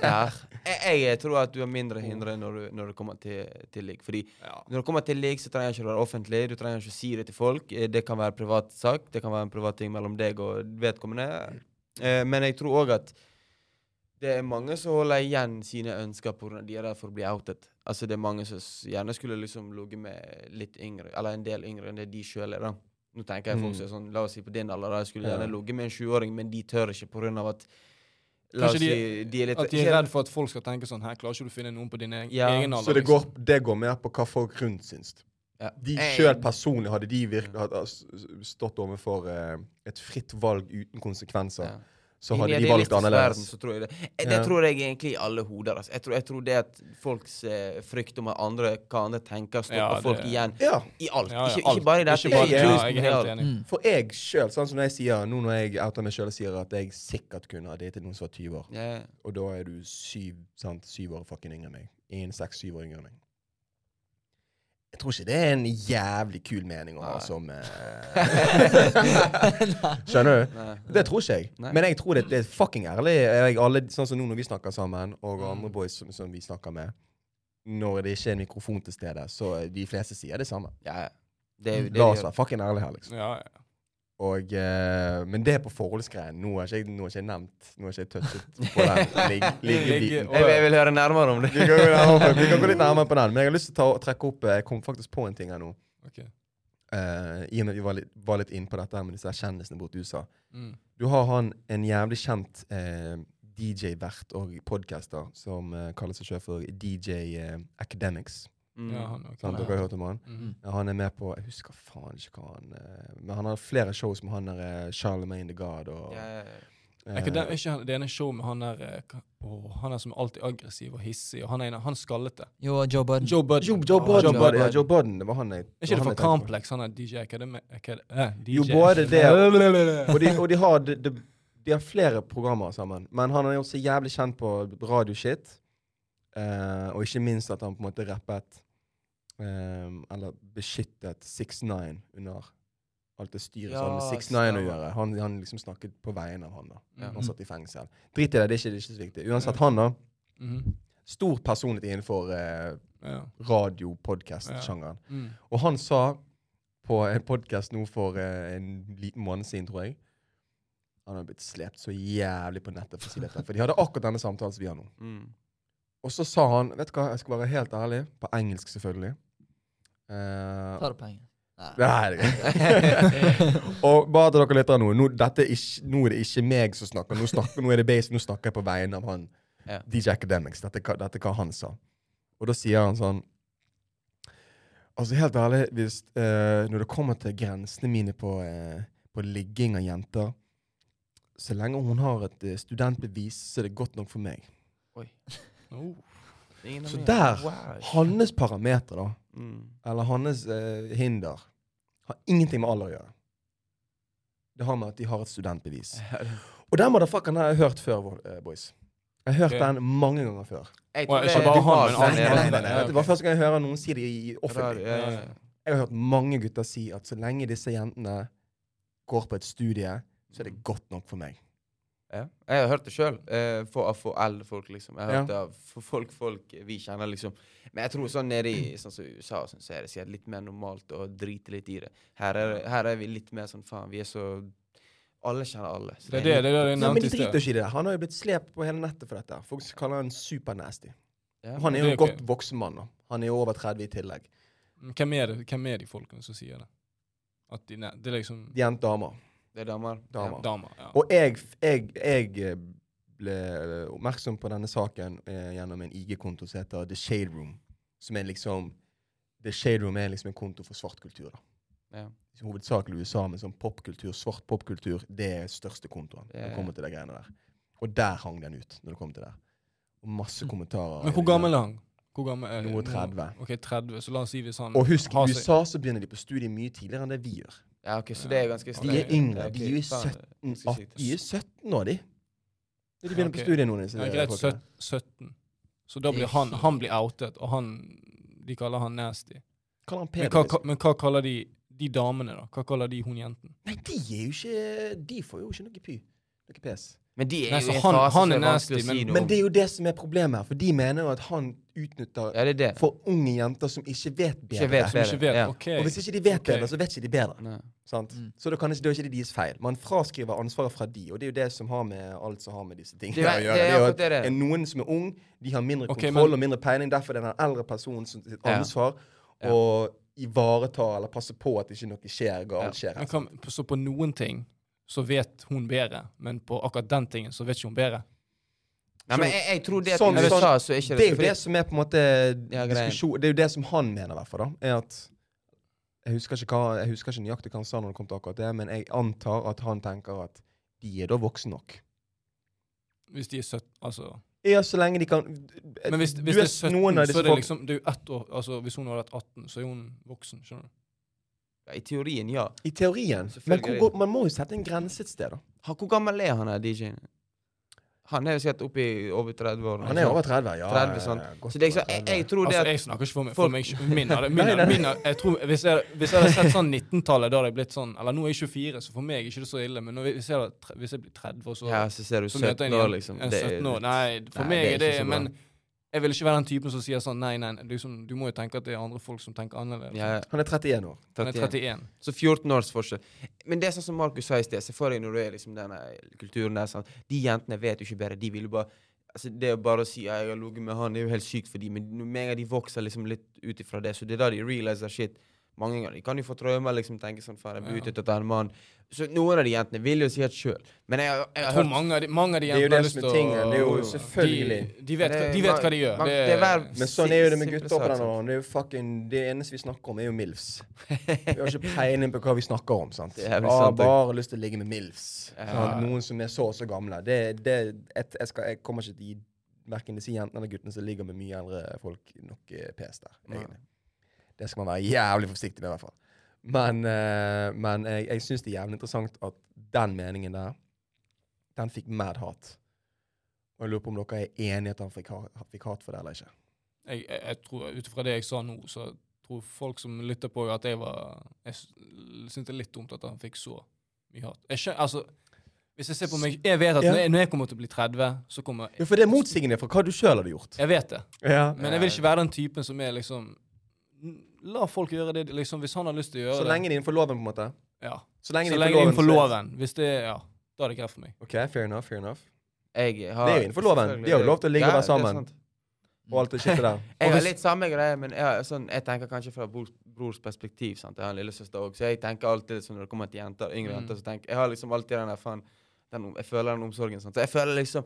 A: Der. Jeg, jeg tror at du er mindre hindret når, du, når det kommer til, til ligg. Fordi
C: Ja.
A: når det kommer til ligg, så trenger ikke det være offentlig. Du trenger ikke å si det til folk. Eh, Det kan være privat sak. Det kan være en privat ting mellom deg og vedkommende. Eh, Men jeg tror òg at det er mange som holder igjen sine ønsker pga. de er redd for å bli outet. Altså Det er mange som s- gjerne skulle liksom ligget med litt yngre, eller en del yngre enn det de sjøl er. da. Nå tenker
C: Mm.
A: jeg folk som er sånn, La oss si på din alder, da. jeg skulle gjerne
B: Ja.
A: ligget med en 20-åring, men de tør ikke pga. at La oss
C: Kanskje de-
A: si de er litt
C: At de er redd for at folk skal tenke sånn Her klarer ikke du å finne noen på din egen,
A: Ja,
C: egen alder.
B: Så det
C: liksom.
B: går, det går mer på hva folk rundt syns.
A: Ja.
B: De
A: Jeg-
B: sjøl personlig, hadde de virk, hadde s- stått overfor eh, et fritt valg uten konsekvenser,
A: Ja.
B: så
A: I en
B: hadde de valgt
A: idealistisk verden,
B: annerledes.
A: så tror jeg det. Eh, Det
B: Ja.
A: tror jeg egentlig i alle hoder. Altså. Jeg, tror, jeg tror det at folks eh, frykt om at andre, hva andre tenker, stopper
C: Ja, det-
A: folk igjen
B: Ja,
A: i alt.
C: Ja, ja,
A: ikke,
C: alt.
A: ikke bare i dette.
C: Ikke bare-
A: i
C: sånn, ja,
A: kunsten,
C: jeg
A: i
C: er
A: alt.
C: helt enig.
D: Mm.
B: for jeg sjøl, sånn som når jeg sier, nå når jeg outer meg sjøl og sier at jeg sikkert kunne ha datet noen som var 20 år,
A: Ja, ja.
B: og da er du syv, sant, syv år fucking yngre enn meg. En, seks, syv år yngre enn meg. Jeg tror ikke det er en jævlig kul mening å ha
A: Nei.
B: som eh,
D: Nei.
B: Skjønner du?
A: Nei.
B: Det tror ikke jeg.
A: Nei.
B: Men jeg tror det, det er fucking ærlig. Jeg, alle, sånn som nå når vi snakker sammen, og
A: Mm.
B: andre boys som, som vi snakker med Når det ikke er en mikrofon til stede, så de fleste sier det samme.
A: Ja, ja. Det er jo det
B: La
A: vi
B: oss
A: gjør.
B: være fucking ærlige her, liksom.
C: Ja, ja.
B: Og, eh, men det er på forholdsgreien. Nå har ikke jeg nå har ikke jeg nevnt Nå har ikke jeg touchet på den lig,
C: Ligge-
B: liggebiten.
A: Jeg, jeg vil høre nærmere om det.
B: Vi kan, gå nærmere, vi kan gå litt nærmere på den, men jeg har lyst til å ta, trekke opp eh, Jeg kom faktisk på en ting her nå.
C: Ok.
B: Eh, I og med at vi var litt, var litt inne på dette her med disse her kjendisene borte i USA.
C: Mm.
B: Du har han en jævlig kjent eh, DJ-vert og podcaster som eh, kaller seg selv for DJ eh, Academics.
A: Mm.
C: Ja, han, ok.
B: Sant? Dere har hørt om han?
C: Mhm.
B: Ja, han er med på Jeg husker faen ikke hva han eh, Men han har flere show som han er eh, Charlemagne the God og
A: Ja, ja, ja.
C: Er ikke
B: eh,
C: den, er ikke han, det ene showet med han der eh, hva- åh, Han er som alltid aggressiv og hissig, og han er en av han skallete.
D: Jo, Joe Budden.
C: Joe Budden.
B: Mm. Joe, Joe Budden.
C: Joe Budden.
B: Ja, Joe Budden. Det var han jeg
C: Er ikke det
B: han
C: for
B: jeg tenkte på.
C: Complex? Han er DJ Academy Acad eh, DJ.
B: Jo, både det og-
C: Blablabla.
B: Og de, og de har de, de, de har flere programmer sammen. Men han har gjort seg jævlig kjent på radioshit. Eh, og ikke minst at han på en måte rappet eh, Eller beskyttet 6ix9ine under alt det styret som har med
A: Ja,
B: 6ix9ine å
A: stemmer.
B: gjøre. Han, han liksom snakket på vegne av han da.
A: Ja.
B: Han satt i fengsel. Drit i det, det er ikke, det er ikke så viktig. Uansett, han da.
C: Mhm.
B: Stor personlighet innenfor eh,
C: Ja.
B: radio podcast sjangeren
C: Mm.
B: og han sa på en podkast nå for eh, en liten måned siden, tror jeg Han har blitt slept så jævlig på nettet for å si dette. For de hadde akkurat denne samtalen som vi har nå.
A: Mm.
B: Og så sa han Vet du hva, jeg skal være helt ærlig. På engelsk, selvfølgelig. Eh,
D: Ta det penger. Nei.
B: Nei, det er greit. og bare til dere lyttere nå. Nå, dette er ikke, nå er det ikke meg som snakker. Nå, snakker, nå er det base, nå snakker jeg på vegne av han.
A: Ja.
B: DJ Academics. Dette, er hva- dette er hva han sa. Og da sier han sånn Altså helt ærlig, hvis, eh, når det kommer til grensene mine på, eh, på ligging av jenter Så lenge hun har et eh, studentbevis, så er det godt nok for meg.
C: Oh.
A: Ingen av
B: Så
A: meg.
B: der-
A: Wow.
B: Hans parameter, da,
A: Mm.
B: eller hans eh, hinder, har ingenting med alder å gjøre. Det har med at de har et studentbevis. Og den motherfuckeren har jeg hørt før, vo- eh, boys. Jeg har hørt
C: Ok.
B: den mange ganger før.
A: Jeg
C: Wow,
A: tror det
C: ikke
A: er
C: bare han,
A: normalt
C: men
B: Nei,
A: der
C: alle.
B: nei,
A: nede.
B: nei, nei, nei.
C: Ja,
B: Det
C: ok.
B: var første gang jeg hører noen si det i offentlig.
A: Ja, ja, ja.
B: Jeg har hørt mange gutter si at så lenge disse jentene går på et studie, så er det godt nok for meg.
A: Ja. Jeg har hørt det sjøl. Eh, for, for alle folk, liksom. Jeg har
B: Ja.
A: hørt det av for folk, folk vi kjenner, liksom. Men jeg tror sånn nede i sånn som USA og sånn, så er det sikkert litt mer normalt å drite litt i det. Her er, her er vi litt mer sånn faen, vi er så Alle kjenner alle. Så
C: Det er det, det er det jeg
B: Nei, men
C: nevnte
B: de
C: i
B: driter
C: sted.
B: ikke i det. Han har jo blitt slept på hele nettet for dette. Folk kaller han supernasty.
A: Ja.
B: Han er jo
C: Det er
B: en
C: ok.
B: godt voksen mann. da. Han er jo over 30 i tillegg.
C: Hvem er, det? Hvem er de folkene som sier det? At de, ne- det er liksom
B: De er en damer.
A: Det er damer.
B: damer.
A: Ja.
C: damer. Ja.
B: Og jeg, jeg, jeg eh, ble oppmerksom på denne saken eh, gjennom en IG-konto som heter The Shade Room. Som er liksom The Shade Room er liksom en konto for svart kultur. da.
A: Ja.
B: Hovedsakelig USA, men sånn popkultur, svart popkultur, det er største kontoen.
A: Ja,
B: når
A: ja.
B: det kommer til de greiene der. Og der hang den ut. når det kom til det. Og masse
A: Mm.
B: kommentarer.
C: Men hvor gammel er han? Hvor gammel er
B: Noe 30.
C: Ok, 30. Så la oss si hvis han
B: Og husk,
C: har
B: i
C: seg-
B: USA så begynner de på studiet mye tidligere enn det vi gjør.
A: ja, ok, så det er ganske
C: De
A: streng-
C: er
B: yngre,
A: Ja, ok,
B: de er jo
A: faen,
B: 17,
A: det er ganske sykt.
B: de er 17 nå, de. De begynner
C: Ok.
B: på studiet nå. disse
C: Ja, greit,
B: folkene.
C: søt- 17. Så da
A: Det er
C: blir han,
A: helt-
C: han blir outet, og han, de kaller han nasty.
B: Kaller han
C: Men
B: pedo,
C: hva,
B: liksom.
C: men hva kaller de de damene, da. Hva kaller de hun jenten?
B: Nei, de er jo ikke De får jo ikke noe py. Noe pes.
A: Men de er
C: Nei,
A: jo
C: så
A: i en
C: han-
A: fase
C: han
A: som
C: er
A: er vanskelig å
C: nasty,
A: si
C: men-
A: noe
B: Men
A: om.
B: det er jo det som er problemet her, for de mener jo at han utnytter
A: Ja, det er det.
B: for unge jenter som ikke vet bedre.
A: Ikke vet
C: Som ikke vet.
A: bedre. Ja.
C: OK.
B: Og hvis ikke de vet
C: Ok.
B: bedre, så vet ikke de bedre.
C: Sånn-
A: Nei.
B: Sant?
D: Mm.
B: Så da, kan ikke, da er ikke det deres feil. Man fraskriver ansvaret fra de, og det er jo det som har med alt som har med disse tingene
A: Det er-
B: å gjøre.
A: det er
B: jo
A: akkurat det det er.
B: at Noen som er ung, de har mindre
C: Ok,
B: kontroll
C: men-
B: og mindre peiling. Derfor er det den eldre personen som sitt
A: Ja.
B: ansvar
A: Ja.
B: å ivareta eller passe på at ikke noe skjer galt. skjer.
C: Men hva, så på noen ting så vet hun bedre, men på akkurat den tingen så vet ikke hun bedre.
A: Nei, men jeg, jeg tror det at
B: Sånn-
A: i USA
B: sånn-
A: så er ikke
B: Det
A: det
B: er jo det som er på en måte
A: Ja, greien.
B: diskusjon Det er jo det som han mener, i hvert fall. da, er at jeg husker, ikke hva, jeg husker ikke nøyaktig hva han sa når det kom til akkurat det, men jeg antar at han tenker at de er da voksne nok.
C: Hvis de er 17 altså.
B: Ja, så lenge de kan
C: Men hvis,
B: Du
C: hvis det
B: vet,
C: er 17,
B: noen av
C: så
B: disse
C: er det
B: folk-
C: liksom det er jo ett år, altså Hvis hun hadde vært 18, så er hun voksen. skjønner du?
A: I teorien, ja.
B: I teorien. Men
A: Selvfølgelig.
B: hvor, går- man må jo sette en grense et sted, da.
A: Han, hvor gammel er han her, DJ-en? Han er jo sikkert oppe i over 30 år.
B: Han er over 30, ja.
A: 30 sånn.
B: godt
A: Så det er ikke sånn,
B: over
A: jeg,
B: 30.
A: jeg tror det
C: Altså,
A: at
C: Jeg snakker ikke for meg.
A: folk-
C: For meg sj- min, hadde- min,
B: Nei, nei, nei.
C: hadde- min, hadde- jeg tror, hvis, jeg, hvis jeg hadde sett sånn 19-tallet, da hadde jeg blitt sånn Eller nå er jeg 24, så for meg er ikke det så ille. Men når, vi- hvis, jeg hadde, tre- hvis jeg blir 30, og så,
A: Ja, så ser du
C: så
A: 17
C: møter jeg
A: år,
C: en,
A: liksom.
C: en
A: Det er
C: 17 år
A: litt-
C: Nei, for
A: Nei,
C: meg
A: det er
C: er det
A: ikke så bra.
C: Men jeg vil ikke være den typen som sier sånn Nei, nei, det er liksom, du må jo tenke at det er andre folk som tenker annerledes.
A: Ja, ja,
B: Han er 31 år.
C: Han er
A: 31.
C: 31.
A: Så 14 års forskjell. Men det er sånn som Markus sa i sted, se for deg når du er liksom denne kulturen der, sant? de jentene vet jo ikke bedre, de vil jo bare Altså, det å bare å si ja, 'jeg har ligget med han', det er jo helt sykt for dem, men med en gang de vokser liksom litt ut ifra det, så det er da de realiser shit. Mange ganger de kan jo få traumer, liksom tenke sånn 'faen, jeg ble
C: Ja.
A: utnyttet av en mann'. Så noen av de jentene vil jo si det sjøl, men jeg, jeg, jeg,
C: Jeg
A: har
C: tror
A: hørt
C: mange av de, mange av de
B: Det er jo
C: jentene har
B: det
C: lyst
B: som
C: til
B: er tingen, det er jo selvfølgelig.
C: De, de, vet, hva- de vet hva de gjør.
A: Man-
C: Det,
A: det er hver-
B: Men sånn er jo det med
A: Simple
B: gutter på
A: sak,
B: denne
A: sant.
B: åren. Det er jo fucking Det eneste vi snakker om, er jo MILFs. Vi har ikke peiling på hva vi snakker om, sant.
A: Det er
B: Jeg
A: jævlig
B: har
A: sant, det.
B: bare lyst til å ligge med MILFs.
A: Ja.
B: Sant? Noen som er så og så gamle. Det, det et, jeg, skal, jeg kommer ikke til å gi verken disse jentene eller guttene som ligger med mye eldre folk, nok eh, pes der.
A: Nei.
B: Egentlig. Det skal man være jævlig forsiktig med, i hvert fall. Men, eh, men jeg, jeg syns det er jævlig interessant at den meningen der, den fikk mad hat. Og jeg lurer på om dere er enige at han fikk, ha, fikk hat for det eller ikke.
C: jeg, jeg, jeg tror, ut fra det jeg sa nå, så tror folk som lytter på, at jeg var Jeg s- synes det er litt dumt at han fikk så mye hat. Jeg skjønner, altså Hvis jeg ser på meg Jeg vet at
B: Ja.
C: når, jeg, når jeg kommer til å bli 30, så kommer
B: Ja, For det er motsigende fra hva du sjøl hadde gjort.
C: Jeg vet det.
B: Ja.
C: Men jeg vil ikke være den typen som er liksom La folk gjøre det de- liksom, hvis han har lyst til å gjøre
B: Så lenge det er innenfor loven, på en måte.
C: det. Ja.
B: Så lenge,
C: Så
B: det
C: lenge det er innenfor
B: så-
C: loven. Hvis det Ja. Da er det greit for meg.
B: Ok, fair enough, fair enough.
A: Jeg har,
B: Det er jo innenfor loven.
A: selvfølgelig,
B: De har jo lov til å ligge
A: Ja,
B: og være
A: det er
B: sammen.
A: sant.
B: Og alt det skittet der.
A: Jeg
C: Og
A: har
C: hvis-
A: litt samme greie, men jeg, sånn, jeg tenker kanskje fra brors, brors perspektiv. sant? Jeg har en lillesøster òg, så jeg tenker alltid sånn når det kommer til jenter, yngre
C: Mm.
A: jenter så tenker, Jeg har liksom alltid den der faen den, om- Jeg føler den omsorgen. sant? Så jeg føler liksom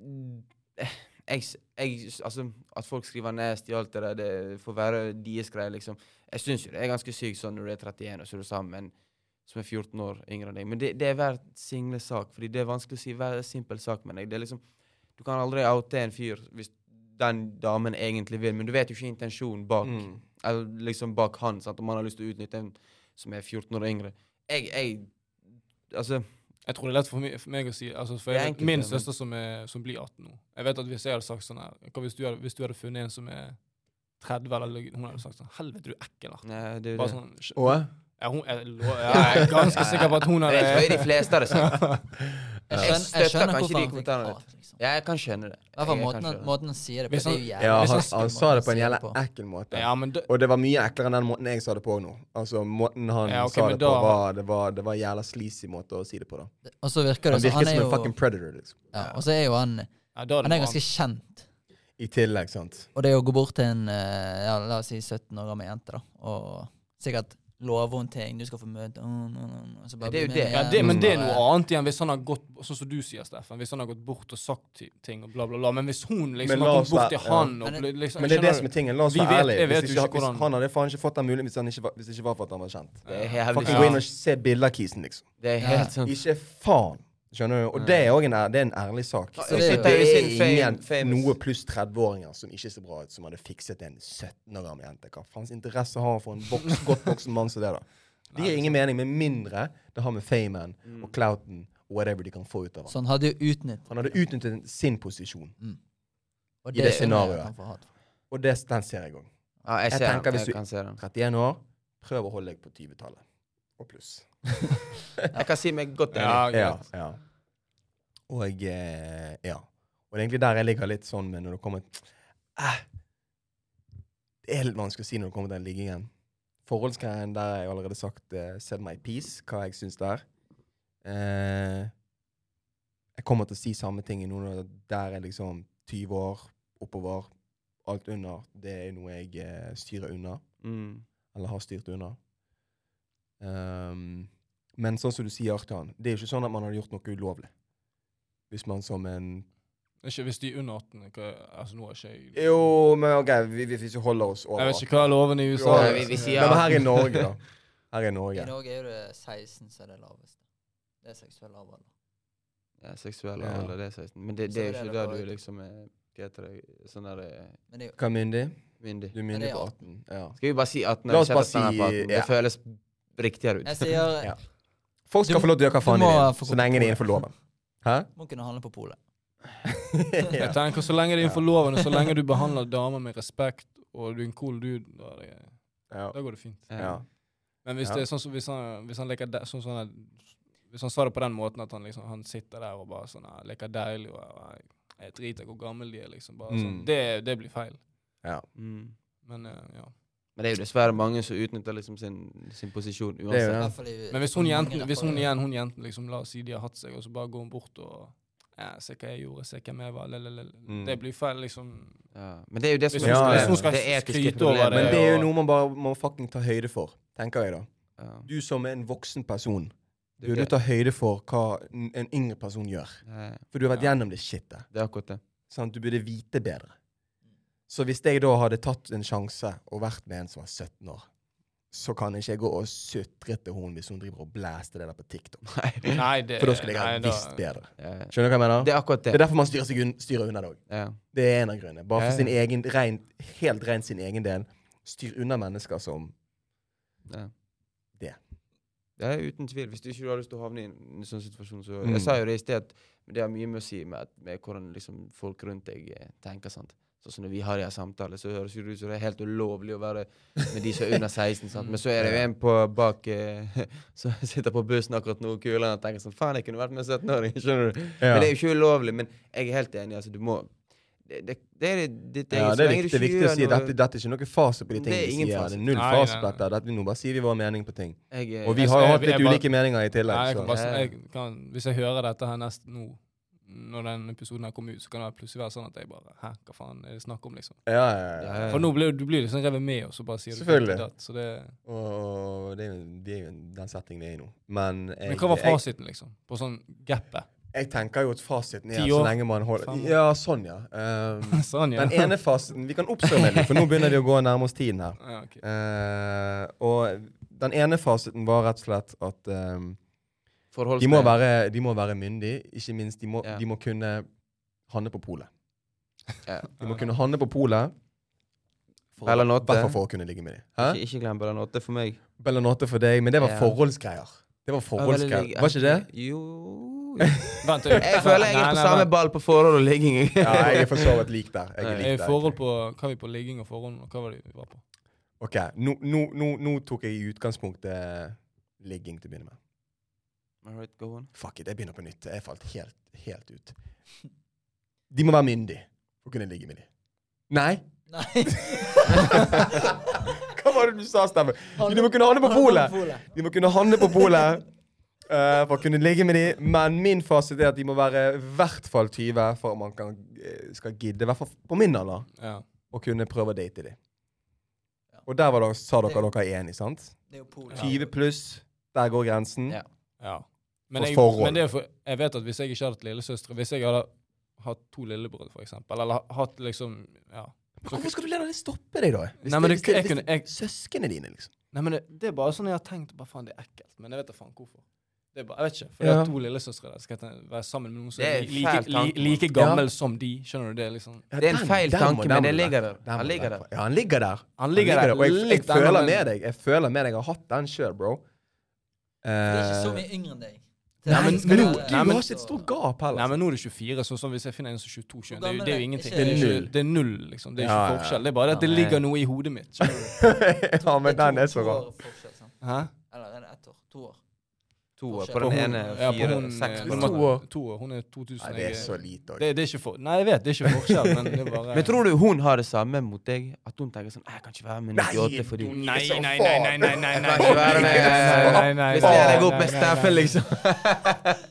A: mm, eh, jeg, s- jeg, s- altså, At folk skriver nasty og alt det der, det får være deres greie, liksom. Jeg syns jo det er ganske sykt sånn når du er 31 og så er du sammen med en som er 14 år yngre enn deg. Men det, det er hver single sak, fordi det er vanskelig å si hver simpel sak, mener jeg. Det er liksom du kan aldri oute en fyr hvis den damen egentlig vil, men du vet jo ikke intensjonen bak,
B: Mm.
A: eller liksom bak han, sant? om han har lyst til å utnytte en som er 14 år yngre. Jeg, jeg Altså,
C: Jeg tror det er lett for meg, for meg å si altså, for
A: Det er
C: jeg, vet-
A: enkelt,
C: Min
A: ja, men-
C: søster som, er, som blir 18 nå Jeg vet at Hvis jeg hadde sagt sånn her hva hvis, du hadde, hvis du hadde funnet en som er 30, eller ligger- hun hadde sagt sånn Helvete, du er ekkel. Arte."
A: nei, det er jo
C: Bare
A: det.
C: sånn sh-
B: Og?
C: ja, hun, jeg, lo- ja, jeg er ganske sikker på at hun
A: Jeg tror
C: hadde
A: jo de fleste er det sant.
D: Jeg
A: Jeg
D: skjønner, jeg
A: støtter
D: skjønner
A: kanskje
D: hvorfor
A: de
D: han fikk
A: kommentarene.
D: hat, liksom.
A: Ja, jeg kan skjønne det.
D: I hvert fall
A: Jeg kan
D: måten,
A: skjønne
D: han-
A: det.
D: måten han sier det på.
C: Hvis
D: Det er
C: han-
D: jo jævlig
B: Ja, han,
D: nasty
B: han
D: måten
B: sa det på en
D: sier
B: jævla
D: på.
B: ekkel måte.
C: Ja, men da,
B: Og det var mye eklere enn den måten jeg sa det på nå. Altså, måten han
C: Ja, ok,
B: sa
C: men
B: det
C: da-
B: på, var, det var, det var en jævla sleazy måte å si det på, da.
D: Og så virker det
B: Han
D: som
B: virker
D: han
B: som
D: er
B: en
D: jo
B: fucking predator, liksom.
D: ja, Og så er jo han
C: ja, da
D: Han
C: hadde
D: er ganske kjent.
B: I tillegg, sant.
D: Og det å gå bort til en eh, ja, la oss si 17 år gammel jente, da, og sikkert love henne ting Du skal få møte mm, mm, mm, og så bare
A: Det er jo
D: bli med
A: det.
C: ja,
D: hjem,
B: Mm.
C: det, Men det er
D: og,
C: noe
D: eh,
C: annet igjen hvis han har gått Sånn som du sier, Steffen. Hvis han har gått bort og sagt ti- ting og bla, bla, bla. Men hvis hun liksom
B: Men la
C: har
B: oss
C: gått bort
B: være-
C: til han
D: ja.
C: og
D: Men
C: bli- liksom,
B: Men det er det
C: skjønner
B: som
C: du?
B: er tingen. La oss
C: Vi
B: være
C: vet-
B: ærlige.
C: jeg vet
B: Hvis
C: jo
B: ikke-
C: ikke hvordan-
B: hvis- Han hadde faen ikke fått den muligheten hvis, han ikke var- hvis det ikke var for at han var kjent.
A: Det er jævlig
B: Fucking
A: sant.
B: gå inn og se bilder av kisen, liksom.
A: Det er helt sånn- sant.
B: Ikke faen. Skjønner du? Og det er òg en, ær- det er en ærlig sak.
A: Så
D: det er
B: det,
D: jo-
A: det er
B: er
A: sin
B: ingen
A: fame-
B: noe pluss 30-åringer som ikke ser bra ut, som hadde fikset en 17 år gammel jente. Hva faens interesse har han for en voks, godt voksen mann som det, da? Det gir ingen mening, med mindre det har med famen og clouten og whatever de kan få ut av
D: Så
B: han.
D: han hadde jo utnyttet
B: Han hadde utnyttet sin posisjon,
D: og
B: i det
D: skjønner jeg at
B: scenarioet.
D: han får hat for.
B: og det, den ser jeg òg.
A: Ja, jeg
B: Jeg
A: ser
B: tenker
A: den. Jeg
B: hvis du-
A: kan se den.
B: 31 år, Prøv å holde deg på 20-tallet og pluss.
A: Jeg kan si meg godt enig.
C: Ja,
B: Ja,
C: greit.
B: ja. Og eh, ja. Og det er egentlig der jeg ligger litt sånn med når det kommer eh, Det er litt vanskelig å si når det kommer til den liggingen. Forholdsgreien der har jeg allerede sagt eh, set my peace, hva jeg syns der. Eh, jeg kommer til å si samme ting i noen av der jeg liksom 20 år oppover. Alt under. Det er noe jeg eh, styrer unna
A: Mm.
B: eller har styrt unna. Ehm, men sånn som du sier, Artan, det er jo ikke sånn at man har gjort noe ulovlig. Hvis man som en
C: Ikke hvis de er under 18. Hva, altså, nå er ikke jeg
B: Jo, men OK, vi, vi, hvis vi holder oss over
C: Jeg vet ikke hva loven i USA
B: Nei,
C: er.
B: vi-
A: vi sier-
B: Men men her i Norge, da. Her i
D: I
B: Norge.
D: Norge er det 16 som er det laveste. Det er seksuell lavalder.
A: Ja, seksuell
B: Ja.
A: alder, det er 16. Men det,
D: Så
A: det er jo
D: det er
A: ikke
D: det
A: der
D: bare-
A: du liksom er hva heter det, sånn der eh,
D: Men det er jo
B: Hva er myndig?
A: myndig.
B: Du er myndig
D: Ja, det er
B: på 18. Ja.
A: Skal vi bare si 18?
B: La oss
A: eller
B: bare
A: setter standard på
B: si-
A: 18?
B: ja.
A: Det føles riktigere ut.
D: Jeg sier
B: Ja. Folk skal
D: Du-
B: få lov til å gjøre hva faen de
D: du må
B: vil,
D: få gå
B: så lenge de
D: på
B: er innenfor loven. Hæ?
D: må kunne handle på polet.
C: Jeg
B: ja.
C: tenker Så lenge det er innenfor
B: Ja.
C: loven, og så lenge du behandler damer med respekt, og du er en cool dude, da, er det,
B: Ja.
C: da går det fint.
B: Ja.
C: Men hvis
B: Ja.
C: det er sånn som hvis han, hvis han leker de, sånn, som han- Hvis han sa det på den måten at han liksom Han sitter der og bare sånn «Ah, leker deilig og ah, jeg, jeg driter i hvor gammel de er, liksom. Bare, sånn,
B: Mm.
C: det, det blir feil.
B: ja.
A: Mm.
C: Men eh, ja.
A: Men det er jo dessverre mange som utnytter liksom sin, sin posisjon
B: Det er
A: uansett.
B: jo
D: I
B: det.
D: hvert fall i-
C: Men hvis hun
D: mange
C: jenten, hvis hun
D: rappere-
C: igjen, hun jenten liksom, la oss si de har hatt seg, og så bare går hun bort og ja, Se hva jeg gjorde, se hvem jeg var, lelelele.
B: Mm.
C: Det blir feil, liksom.
A: Ja. Men det er jo det som
C: Hvis
A: er
B: hun-
A: problemet.
B: hvis hun
C: skal
A: det etiske
C: skryte over
A: problemet.
B: Men det er jo
C: og-
B: noe man bare må fucking ta høyde for, tenker jeg da.
A: Ja.
B: Du som er en voksen person,
A: Det,
B: burde
A: er-
B: du ta høyde for hva en en yngre person gjør.
A: Nei,
B: For du har vært
C: Ja.
B: gjennom det shitet.
A: det er akkurat det.
B: Sant? Du burde vite bedre. Så hvis jeg da hadde tatt en sjanse og vært med en som var 17 år, så kan ikke jeg gå og sutre til henne hvis hun driver og blæster det der på TikTok.
C: Nei, det
B: For da skulle jeg
C: nei,
B: ha
C: da-
B: visst bedre.
A: Ja.
B: Skjønner du hva jeg mener?
A: Det er akkurat
B: Det er
A: det.
B: derfor man styrer, seg un styrer unna det òg.
A: Ja.
B: Det er en av grunnene. Bare
A: Ja, ja.
B: for sin egen, rein, helt rent sin egen del. Styr unna mennesker som
A: Ja.
B: Det.
A: Det er uten tvil. Hvis du ikke har lyst til å havne i en sånn situasjon, så
B: Mm.
A: Jeg sa jo det i sted, at det har mye med å si med, at- med hvordan liksom, folk rundt deg eh, tenker. sant? Sånn som når vi har de her samtalene, så høres jo det ut som det er helt ulovlig å være med de som er under 16.
B: Mm.
A: sant? Men så er det jo en på bak eh, som sitter på bussen akkurat nå, kulere, og tenker sånn Faen, jeg kunne vært med en 17-åring. Skjønner du? Men det er jo ikke ulovlig. Men jeg er helt enig. altså, du må... Det, det, det er ditt
B: Ja,
A: eget.
B: det
A: så
B: er
A: lenge du
B: viktig,
A: ikke
B: viktig å
A: gjør
B: si.
A: noe-
B: Dette, dette er ikke noe fase på
A: Det
B: de
A: er
B: tingene vi
A: ingen
B: sier.
A: fase.
B: Det er null
C: Nei,
B: fase
C: nei,
B: på
C: nei.
B: dette. dette. Nå bare sier vi vår mening på ting.
A: Jeg, eh,
B: Og vi
C: Jeg
B: har jo
C: skal-
B: hatt litt
C: jeg bare-
B: ulike meninger i
C: Nei, jeg
B: tillegg.
C: kan
B: Så.
C: bare, si-
A: Ja, ja.
C: jeg kan, hvis jeg hører dette her nest nå, når den episoden her kommer ut, så kan det plutselig være sånn at jeg bare Hæ, hva faen er det snakk om, liksom?
B: Ja, ja, ja.
A: Ja,
C: For nå blir du blir liksom revet med, og så bare sier du
B: Selvfølgelig.
C: ditt og datt, Så det,
B: Og det er jo det er jo den settingen vi er i nå. Men jeg,
C: men hva var
B: jeg,
C: fasiten, liksom? På sånn gapet?
B: jeg tenker jo at fasiten er
C: Ti
B: at
C: år?
B: så lenge man holder
C: Fem år?
B: Ja, sånn, ja. Um,
C: sånn, ja.
B: den ene fasen Vi kan oppsummere litt, for nå begynner det å gå nærmere oss tiden her.
C: ja ok.
B: Eh, og den ene fasiten var rett og slett at um,
A: forhold
B: de, må
A: til-
B: være, de må være myndige. Ikke minst, de må,
A: Ja.
B: de må kunne handle på polet.
A: Ja.
B: De må kunne handle på polet. for-
A: Bella Notte.
B: Hvertfall for å kunne ligge med dem. Hæ?
A: Ikke, ikke glem Bellen 8 for meg.
B: Bella Notte for deg, men det var
A: eh, Ja.
B: forholdsgreier. Det var forholdsgreier. Var ikke det?
A: Jo
C: Vent,
A: Jeg føler jeg er på samme ball på forhold og ligging.
B: Ja, jeg er for så vidt lik der. Jeg er
A: Nei.
B: lik
C: Er
B: der.
C: forhold på, hva er vi på ligging og forhold, og hva var det vi var på?
B: Ok, nå, nå, nå, nå tok jeg i utgangspunktet eh, ligging til å begynne med.
A: Alright, go on.
B: Fuck it, jeg begynner på nytt. Jeg falt helt, helt ut. De må være myndige for å kunne ligge med dem. Nei!
D: Nei,
B: Hva var det du sa, Stemme? Jo, De må kunne handle på
D: handle
B: polet! De må kunne handle på polet eh, for å kunne ligge med dem. Men min fasit er at de må være i hvert fall 20 for at man kan, eh, skal gidde, i hvert fall på min alder,
C: Ja.
B: å kunne prøve å date dem.
D: Ja.
B: Og der var det, sa dere dere er enige, sant?
D: Det er jo polet.
C: Ja.
B: 20 pluss, der går grensen.
A: Ja.
C: ja. Men,
B: For
C: jeg,
B: forhold.
C: men det er for, jeg vet at hvis jeg ikke hadde hatt lillesøstre, hvis jeg hadde hatt to lillebrødre, for eksempel, eller hatt liksom, ja.
B: Men hvorfor skal du la det stoppe deg, da? Hvis
C: Nei, men
B: det-
C: det- jeg
B: hvis det-
C: kunne- jeg-
B: Søskene dine, liksom.
C: Nei, men det, det er bare sånn jeg har tenkt bare, faen, det er ekkelt. Men jeg vet da faen hvorfor. Det er bare, jeg vet ikke, for jeg
B: Ja.
C: har to lillesøstre der. Skal jeg ten- være sammen med noen som
A: Det er
C: er
A: en
C: like,
A: fæl
C: li,
A: tanke,
C: like
B: mann.
C: gammel som de? Skjønner du det? liksom?
B: Ja,
A: Det er en
B: den-
A: feil
B: den må-
A: tanke,
B: den
A: men
B: må
A: det
B: du
A: ligger
B: vekk
A: der.
B: fra. Den
A: Han
B: må du
A: ligger
B: vekk
A: der.
B: fra. Ja, han ligger der.
C: Han ligger
B: Han
C: der.
B: Og jeg, jeg
C: litt ennå,
B: føler
C: men-
B: med deg. Jeg føler med deg. Jeg har hatt den sjøl, bro.
D: Det er ikke
B: Eh,
D: så mye yngre enn deg. til
C: Nei, men
D: skal det
C: nå-
D: være-
C: nei,
B: du
C: men-
B: har ikke et stort gap heller.
C: Nei, men nå er det 24, så sånn hvis jeg finner en som er 22 21, det, er jo- det er jo ingenting.
D: Det
B: er
C: ikke-
B: null.
C: Det er null, liksom. Det er
B: Ja,
C: ikke
B: ja, ja.
C: forskjell. Det er bare at det
A: Ja,
C: ligger
A: nei.
C: noe i hodet mitt. skjønner
B: ja, men
D: Det
B: den er så
D: to- to
B: rar.
D: år forskjell, sant?
C: du? Hæ?
D: Eller er det ett år? To år?
A: To år
D: På
A: på den
C: hun-
A: ene,
C: ja, på
A: fire,
C: hun,
A: seks
C: eh,
A: på den
B: to
A: andre.
B: år.
C: To år. Hun er 2000.
B: Nei, det
C: jeg
B: er så lite òg.
C: Det, det er ikke for... Nei, jeg vet, det er ikke forskjell, men det er bare
A: Men tror du hun har det samme mot deg? At hun tenker sånn Jeg kan ikke være med 98 fordi
C: Nei, nei, nei, nei, nei, nei, nei,
A: Jeg kan ikke være med.
C: nei, nei,
A: Hvis jeg legger opp
C: nei,
A: med
C: nei,
A: Steffen,
C: nei.
A: liksom.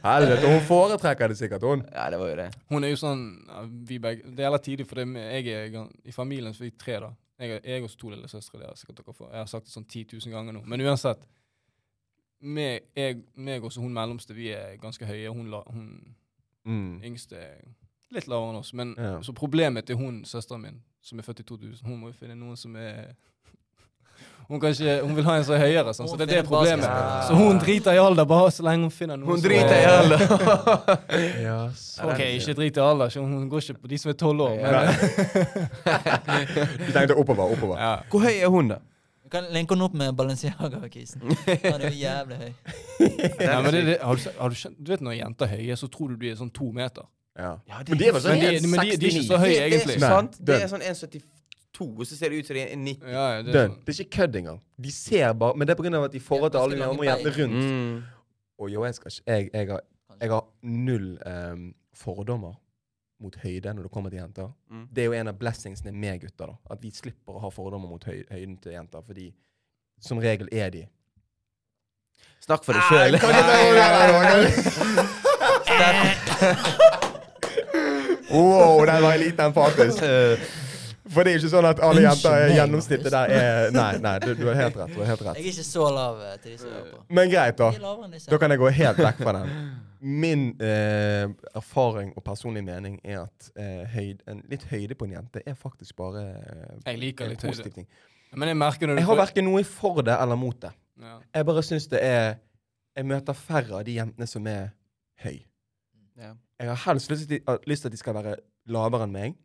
B: Helvete, hun foretrekker det sikkert, hun.
A: Ja, det var jo det.
C: Hun er jo sånn ja, vi begge, Det er jævla tidlig, for det, er med- jeg er gan- i familien så er vi tre, da. Jeg, er- jeg og så to lillesøstre. det har sikkert dere får- Jeg har sagt det sånn 10 000 ganger nå. Men uansett. Meg, jeg, meg og så hun mellomste, vi er ganske høye. Hun, la, hun
B: Mm.
C: yngste er litt lavere enn oss. Men
B: Ja.
C: så problemet til hun, søsteren min, som er født i 2000, hun må jo finne noen som er Hun, kan ikke, hun vil ha en som er høyere, sånn, så
D: Hun
C: det er det
D: finner
C: problemet.
D: basketball.
C: Så hun driter i alder bare så lenge hun finner noen
A: Hun
C: som
A: driter i
C: er-
A: alle.
B: Ja,
C: Ok, ikke drit i alder, så hun går ikke på de som er tolv år. Men,
B: Nei. Du tenkte oppover, oppover.
C: ja.
A: Hvor høy er hun, da?
D: Du kan linke den opp med Balenciaga-kisen. Han er jo jævlig høy.
C: Nei, men det, det, har du, se- har du, skjønt- du vet når jenter er høye, så tror du de er sånn to meter.
B: Ja.
A: Ja,
B: Men det var sånn
C: Men de, men de, de er ikke så
B: 1,69.
C: høye,
A: Det- Det
C: egentlig.
A: er så
B: Nei,
A: sant. Det
B: den.
A: er sånn 1,72, og så ser det ut som de er 90.
C: Ja, ja, det er
B: Dønn.
C: sånn.
B: Det er ikke kødd engang. De ser bare Men det er pga. at de forhold til alle de andre jentene rundt.
A: Mm.
B: Og jo, jeg skal ikke Jeg, jeg, har, jeg har null eh, fordommer mot høyde når det kommer til jenter.
A: Mm.
B: Det er jo en av blessingsene med gutter, da. At vi slipper å ha fordommer mot høy, høyden til jenter, fordi som regel er de
A: Snakk for deg sjøl.
B: Wow, den var liten, faktisk.
A: Eh.
B: For det er ikke sånn at alle
D: Unnskyld
B: jenter
D: meg,
B: gjennomsnittet der er Nei, nei, du, du har helt rett. du har helt
D: Jeg
B: rett.
D: er ikke så lav eh, til de som hører på.
B: Men greit, da.
D: Jeg er lavere enn disse.
B: Da kan jeg gå helt vekk fra den. Min eh, erfaring og personlig mening er at eh, høyd, en litt høyde på en jente er faktisk bare eh,
C: Jeg liker
B: en
C: litt
B: positiv
C: høyde.
B: ting.
C: sånn. Men jeg merker når du
B: Jeg har verken noe for det eller mot det.
C: Ja.
B: Jeg bare syns det er Jeg møter færre av de jentene som er høy.
A: Ja.
B: Jeg har helst lyst til, at- lyst til at de skal være lavere enn meg,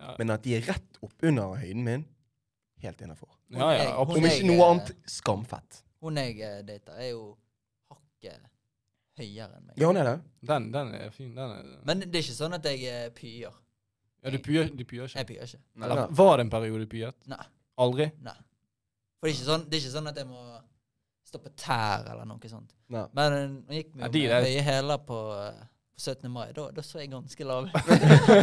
C: Ja.
B: men at de er rett oppunder høyden min, helt innafor.
C: Ja, ja,
B: Om
C: absolutt.
B: ikke noe annet skamfett.
D: Hun jeg eh, dater, er jo hakket høyere enn meg.
B: Ja, hun er det.
C: Den, den er fin. Den er,
D: Men det er ikke sånn at jeg eh, pyer.
C: ja, du pyer, du pyer ikke.
D: Jeg pyer ikke.
A: Nei,
C: Eller, var det en periode du pyet?
D: Nei.
C: Aldri?
D: Nei. For det er ikke sånn, det er ikke sånn at jeg må stå på tær eller noe sånt.
B: Nei.
D: Men eh, nå gikk vi
C: Ja,
D: jo
C: de
D: med
C: der-
D: høye hæler på, eh, på 17. mai. Da, da så jeg ganske lav.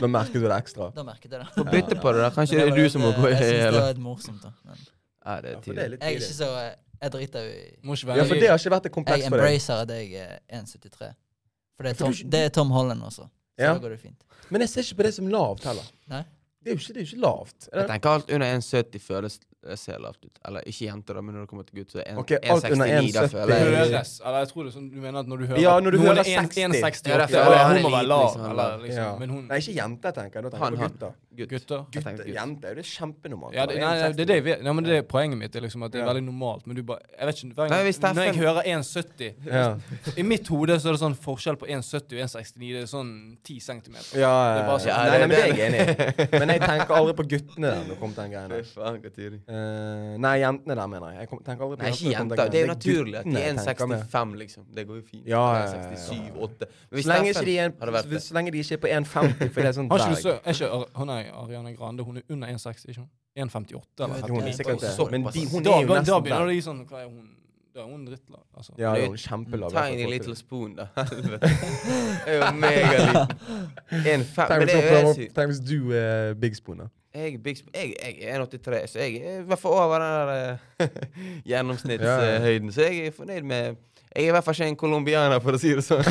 B: Nå merker du det ekstra.
D: da merket jeg det.
A: Få bytte på det, da. Kanskje det
D: Men
A: er
D: var
A: du
D: litt,
A: som må
D: eh,
A: gå i
D: Jeg synes det
A: hele
D: var litt morsomt, da. Men
A: Ja, det er
B: Ja, for det er
A: tidlig.
B: litt
D: jeg er
B: tidlig.
D: ikke så eh, Jeg driter jo i
C: Må ikke
B: Ja,
C: være
B: for det har ikke vært et kompleks
D: Jeg
B: for deg.
D: embracer at jeg er 1,73. For det
B: For
D: er
B: du
D: Tom,
B: ikke-
D: det er Tom Holland også. Så
B: Ja.
D: da går det fint.
B: Men jeg ser ikke på det som lavt heller.
D: Nei?
B: Det er jo ikke, det er jo ikke lavt. Er
A: Jeg
B: det?
A: tenker alt under 1,70 føles eh, ser lavt ut. Eller ikke jenter, da, men når det kommer til gutt, så er en-
B: Ok, alt under
A: 1,69 da
B: 1,70.
A: føler jeg
C: Høres. Eller jeg tror det er sånn du mener at når du hører
B: Ja, når du
C: noen
B: hører
C: er en-
B: 60.
C: 1,60
A: Ja, det er
C: oppi,
A: fordi
C: eller,
A: han er
C: Hun må være
A: elit,
C: lav,
A: liksom,
C: eller
A: eller-
C: liksom.
B: Ja.
C: Men hun
B: Nei, ikke jente, jeg tenker jeg. Da tenker
A: Han,
B: jeg på
A: han.
B: gutter.
A: gutt.
C: Gutter.
A: Jeg tenker
B: Gutter,
A: gutt.
B: jenter er jo det kjempenormalt.
C: Ja, det, nei, nei, det er det jeg vet. Nei, men det er poenget mitt. er liksom At det er
B: Ja.
C: veldig normalt. Men du bare Jeg vet ikke hver
A: Nei,
C: gang,
A: hvis det er
C: Når jeg
A: fem-
C: hører 1,70
B: Ja.
C: I mitt hode så er det sånn forskjell på 1,70 og 1,69. Det er sånn 10 cm.
B: Ja,
C: Det er bare sånn.
B: ja,
A: Ja,
B: nei, nei,
A: det-
B: men det er jeg enig i. Men jeg tenker aldri på guttene der når det kommer til den greia
A: Fy
B: der.
A: faen, hva tidlig.
B: Eh, nei, jentene der, mener jeg. Jeg kom- tenker aldri på
A: Nei, ikke
B: jentene når
A: jenter. Det er jo
B: kommer til den
A: naturlig at de
B: greia.
A: er
B: guttene jeg tenker på.
A: 1,65, liksom. Det går jo fint.
B: Ja, ja, ja, ja.
A: 1,67, 8 Men
B: Så lenge, ikke de er,
A: hadde vært det.
B: så lenge de ikke er på 1,50, for det er sånn
C: Har ikke du
B: dverg.
C: så Er ikke Ar- hun er Ariana Grande Hun er under 1,60, ikke hun? 1,58 eller?
D: Jo,
B: Hun er sikkert det. Men de, hun
C: Da,
B: er jo
C: da, da
B: nesten
C: begynner
B: der.
C: det å gi sånn Hva er hun? Da er hun drittlav. Altså.
B: Ja, det er jo kjempelav. i hvert fall
A: Tiny
B: for-
A: little spoon, da. Helvete. Det er jo megaliten. En fem.
B: Tenk
A: Men
B: hvis
A: det er
B: du
A: jo
B: prøver-
A: helt sykt.
B: Tenk hvis du er Big Spoon, da.
A: Jeg, er big sp- jeg, jeg er 1,83, så jeg er i hvert fall over den der eh,
B: Ja, ja.
A: gjennomsnittshøyden. Så jeg er fornøyd med Jeg er i hvert fall ikke en colombianer, for å si det sånn.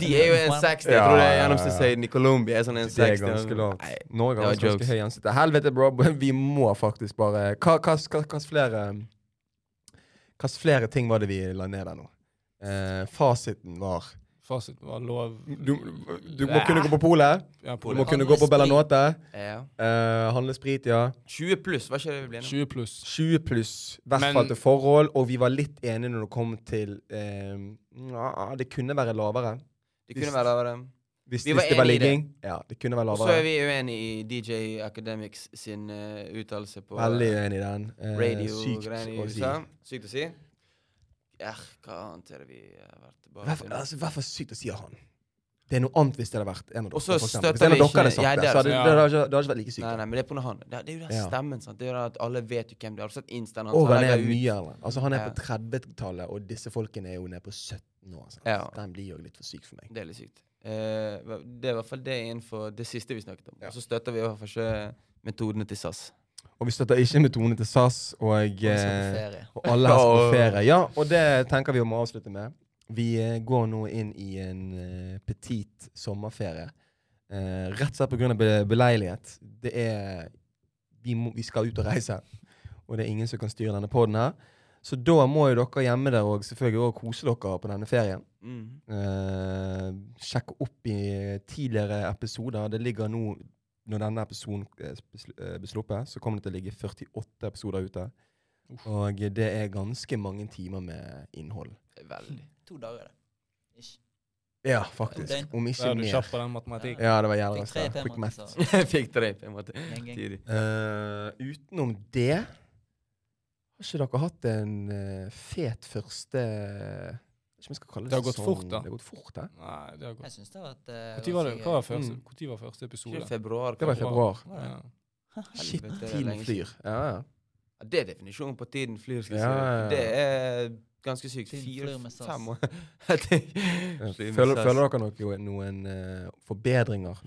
A: De er jo 1,60. Jeg tror det er
B: Ja, ja, ja.
A: gjennomsnittshøyden i Colombia. er Sånn
B: Det er
A: 1,60.
B: ganske lavt.
A: Nei,
B: Norge
A: det
B: har
A: var
B: også ganske
A: jokes.
B: høy gjensitte. Helvete, bro. Vi må faktisk bare Hva hva- hva- hva slags flere Hva slags flere ting var det vi la ned der nå? Eh, fasiten var
C: Fasiten var lov
B: du, du må kunne gå på polet.
C: Ja,
B: Du
C: på
B: må
C: det.
B: kunne gå på Bellanote.
A: Ja.
B: Eh, handle sprit, ja.
A: 20 pluss, var ikke det vi ble enige om?
C: 20 pluss.
B: 20 pluss, i hvert
C: Men-
B: fall til forhold. Og vi var litt enige når det kom til eh, ja, Det kunne være lavere.
A: Det
B: Hvis-
A: kunne være lavere.
B: Hvis,
A: Vi
B: hvis
A: var
B: det var
A: enige i det.
B: ligging. Ja, det kunne være
A: Og så er
B: lavere.
A: vi uenig i DJ Academics sin eh, sånn. uttalelse på eh,
B: Veldig uenig i den. Eh, sykt
A: radio-greiene i
B: å si.
A: USA. Sykt å si. Eh, hva annet er det vi har vært bare
B: Hvorfor altså, hvorfor sykt å si av han? Det er noe annet hvis det hadde vært en av dere.
A: Og så
B: for eksempel.
A: støtter
B: Hvis en av
A: vi
B: dere hadde
A: ikke-
B: sagt
A: Ja,
B: det,
A: det er
B: så hadde det, det, hadde,
C: sant.
B: ikke- det hadde ikke vært like sykt.
A: Nei, nei, men det er på grunn av han. Det, det er jo den
B: Ja.
A: stemmen. sant? Det er jo det at Alle vet jo hvem det er. Har du sett instaen hans?
B: Og han
A: legger
B: er
A: ut-
B: mye eldre. Altså, han er
A: Ja.
B: på 30-tallet, og disse folkene er jo nede på 17 år. Sant?
A: Ja.
B: Den blir jo litt for syk for meg.
A: Det er litt sykt. Eh, hva- det er i hvert fall det innenfor det siste vi snakket om.
B: Ja.
A: Og så støtter vi i hvert fall ikke metodene til SAS.
B: Og vi støtter ikke metodene til SAS, og,
D: Vi skal på
B: eh,
D: ferie.
B: og alle har
A: Og-
B: på ferie. Ja, og det tenker vi om å avslutte med. Vi eh, går nå inn i en eh, petit sommerferie. Eh, rett og slett pga. Be beleilighet. Det er vi, må, vi skal ut og reise, og det er ingen som kan styre denne poden her. Så da må jo dere hjemme der og selvfølgelig også kose dere på denne ferien.
A: Mm.
B: Eh, sjekk opp i tidligere episoder. Det ligger nå Når denne episoden eh, besl- eh, blir sluppet, så kommer det til å ligge 48 episoder ute. Og det er ganske mange timer med innhold.
A: Veldig.
D: To dager, det. Ish.
B: Ja, faktisk.
D: Ok.
B: Om
C: Der
B: ikke
C: er du
B: mer.
C: kjapp på den matematitikk.
B: Ja, det var jævla
D: Fikk tre
B: raskt.
D: på en
B: Quick
D: måte,
B: math.
D: så
A: Jeg fikk tre, på en måte.
D: gang, gang.
A: Tidlig.
B: Eh, utenom det Har ikke dere hatt en eh, fet første Jeg vet ikke om jeg skal kalle det
C: Det har gått
B: sesong.
C: fort, da.
B: Det har gått fort, da.
C: Nei, det har gått.
D: Jeg syns det har vært eh,
C: Hvor tid var det?
D: ganske
C: Hva
D: gøy.
C: var første,
B: Mm.
C: hvor tid var
A: Ikke
C: første
A: i
C: episode?
A: februar,
B: Det var i
A: kanskje?
B: februar.
C: Ja.
B: Shit,
A: Helvete, det er
B: tiden
A: lenge siden.
B: flyr. Ja, ja.
A: Ja, Det er definisjonen på tiden flyr. skal jeg
B: Ja,
A: si.
B: ja, ja.
A: deg. Det er ganske sykt.
D: Tiden
A: Fire,
D: flyr med SAS.
A: fem år. Jeg tenker- flyr med
B: Føler,
A: SAS.
B: føler dere noe, noen eh, forbedringer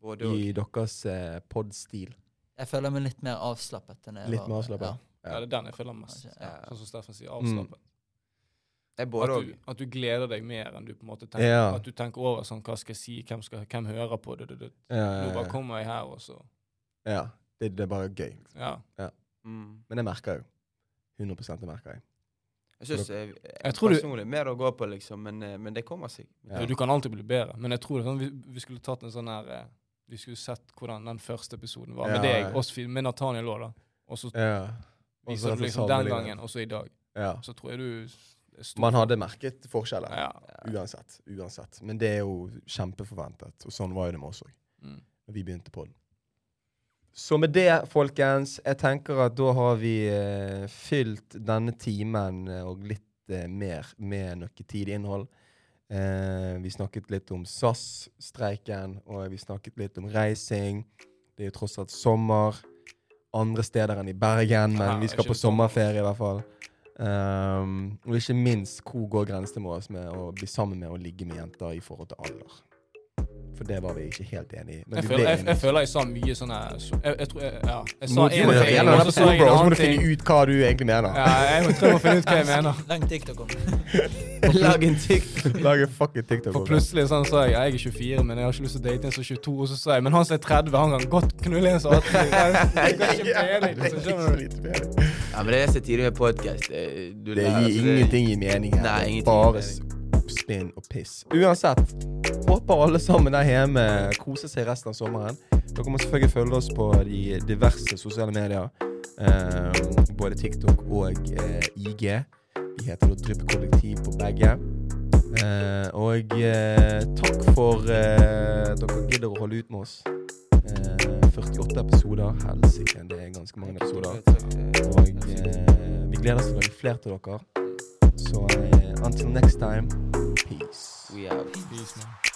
A: Både og.
B: i deres uh, pod-stil?
D: Jeg føler meg litt mer avslappet. enn jeg
B: Litt
D: var- altså,
B: mer avslappet?
C: Ja, det er den jeg føler mest.
D: kanskje,
A: Ja.
C: Sånn som Steffen sier,
B: Mm.
C: avslappet.
A: Det er
C: At
A: både og.
C: du, at du gleder deg mer enn du på en måte tenker.
B: Ja.
C: At du tenker over sånn, hva skal jeg si, hvem, skal, hvem hører på det, det, det.
B: Ja,
C: Nå
B: ja,
C: bare
B: ja.
C: kommer jeg her, og så
B: ja. Det, det er bare gøy.
C: Ja.
A: Mm.
B: Men jeg merker jo. 100 det merker jeg.
A: Jeg synes, eh,
C: Jeg tror du-
A: personlig mer å gå på, liksom, men, eh, men det kommer seg.
B: Ja.
C: Du kan alltid bli bedre, men jeg tror det, er sånn, vi, vi skulle tatt en sånn her eh, Vi skulle sett hvordan den første episoden var
B: Ja,
C: med deg,
B: ja.
C: oss fire, med Nathaniel òg, da. Og så
B: Ja. Og så
C: viser du
B: dette
C: liksom den
B: sammenlignet.
C: gangen, og så i dag.
B: Ja.
C: Så tror jeg du s- er stor.
B: Man hadde merket forskjeller.
C: ja.
B: Uansett. uansett. Men det er jo kjempeforventet. Og sånn var jo det med oss òg.
C: Mm.
B: når vi begynte på den. Så med det, folkens, jeg tenker at da har vi eh, fylt denne timen eh, og litt eh, mer med noe tidlig innhold. Eh, vi snakket litt om SAS-streiken, og vi snakket litt om reising. Det er jo tross alt sommer andre steder enn i Bergen, men
C: Ja,
B: vi skal
C: ikke
B: på
C: det samme.
B: sommerferie i hvert fall. Ehm, og ikke minst, hvor går grensene våre med å bli sammen med og ligge med jenter i forhold til alder? For det var vi ikke helt enig i. Men
C: Jeg
B: vi
C: føler
B: ble
C: jeg, jeg,
B: enige.
C: føler jeg sa mye sånn her så- jeg, jeg tror jeg, Ja. Jeg
B: Nå
C: sa
B: må
C: én
B: du
C: ting,
B: gjerne
C: og
B: være
C: så sa jeg
B: pro,
C: en
B: så må
C: annen
B: du
C: ting.
B: finne ut hva du egentlig mener.
C: Ja, jeg må prøve å finne ut hva jeg mener.
D: Lang TikTok om det.
A: Lag en TikTok.
B: Lage fucking TikTok.
C: For plutselig sånn sa jeg jeg er 24, men jeg har ikke lyst til å date en som er 22. Og så sa jeg men han som er 30, han kan godt knulle en som er 18. Jeg har ikke peiling, så skjønner du.
A: Ja, men det er så tidlig med podkast. Det
B: Det gir ingenting i mening
A: Nei,
B: her. Det er
A: ingenting i
B: Bare
A: mening.
B: spinn og piss. Uansett, håper alle sammen der hjemme koser seg resten av sommeren. Dere må selvfølgelig følge oss på de diverse sosiale medier. eh, både TikTok og eh, IG. Vi heter da Drypp Kollektiv på begge. Eh, og eh, takk for eh, at dere gidder å holde ut med oss. Eh, 48 episoder. Helsike, det er ganske mange episoder. Og eh, vi gleder oss til å lage flere til dere. Så eh, until next time, peace.
A: We out.
C: Peace, man.